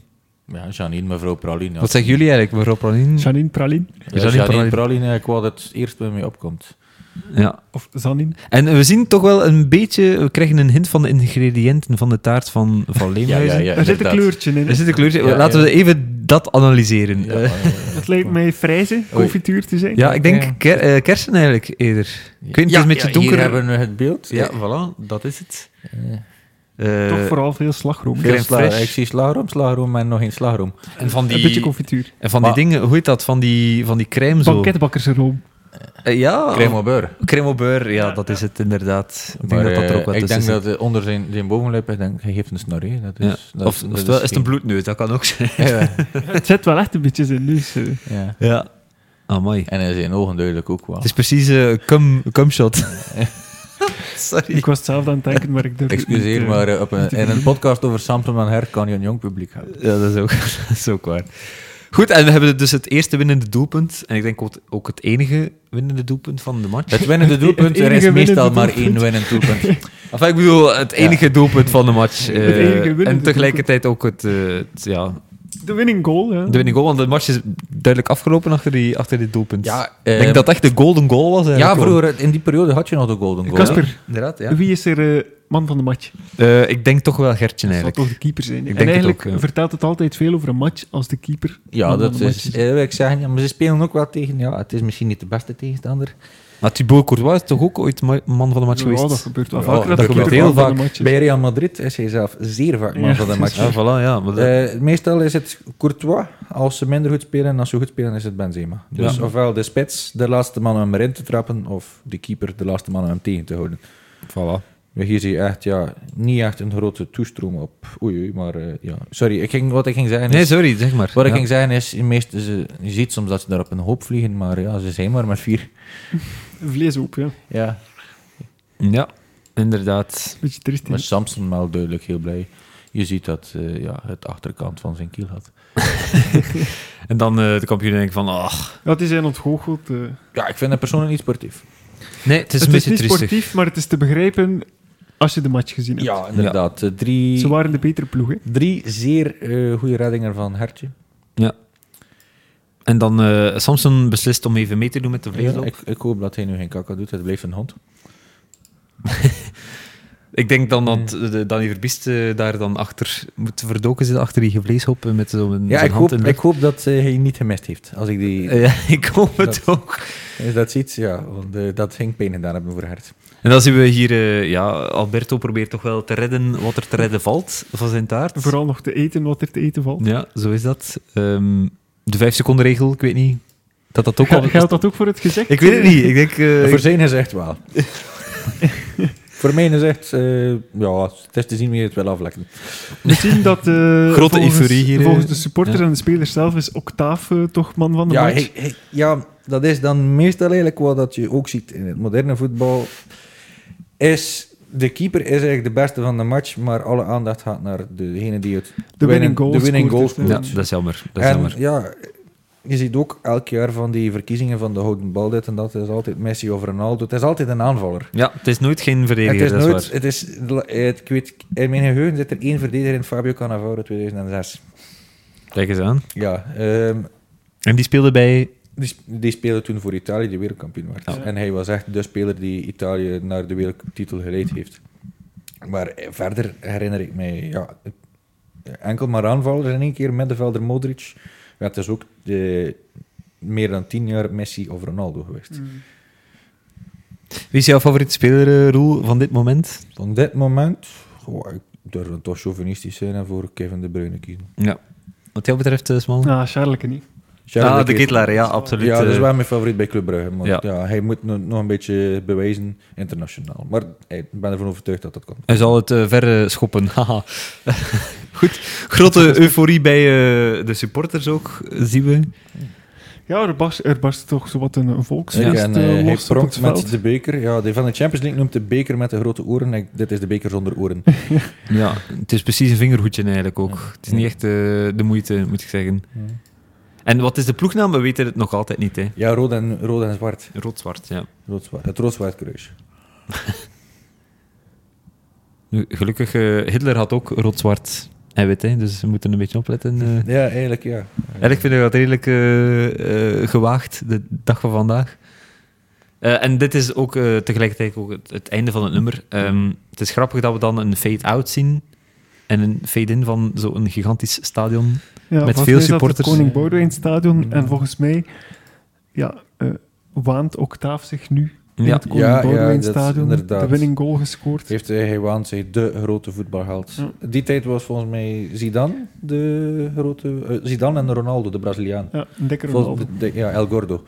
Speaker 3: Ja, Janine, mevrouw Praline. ja.
Speaker 1: Wat zeggen jullie eigenlijk, mevrouw Praline?
Speaker 2: Janine Praline.
Speaker 3: Ja,
Speaker 1: Janine
Speaker 3: Janine,
Speaker 1: Praline.
Speaker 3: Praline, ik wou dat het eerst bij mij opkomt.
Speaker 1: Ja.
Speaker 2: Of Zanine.
Speaker 1: En we zien toch wel een beetje... We krijgen een hint van de ingrediënten van de taart van, van Leemhuizen.
Speaker 2: er zit een kleurtje in.
Speaker 1: Er zit een kleurtje.
Speaker 3: Ja,
Speaker 1: Laten we
Speaker 3: ja.
Speaker 1: even dat analyseren. Eh,
Speaker 3: Ja,
Speaker 1: Ja,
Speaker 2: Het lijkt mij frijze confituur te zijn.
Speaker 1: ik denk
Speaker 3: Ja.
Speaker 1: ker- eh, kersen eigenlijk eerder. Ik weet niet, het is een beetje donker.
Speaker 3: Hier hebben we het beeld.
Speaker 1: Ja, voilà, dat is het. Eh,
Speaker 2: Toch vooral veel slagroom.
Speaker 1: Crème
Speaker 3: Veel sla-
Speaker 1: fraîche.
Speaker 3: Ik zie slagroom, slagroom en nog geen slagroom.
Speaker 1: en van
Speaker 2: Een beetje
Speaker 1: die,
Speaker 2: confituur.
Speaker 1: en van die
Speaker 3: Maar-
Speaker 1: dingen, hoe heet dat? Van die, van die crème zo.
Speaker 2: Banketbakkersroom.
Speaker 1: Eh, ja,
Speaker 3: Crème au beurre.
Speaker 1: crème au beurre. Ja, dat is het inderdaad. Ik denk
Speaker 3: Maar,
Speaker 1: dat dat er
Speaker 3: eh,
Speaker 1: ook wat
Speaker 3: ik
Speaker 1: tussen
Speaker 3: denk
Speaker 1: zit.
Speaker 3: dat eh, onder zijn, zijn bovenlip, ik denk, hij geeft een snor. hè. Dat
Speaker 1: Ja.
Speaker 3: is, dat,
Speaker 1: Of,
Speaker 3: dat
Speaker 1: oftewel, is het een
Speaker 3: geen-
Speaker 1: bloedneus? Dat kan ook zijn.
Speaker 3: Ja,
Speaker 2: Het zit wel echt een beetje in dus, eh, nu. zo.
Speaker 3: ja.
Speaker 1: Ja. Amai.
Speaker 3: En in zijn ogen duidelijk ook wel.
Speaker 1: Het is precies een cum, cumshot. Sorry.
Speaker 2: Ik was hetzelfde aan het denken, maar ik durfde het
Speaker 3: Excuseer,
Speaker 2: niet, eh.
Speaker 3: maar eh, op een, in een podcast over Samson en Her kan je een jong publiek hebben.
Speaker 1: Ja, dat is, ook, dat is ook waar. Goed, en we hebben dus het eerste winnende doelpunt. En ik denk ook- ook het enige winnende doelpunt van de match.
Speaker 3: Het winnende doelpunt, er is
Speaker 2: enige
Speaker 3: meestal
Speaker 2: winnende
Speaker 3: maar
Speaker 2: doelpunt.
Speaker 3: één winnend doelpunt.
Speaker 1: Enfin, ik bedoel, het enige doelpunt van de match. eh,
Speaker 2: enige winnende
Speaker 1: en tegelijkertijd ook het, eh, het, ja,
Speaker 2: De winning goal, ja.
Speaker 1: de winning goal. Want de match is duidelijk afgelopen achter, die, achter dit doelpunt.
Speaker 3: Ja,
Speaker 1: ik denk
Speaker 3: ehm,
Speaker 1: dat het echt de golden goal was. eigenlijk
Speaker 3: Ja,
Speaker 1: wel.
Speaker 3: vroeger, in die periode had je nog de Golden Goal.
Speaker 2: Kasper,
Speaker 1: Ja, inderdaad, ja.
Speaker 2: wie is er eh, man van de match?
Speaker 1: Eh, ik denk toch wel Gertje
Speaker 2: Dat zal
Speaker 1: eigenlijk.
Speaker 2: toch de keeper zijn.
Speaker 1: denk
Speaker 2: en
Speaker 1: het
Speaker 2: eigenlijk
Speaker 1: ook, ja.
Speaker 2: vertelt het altijd veel over een match als de keeper.
Speaker 3: Ja,
Speaker 2: man van
Speaker 3: dat
Speaker 2: de match
Speaker 3: is, eh, ik zeg, ja, maar ze spelen ook wel tegen, ja, het is misschien niet de beste tegenstander.
Speaker 1: Maar Thibaut Courtois is toch ook ooit ma- man van de match
Speaker 2: Ja,
Speaker 1: geweest?
Speaker 2: dat gebeurt wel
Speaker 3: Ja,
Speaker 2: vaker.
Speaker 3: dat
Speaker 2: de
Speaker 1: gebeurt
Speaker 2: keeper
Speaker 1: heel
Speaker 2: man van de match is.
Speaker 3: Bij Real Madrid is hij zelf zeer vaak man
Speaker 2: Ja.
Speaker 3: van de match.
Speaker 1: Ja, voilà, ja. Maar dat-
Speaker 3: Eh, meestal is het Courtois. Als ze minder goed spelen en als ze goed spelen, is het Benzema. Dus
Speaker 1: Ja.
Speaker 3: ofwel de spits, de laatste man om hem erin te trappen, of de keeper, de laatste man om hem tegen te houden.
Speaker 1: voilà.
Speaker 3: Maar Hier zie je echt, ja, niet echt een grote toestroom op. Oei, oei, maar eh, ja. Sorry, ik ging, wat ik ging zeggen is...
Speaker 1: Nee, sorry, zeg maar.
Speaker 3: wat ik
Speaker 1: Ja.
Speaker 3: ging zeggen is, meest, ze, je ziet soms dat ze daar op een hoop vliegen, maar ja, ze zijn maar met vier.
Speaker 2: Vlees op, ja. Een
Speaker 3: Ja.
Speaker 1: Ja, inderdaad.
Speaker 2: beetje triest. hè.
Speaker 3: Maar Samson wel duidelijk heel blij. Je ziet dat eh, ja, het achterkant van zijn kiel had.
Speaker 1: En dan eh, de kampioen denkt van, ach...
Speaker 2: Ja, het is een ontgoocheld. eh.
Speaker 3: Ja, ik vind hem persoonlijk niet sportief.
Speaker 1: Nee, het is een
Speaker 2: Het is
Speaker 1: beetje
Speaker 2: niet
Speaker 1: triestig.
Speaker 2: sportief, maar het is te begrijpen als je de match gezien hebt.
Speaker 3: Ja, inderdaad. Eh, Drie...
Speaker 2: Ze waren de betere ploeg, hè.
Speaker 3: Drie zeer eh goede reddingen van Hertje.
Speaker 1: Ja. En dan eh Samson beslist om even mee te doen met de vleesloop. ik...
Speaker 3: ik, ik hoop dat hij nu geen kaka doet. Het bleef een hond.
Speaker 1: denk dan dat eh, de Danny Verbiest eh, daar dan achter moet verdoken zitten, achter die gevleeshop eh, met zo'n
Speaker 3: Ja,
Speaker 1: zo'n hand
Speaker 3: ik hoop,
Speaker 1: in de
Speaker 3: ik
Speaker 1: lucht.
Speaker 3: hoop dat eh, hij niet gemist heeft. Als ik die,
Speaker 1: Eh, ja, ik hoop het ook.
Speaker 3: als dat ziet, ja. Want eh, dat ging pijn gedaan hebben voor Hert.
Speaker 1: En dan zien we hier, eh, ja, Alberto probeert toch wel te redden wat er te redden valt van zijn taart.
Speaker 2: Vooral nog te eten wat er te eten valt.
Speaker 1: Ja, zo is dat. Ehm, de vijf seconden regel, ik weet niet. Dat Oh, dat ook
Speaker 2: Ga-
Speaker 1: wel...
Speaker 2: Geldt dat ook voor het gezegd?
Speaker 1: Ik weet het niet. Ik denk... eh,
Speaker 3: voor zijn is echt wel. voor mij is echt, eh, ja, het is te zien wie het wel aflekken.
Speaker 2: We zien dat... eh,
Speaker 1: Grote
Speaker 2: volgens,
Speaker 1: euforie hier, eh.
Speaker 2: Volgens de supporters
Speaker 1: Ja.
Speaker 2: en de spelers zelf is Octaaf eh, toch man van de
Speaker 3: Ja,
Speaker 2: match.
Speaker 3: hij- hij- ja, dat is dan meestal eigenlijk wat dat je ook ziet in het moderne voetbal. Is, de keeper is eigenlijk de beste van de match, maar alle aandacht gaat naar degene die het
Speaker 2: winning goal
Speaker 3: de winning
Speaker 2: scoort,
Speaker 3: goal
Speaker 2: dus,
Speaker 3: scoort.
Speaker 1: Ja, dat is jammer. Dat is
Speaker 3: en
Speaker 1: jammer.
Speaker 3: ja, je ziet ook elk jaar van die verkiezingen van de houden bal dit en dat. Het is altijd Messi of Ronaldo. Het is altijd een aanvaller.
Speaker 1: Ja, het is nooit geen verdediger,
Speaker 3: het is
Speaker 1: dat is
Speaker 3: nooit...
Speaker 1: waar.
Speaker 3: Het is, het, ik weet, in mijn geheugen zit er één verdediger in Fabio Cannavaro 2006.
Speaker 1: Kijk eens aan.
Speaker 3: Ja, ehm,
Speaker 1: En die speelde bij...
Speaker 3: die, sp- die speelde toen voor Italië, die wereldkampioen werd.
Speaker 2: Ja.
Speaker 3: En hij was echt de speler die Italië naar de wereldtitel geleid heeft. Maar eh, verder herinner ik mij ja, eh, enkel maar aanvallers in één keer, middenvelder Modric. Ja, het is ook de, meer dan tien jaar Messi of Ronaldo geweest.
Speaker 1: Mm. Wie is jouw favoriete speler, eh, Roel, van dit moment?
Speaker 3: Op dit moment, goh, ik durf dan toch chauvinistisch zijn en voor Kevin De Bruyne kiezen.
Speaker 1: Ja. Wat jou betreft, eh, Smal?
Speaker 2: Ah, Charleke niet.
Speaker 1: ah,
Speaker 3: Charles
Speaker 1: de
Speaker 3: Keet-
Speaker 1: Kittler, ja, absoluut.
Speaker 3: Ja, dat is
Speaker 1: eh,
Speaker 3: wel mijn favoriet bij Club Brugge. Maar
Speaker 1: Ja.
Speaker 3: ja. hij moet nog, nog een beetje bewijzen internationaal. Maar hey, ik ben ervan overtuigd dat dat kan.
Speaker 1: Hij zal het eh, ver eh, schoppen. Haha. Goed. Grote euforie bij eh, de supporters ook, eh, zien we.
Speaker 2: Ja, er barst, er barst toch zowat een, een volksfeest
Speaker 3: en,
Speaker 2: eh,
Speaker 3: eh, hij
Speaker 2: los op het
Speaker 3: pronkt
Speaker 2: veld.
Speaker 3: met de beker. Ja, die van de Champions League noemt de beker met de grote oren. Ik- dit is de beker zonder oren.
Speaker 1: Ja, het is precies een vingerhoedje eigenlijk ook. Het is niet echt eh, de moeite, moet ik zeggen. En wat is de ploegnaam? We weten het nog altijd niet, hè.
Speaker 3: Ja, rood en, rood en zwart.
Speaker 1: Rood-zwart, ja.
Speaker 3: Rood -zwart. Het rood-zwart kruis.
Speaker 1: Nu, Gelukkig, eh, Hitler had ook rood-zwart. en wit, hè, dus we moeten een beetje opletten. eh.
Speaker 3: Ja, eigenlijk ja.
Speaker 1: En ik vind dat redelijk eh, eh, gewaagd, de dag van vandaag. Eh, en dit is ook eh, tegelijkertijd ook het, het einde van het nummer. Ehm, het is grappig dat we dan een fade-out zien en een fade-in van zo'n gigantisch stadion.
Speaker 2: Ja,
Speaker 1: Met
Speaker 2: volgens
Speaker 1: veel
Speaker 2: mij is dat
Speaker 1: supporters. eh. Mm.
Speaker 2: Het Koning Boudewijn Stadion.
Speaker 6: Ja.
Speaker 2: En volgens mij ja, eh, waant Octaaf zich nu in
Speaker 1: Ja.
Speaker 2: het Koning
Speaker 3: Ja, ja,
Speaker 2: Boudewijn
Speaker 3: dat is
Speaker 2: Stadion.
Speaker 3: inderdaad.
Speaker 2: De winning goal gescoord.
Speaker 3: Heeft eh, Hewaan zich de grote voetbalheld.
Speaker 2: Ja.
Speaker 3: Die tijd was volgens mij Zidane de grote... eh, Zidane en Ronaldo, de Braziliaan.
Speaker 2: Ja, een dikke
Speaker 3: Volgens,
Speaker 2: Ronaldo.
Speaker 3: de- de- ja, El Gordo.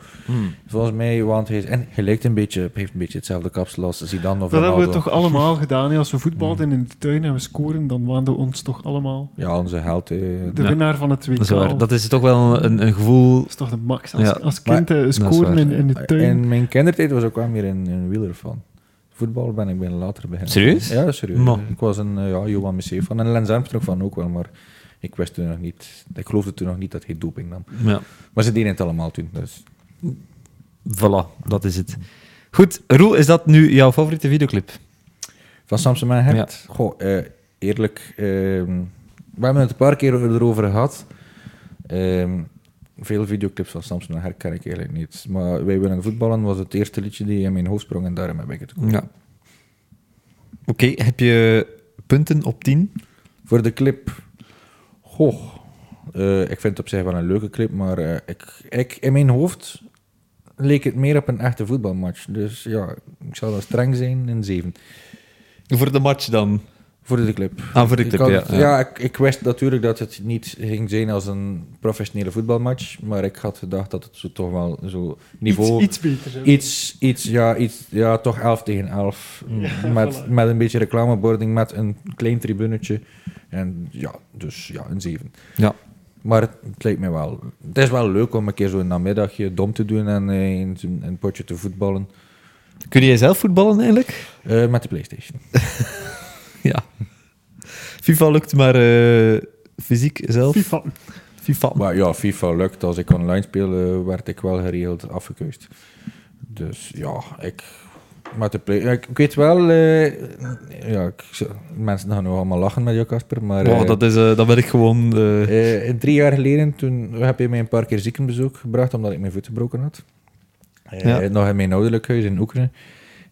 Speaker 3: Volgens mij, want hij is... En hij lijkt een beetje, heeft een beetje hetzelfde kapsel als Zidane
Speaker 2: Dat
Speaker 3: of
Speaker 2: hebben we
Speaker 3: Ronaldo. Mm.
Speaker 2: toch allemaal gedaan. hè? Als we voetbalden in de tuin en we scoren, dan waanden we ons toch allemaal
Speaker 3: Ja, onze held. eh.
Speaker 2: de
Speaker 1: Ja.
Speaker 2: winnaar van het WK.
Speaker 1: Dat is waar. Dat is toch wel een, een gevoel.
Speaker 2: is toch de max. Als,
Speaker 1: Ja,
Speaker 2: als kind eh, scoren
Speaker 1: waar.
Speaker 2: in, in de tuin.
Speaker 3: In mijn kindertijd was ik wel meer een, een wieler van. Voetbal ben ik ben later beginnen.
Speaker 1: Serieus?
Speaker 3: Ja, serieus.
Speaker 1: Ma.
Speaker 3: Ik was een eh, ja, Johan Missé van. En Lens Armstrong van ook wel, maar ik wist toen nog niet... Ik geloofde toen nog niet dat hij doping nam.
Speaker 1: Ja.
Speaker 3: Maar ze deden het allemaal toen, dus...
Speaker 1: Voilà, dat is het. Goed, Roel, is dat nu jouw favoriete videoclip?
Speaker 3: Van Samson en Hert? Goh, eh, eerlijk. ehm, we hebben het een paar keer erover gehad. Ehm, veel videoclips van Samson en Hert ken ik eigenlijk niet. Maar Wij willen voetballen was het eerste liedje die in mijn hoofd sprong en daarom heb ik het gekozen.
Speaker 1: Ja. Oké, heb je punten op 10?
Speaker 3: Voor de clip. Goh. eh, ik vind het op zich wel een leuke clip, maar eh, ik, ik, in mijn hoofd leek het meer op een echte voetbalmatch. Dus ja, ik zal wel streng zijn in zeven.
Speaker 1: Voor de match dan?
Speaker 3: Voor de clip.
Speaker 1: Ah, voor de
Speaker 3: Ik
Speaker 1: clip,
Speaker 3: had-
Speaker 1: ja.
Speaker 3: ja, ik, ik wist natuurlijk dat het niet ging zijn als een professionele voetbalmatch, maar ik had gedacht dat het zo toch wel zo niveau...
Speaker 2: Iets, iets beter. hè.
Speaker 3: Iets, iets, ja, iets, ja, toch 11 tegen 11. met,
Speaker 2: voilà.
Speaker 3: met een beetje reclamebording, met een klein tribunetje. En ja, dus ja, een 7.
Speaker 1: Ja.
Speaker 3: Maar het, het lijkt mij wel. Het is wel leuk om een keer zo'n namiddagje dom te doen en eh, in zo'n- een potje te voetballen
Speaker 1: Kun jij zelf voetballen eigenlijk?
Speaker 3: Eh, met de PlayStation.
Speaker 1: Ja. FIFA lukt maar eh, fysiek zelf.
Speaker 2: FIFA.
Speaker 1: FIFA.
Speaker 3: Maar ja, FIFA lukt. Als ik online speelde, werd ik wel geregeld afgekuist. Dus ja, ik... Met de play... ik, ik weet wel... eh, ja, ik, mensen gaan nog allemaal lachen met jou, Casper, maar...
Speaker 1: Wow,
Speaker 3: eh,
Speaker 1: dat, is, eh, dat ben ik gewoon... eh,
Speaker 3: eh, drie jaar geleden toen heb je mij een paar keer ziekenbezoek gebracht omdat ik mijn voet gebroken had. Eh,
Speaker 1: Ja.
Speaker 3: Nog in mijn ouderlijk huis in Oekraïne.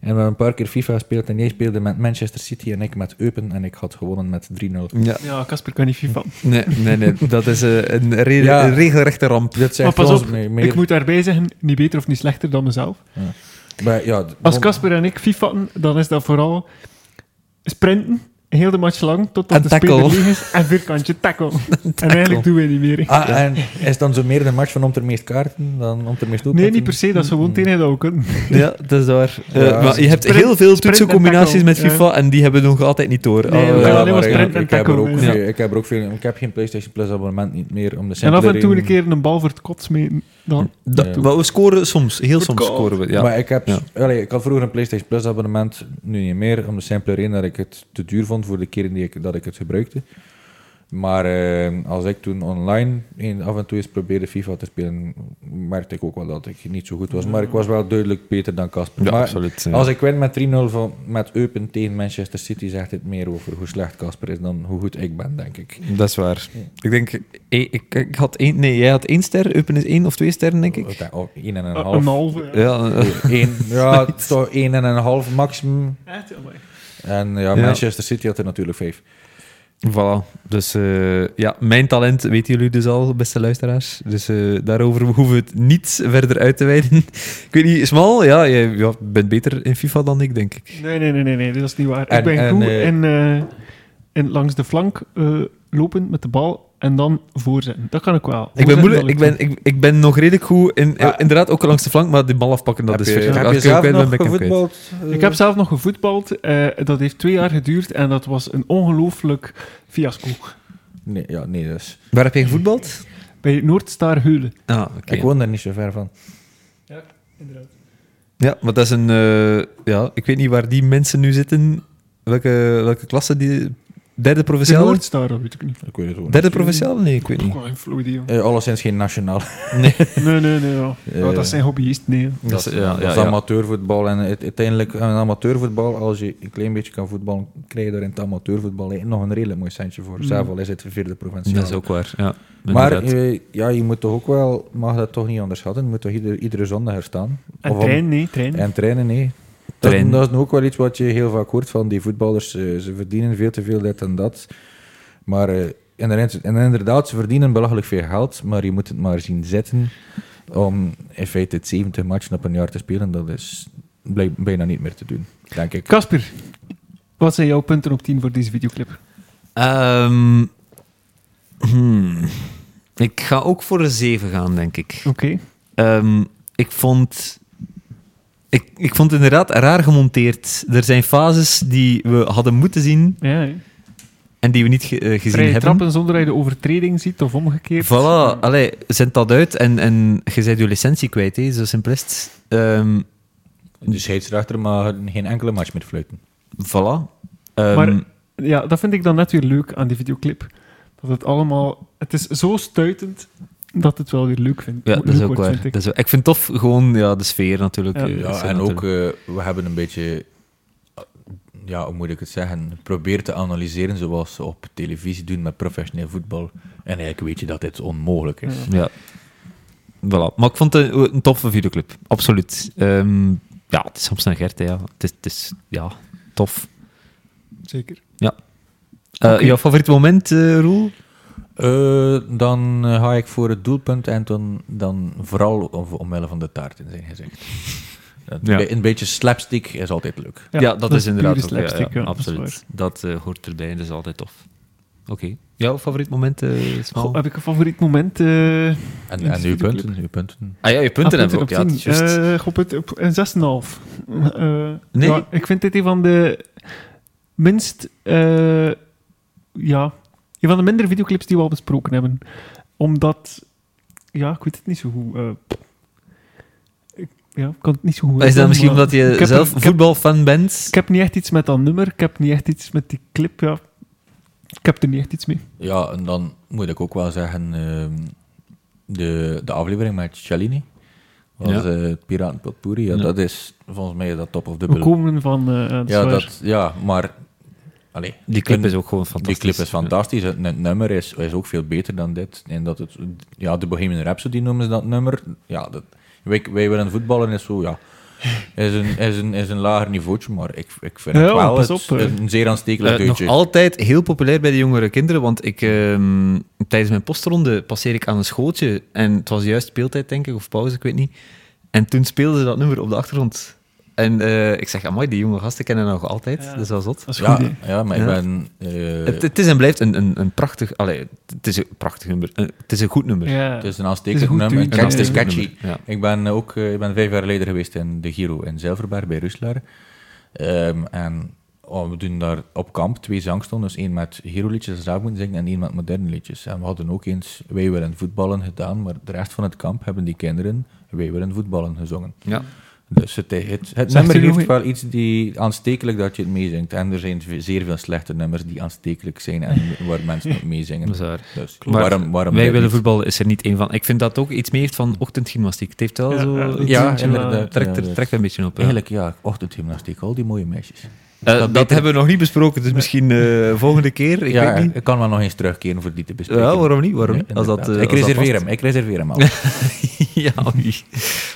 Speaker 3: En we hebben een paar keer FIFA gespeeld en jij speelde met Manchester City en ik met Eupen en ik had gewonnen met 3-0.
Speaker 1: ja.
Speaker 2: Ja, Casper kan niet FIFA.
Speaker 1: Nee, nee, nee. Dat is eh, een, re-
Speaker 3: Ja.
Speaker 1: een regelrechte ramp.
Speaker 3: Dat
Speaker 2: Maar
Speaker 3: zegt
Speaker 2: pas
Speaker 3: ons
Speaker 2: op,
Speaker 3: mee- meer-
Speaker 2: Ik moet daarbij zeggen, niet beter of niet slechter dan mezelf.
Speaker 3: Maar ja, d-
Speaker 2: Als Casper en ik fifatten, dan is dat vooral sprinten, heel de match lang, totdat
Speaker 1: En
Speaker 2: de
Speaker 1: tackle.
Speaker 2: speler leeg is, en vierkantje tackle. En eigenlijk doen wij niet meer.
Speaker 3: Ah, en is dan zo meer de match van om ter meest kaarten dan om ter meest
Speaker 2: Nee,
Speaker 3: doelpunten?
Speaker 2: niet per se, dat is gewoon het enige dat we kunnen.
Speaker 1: Ja, dat is waar. Eh,
Speaker 3: Ja.
Speaker 1: maar je hebt
Speaker 2: Sprint-
Speaker 1: heel veel
Speaker 2: sprint en
Speaker 1: toetsencombinaties met
Speaker 2: tackle, ja.
Speaker 1: FIFA en die hebben we nog altijd niet door.
Speaker 2: Nee,
Speaker 1: Al,
Speaker 2: we gaan
Speaker 1: eh,
Speaker 2: alleen maar
Speaker 3: ik-
Speaker 2: sprint en
Speaker 3: ik, heb er
Speaker 2: tackle,
Speaker 3: ook
Speaker 2: ja.
Speaker 3: veel, ik heb er ook veel. Ik heb geen PlayStation Plus abonnement niet meer om de
Speaker 2: En af en
Speaker 3: simpele
Speaker 2: toe een
Speaker 3: reden-
Speaker 2: keer een bal voor het kots mee. Dan.
Speaker 1: dat-
Speaker 3: Ja.
Speaker 1: maar we scoren soms. Heel soms scoren we. Ja.
Speaker 3: Maar ik, heb,
Speaker 1: Ja.
Speaker 3: allee, ik had vroeger een PlayStation Plus abonnement, nu niet meer, om de simpele reden dat ik het te duur vond voor de keren die ik, dat ik het gebruikte. Maar eh, als ik toen online een- af en toe eens probeerde FIFA te spelen, merkte ik ook wel dat ik niet zo goed was. Maar ik was wel duidelijk beter dan Casper.
Speaker 1: ja,
Speaker 3: Maar
Speaker 1: absoluut. ja.
Speaker 3: als ik win met 3-0 van, met Eupen tegen Manchester City, zegt het meer over hoe slecht Casper is dan hoe goed ik ben, denk ik.
Speaker 1: Dat is waar. Ik denk, eh, ik, ik had één, nee, jij had één ster, Eupen is één of twee sterren, denk ik.
Speaker 3: Oh, oh, één en een
Speaker 2: Een
Speaker 3: half.
Speaker 2: halve. ja.
Speaker 1: Ja, eh,
Speaker 3: Eén- ja, toch één en een half maximum.
Speaker 2: Echt, amai.
Speaker 3: En
Speaker 1: Ja.
Speaker 3: ja, Manchester City had er natuurlijk vijf.
Speaker 1: voilà. Dus eh, ja, mijn talent weten jullie dus al, beste luisteraars. Dus eh, daarover hoeven we het niet verder uit te wijden. ik weet niet, Smal, ja, jij ja, bent beter in FIFA dan ik, denk ik.
Speaker 2: Nee, nee, nee, nee, nee, dat is niet waar.
Speaker 3: En-
Speaker 2: ik ben
Speaker 3: en,
Speaker 2: goed
Speaker 3: eh,
Speaker 2: in, eh, in langs de flank eh, lopen met de bal en dan voorzetten. Dat kan ik wel.
Speaker 1: Ik ben,
Speaker 2: Voorzetten,
Speaker 1: moeilijk,
Speaker 2: dat
Speaker 1: ik,
Speaker 2: lukt
Speaker 1: ben, ik, ik ben nog redelijk goed in, eh,
Speaker 3: Ah.
Speaker 1: inderdaad ook langs de flank, maar die bal afpakken, dat
Speaker 3: heb
Speaker 1: is
Speaker 3: je,
Speaker 1: verstaan.
Speaker 3: heb
Speaker 1: Als
Speaker 3: je
Speaker 1: ik hem
Speaker 3: zelf
Speaker 1: kwijt ben,
Speaker 3: nog
Speaker 1: ben ik hem kwijt.
Speaker 3: gevoetbald? Eh,
Speaker 2: Ik heb zelf nog gevoetbald. eh, dat heeft twee jaar geduurd en dat was een ongelooflijk fiasco.
Speaker 3: Nee, ja, nee dus.
Speaker 1: Waar heb je gevoetbald?
Speaker 2: Bij Noordstaar Heulen.
Speaker 1: Ah, oké.
Speaker 3: Ik woon daar niet zo ver van.
Speaker 2: Ja, inderdaad.
Speaker 1: Ja, maar dat is een... eh, ja, ik weet niet waar die mensen nu zitten, welke, welke klasse die Derde
Speaker 2: De
Speaker 1: provinciaal?
Speaker 2: Noordstar, dat weet ik niet.
Speaker 3: Ik weet het ook niet.
Speaker 1: Derde provinciaal? Nee, ik weet niet.
Speaker 2: Oh, in Florida, joh.
Speaker 3: Eh, alleszins geen nationaal.
Speaker 2: Nee, nee, nee. ja. Oh, dat zijn hobbyisten, nee. joh.
Speaker 1: Dat is- ja,
Speaker 3: dat
Speaker 1: ja,
Speaker 3: is
Speaker 1: ja.
Speaker 3: amateurvoetbal. En het- uiteindelijk, een amateurvoetbal, als je een klein beetje kan voetballen, krijg je daar in het amateurvoetbal nog een redelijk mooi centje voor.
Speaker 2: Mm.
Speaker 3: Zelf al is het vierde provincie.
Speaker 1: Dat is ook waar. Ja,
Speaker 3: Maar
Speaker 1: inderdaad.
Speaker 3: eh, ja, je moet toch ook wel, mag dat toch niet onderschatten, je moet toch ieder- iedere zondag er staan.
Speaker 2: En
Speaker 3: Of om-
Speaker 2: trein, nee, trein.
Speaker 3: En trainen, nee. Dat,
Speaker 1: Trainen.
Speaker 3: dat is ook wel iets wat je heel vaak hoort van die voetballers. Eh, Ze, ze verdienen veel te veel dit en dat. Maar eh, en er- en inderdaad, ze verdienen belachelijk veel geld, maar je moet het maar zien zitten om in feite het 70 matchen op een jaar te spelen. Dat is blijk- bijna niet meer te doen, denk ik.
Speaker 2: Kasper, wat zijn jouw punten op 10 voor deze videoclip?
Speaker 1: Ehm, hmm. Ik ga ook voor een 7 gaan, denk ik.
Speaker 2: Oké.
Speaker 1: Ehm, ik vond... Ik, ik vond het inderdaad raar gemonteerd. Er zijn fases die we hadden moeten zien
Speaker 2: Ja, hè.
Speaker 1: en die we niet ge- eh, gezien
Speaker 2: Vrije
Speaker 1: hebben.
Speaker 2: trappen zonder dat je de overtreding ziet of omgekeerd.
Speaker 1: Voilà, allee, zend dat uit en, en je bent je licentie kwijt, hè, zo simpel is het. Ehm,
Speaker 3: De scheidsrechter mag geen enkele match meer fluiten.
Speaker 1: voilà. Ehm,
Speaker 2: Maar- Ja, dat vind ik dan net weer leuk aan die videoclip. Dat het allemaal... Het is zo stuitend dat het wel weer leuk vindt.
Speaker 1: ja, dat is
Speaker 2: leuk
Speaker 1: ook
Speaker 2: wordt,
Speaker 1: waar.
Speaker 2: vind ik.
Speaker 1: Dat is wel- ik vind het tof, gewoon ja, de sfeer natuurlijk.
Speaker 2: Ja.
Speaker 1: eh,
Speaker 2: Ja,
Speaker 1: is
Speaker 3: Ja,
Speaker 1: er
Speaker 3: en ook,
Speaker 1: natuurlijk.
Speaker 3: eh, we hebben een beetje, eh, ja, hoe moet ik het zeggen, probeer te analyseren zoals ze op televisie doen met professioneel voetbal. En eigenlijk weet je dat dit onmogelijk is.
Speaker 2: Ja.
Speaker 1: Ja. Voilà. Maar ik vond het een, een toffe videoclip, absoluut. Ehm, ja, het is soms een Gert, hè, ja. Het is, het is ja, tof.
Speaker 2: Zeker.
Speaker 1: Eh,
Speaker 2: Oké.
Speaker 1: Jouw favoriet moment, eh, Roel?
Speaker 3: Eh, dan eh, ga ik voor het doelpunt en dan, dan vooral om, omwille van de taart in zijn gezicht. Dat
Speaker 1: Ja.
Speaker 3: be- Een beetje slapstick is altijd leuk.
Speaker 1: Ja, dat, is inderdaad
Speaker 2: pure
Speaker 1: ook, ja, ja,
Speaker 2: slapstick, ja, dat is
Speaker 1: absoluut. Dat eh, hoort erbij, dat is altijd tof. Oké. Jouw favoriet moment, eh
Speaker 2: waar.
Speaker 1: Smal?
Speaker 2: Goh, heb ik een favoriet moment? eh,
Speaker 3: En,
Speaker 2: Ja,
Speaker 3: en uw
Speaker 2: superleuk.
Speaker 3: punten, uw punten.
Speaker 1: Ah ja, je punten
Speaker 2: aan
Speaker 1: hebben we ook. Ja,
Speaker 2: op
Speaker 1: dat is juist.
Speaker 2: tien? Eh, op het, op een 6,5. Eh,
Speaker 1: Nee.
Speaker 2: ja, ik vind dit een van de minst... eh, ja, een van de minder videoclips die we al besproken hebben. Omdat... Ja, ik weet het niet zo goed. eh, ik, ja, ik kan het niet zo goed
Speaker 1: is dat
Speaker 2: uitleggen,
Speaker 1: misschien
Speaker 2: maar
Speaker 1: omdat je
Speaker 2: ik heb
Speaker 1: zelf
Speaker 2: er- ik heb-
Speaker 1: voetbalfan bent?
Speaker 2: Ik heb niet echt iets met dat nummer. Ik heb niet echt iets met die clip, ja. Ik heb er niet echt iets mee.
Speaker 3: Ja, en dan moet ik ook wel zeggen, ehm, de, de aflevering met Cellini, was
Speaker 1: Ja.
Speaker 3: eh, het Piraten Potpourri, ja,
Speaker 1: Ja.
Speaker 3: dat is volgens mij dat top of the
Speaker 2: We
Speaker 3: bill.
Speaker 2: komen van... eh, dat is
Speaker 3: Ja,
Speaker 2: waar.
Speaker 3: dat, ja, maar... Allee,
Speaker 1: Die clip
Speaker 3: een-
Speaker 1: is ook gewoon fantastisch.
Speaker 3: Die clip is fantastisch. Het het nummer is, is ook veel beter dan dit. En dat het, ja, de Bohemian Rhapsody noemen ze dat nummer. Ja, dat, wij, wij willen voetballen is zo, ja. Is een, is een, is een lager niveautje, maar ik, ik vind
Speaker 2: Ja,
Speaker 3: het wel
Speaker 2: pas
Speaker 3: het-
Speaker 2: op, hè.
Speaker 3: een zeer aanstekelijk
Speaker 1: Eh, nog
Speaker 3: deuntje.
Speaker 1: altijd heel populair bij de jongere kinderen, want ik, ehm, tijdens mijn postronde passeer ik aan een schooltje en het was juist speeltijd, denk ik, of pauze, ik weet niet. En toen speelden ze dat nummer op de achtergrond. En eh, ik zeg, amai, die jonge gasten kennen dat nog altijd, Dus
Speaker 2: Ja.
Speaker 1: dat is wel zot.
Speaker 2: Dat is goed,
Speaker 3: ja,
Speaker 2: hè.
Speaker 3: ja, maar ik
Speaker 1: Ja.
Speaker 3: ben... eh,
Speaker 1: het, het is en blijft een, een, een prachtig... Allee, het is een prachtig nummer. Eh, het is een goed nummer.
Speaker 2: Ja.
Speaker 3: het is Dus een
Speaker 2: Het is een
Speaker 3: aanstekelijk
Speaker 2: goed
Speaker 3: nummer.
Speaker 2: deuntje.
Speaker 3: Catchy,
Speaker 2: Het is een
Speaker 1: Prachtig
Speaker 3: catchy.
Speaker 1: nummer, Ja.
Speaker 3: Ik ben ook eh, ik ben vijf jaar geleden geweest in de Giro in Zilverberg bij Ruslaar. Ehm, en oh, we doen daar op kamp twee zangstonden. Dus één met Giro-liedjes dat ze zelf moeten zingen en één met moderne liedjes. En we hadden ook eens Wij willen voetballen gedaan, maar de rest van het kamp hebben die kinderen Wij willen voetballen gezongen.
Speaker 1: Ja.
Speaker 3: Dus het, het, het
Speaker 2: u
Speaker 3: nummer
Speaker 2: nog
Speaker 3: heeft
Speaker 2: een-
Speaker 3: wel iets die aanstekelijk dat je het meezingt. En er zijn ve- zeer veel slechte nummers die aanstekelijk zijn en waar mensen op meezingen.
Speaker 1: Dat is waar.
Speaker 3: Dus
Speaker 1: Maar
Speaker 3: waarom, waarom
Speaker 1: Wij
Speaker 3: dit
Speaker 1: willen
Speaker 3: niet?
Speaker 1: voetballen is er niet één van. Ik vind dat ook iets meer heeft van ochtendgymnastiek. Het heeft wel
Speaker 2: Ja,
Speaker 1: zo...
Speaker 2: ja,
Speaker 1: iets-
Speaker 3: Ja,
Speaker 2: Tuurtje,
Speaker 3: inderdaad.
Speaker 1: trekt, er,
Speaker 3: Ja,
Speaker 1: trekt er een beetje op. ja.
Speaker 3: Eigenlijk ja, ochtendgymnastiek, al die mooie meisjes.
Speaker 1: Eh,
Speaker 3: dat
Speaker 1: dat
Speaker 3: beter-
Speaker 1: hebben we nog niet besproken, dus misschien eh, volgende keer. Ik
Speaker 3: ja,
Speaker 1: weet niet.
Speaker 3: ik kan wel nog eens terugkeren voor die te bespreken.
Speaker 1: Ja, waarom niet? Waarom
Speaker 3: Ja,
Speaker 1: niet? Als dat,
Speaker 3: inderdaad.
Speaker 1: eh,
Speaker 3: ik
Speaker 1: als dat
Speaker 3: reserveer
Speaker 1: past.
Speaker 3: hem, ik reserveer hem al.
Speaker 1: ja, oei.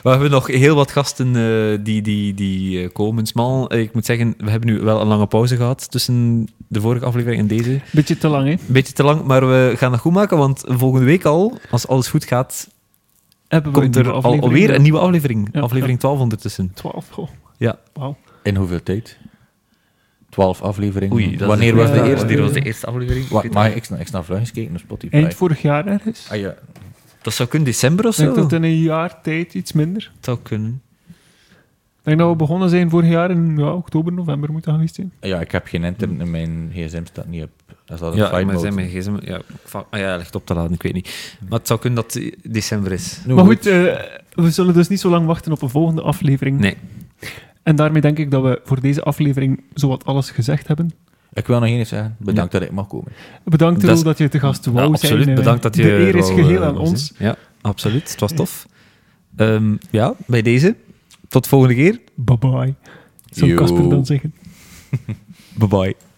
Speaker 1: We hebben nog heel wat gasten eh, die, die, die eh, komen. Smal, eh, ik moet zeggen, we hebben nu wel een lange pauze gehad tussen de vorige aflevering en deze. Een
Speaker 2: Beetje te lang, hè?
Speaker 1: beetje te lang, maar we gaan dat goed maken, want volgende week al, als alles goed gaat,
Speaker 2: Hebben we
Speaker 1: komt
Speaker 2: een
Speaker 1: er al,
Speaker 2: nieuwe aflevering?
Speaker 1: alweer een nieuwe aflevering.
Speaker 2: Ja,
Speaker 1: aflevering 12 ondertussen.
Speaker 2: 12, oh.
Speaker 1: Ja.
Speaker 2: Wauw.
Speaker 3: In hoeveel tijd? Twaalf afleveringen.
Speaker 1: Oei, dat
Speaker 3: Wanneer
Speaker 1: is-
Speaker 3: was de
Speaker 1: ja,
Speaker 3: eerste?
Speaker 1: Wanneer was de eerste aflevering?
Speaker 3: Wacht,
Speaker 1: Ik weet
Speaker 3: maar
Speaker 1: het
Speaker 3: ik snap, ik snap vlug eens kijken op Spotify.
Speaker 2: Eind vorig jaar ergens.
Speaker 3: Ah, ja.
Speaker 1: niet. Dat zou kunnen, december of
Speaker 2: Ik denk
Speaker 1: zo?
Speaker 2: dat in een jaar tijd iets minder.
Speaker 1: Dat zou kunnen.
Speaker 2: Ik denk dat we begonnen zijn vorig jaar in ja, oktober, november moet dat geweest zijn.
Speaker 3: Ah, ja, ik heb geen internet in mijn gsm, staat niet op. Dat staat op
Speaker 1: Ja,
Speaker 3: flight
Speaker 1: maar
Speaker 3: mode.
Speaker 1: zijn mijn gsm... Ja, ik va- ah ja, ligt op te laden, ik weet niet. Maar het zou kunnen dat eh, december is.
Speaker 3: Nu
Speaker 2: maar goed, eh, we zullen dus niet zo lang wachten op een volgende aflevering.
Speaker 1: Nee.
Speaker 2: En daarmee denk ik dat we voor deze aflevering zowat alles gezegd hebben.
Speaker 3: Ik wil nog één iets zeggen. Bedankt dat ik mag komen.
Speaker 2: Bedankt,
Speaker 1: Dat
Speaker 2: Roel,
Speaker 1: is-
Speaker 2: dat je te gast wou
Speaker 1: Ja,
Speaker 2: zijn.
Speaker 1: absoluut.
Speaker 2: Eh,
Speaker 1: Bedankt dat je
Speaker 2: De eer is
Speaker 1: wou,
Speaker 2: geheel
Speaker 1: eh,
Speaker 2: aan
Speaker 1: wou
Speaker 2: ons.
Speaker 1: zijn. Ja, absoluut. Het was tof. Ehm, ja, bij deze. Tot volgende keer.
Speaker 2: Bye-bye. Zou
Speaker 3: Yo.
Speaker 2: Casper dan zeggen.
Speaker 1: Bye bye.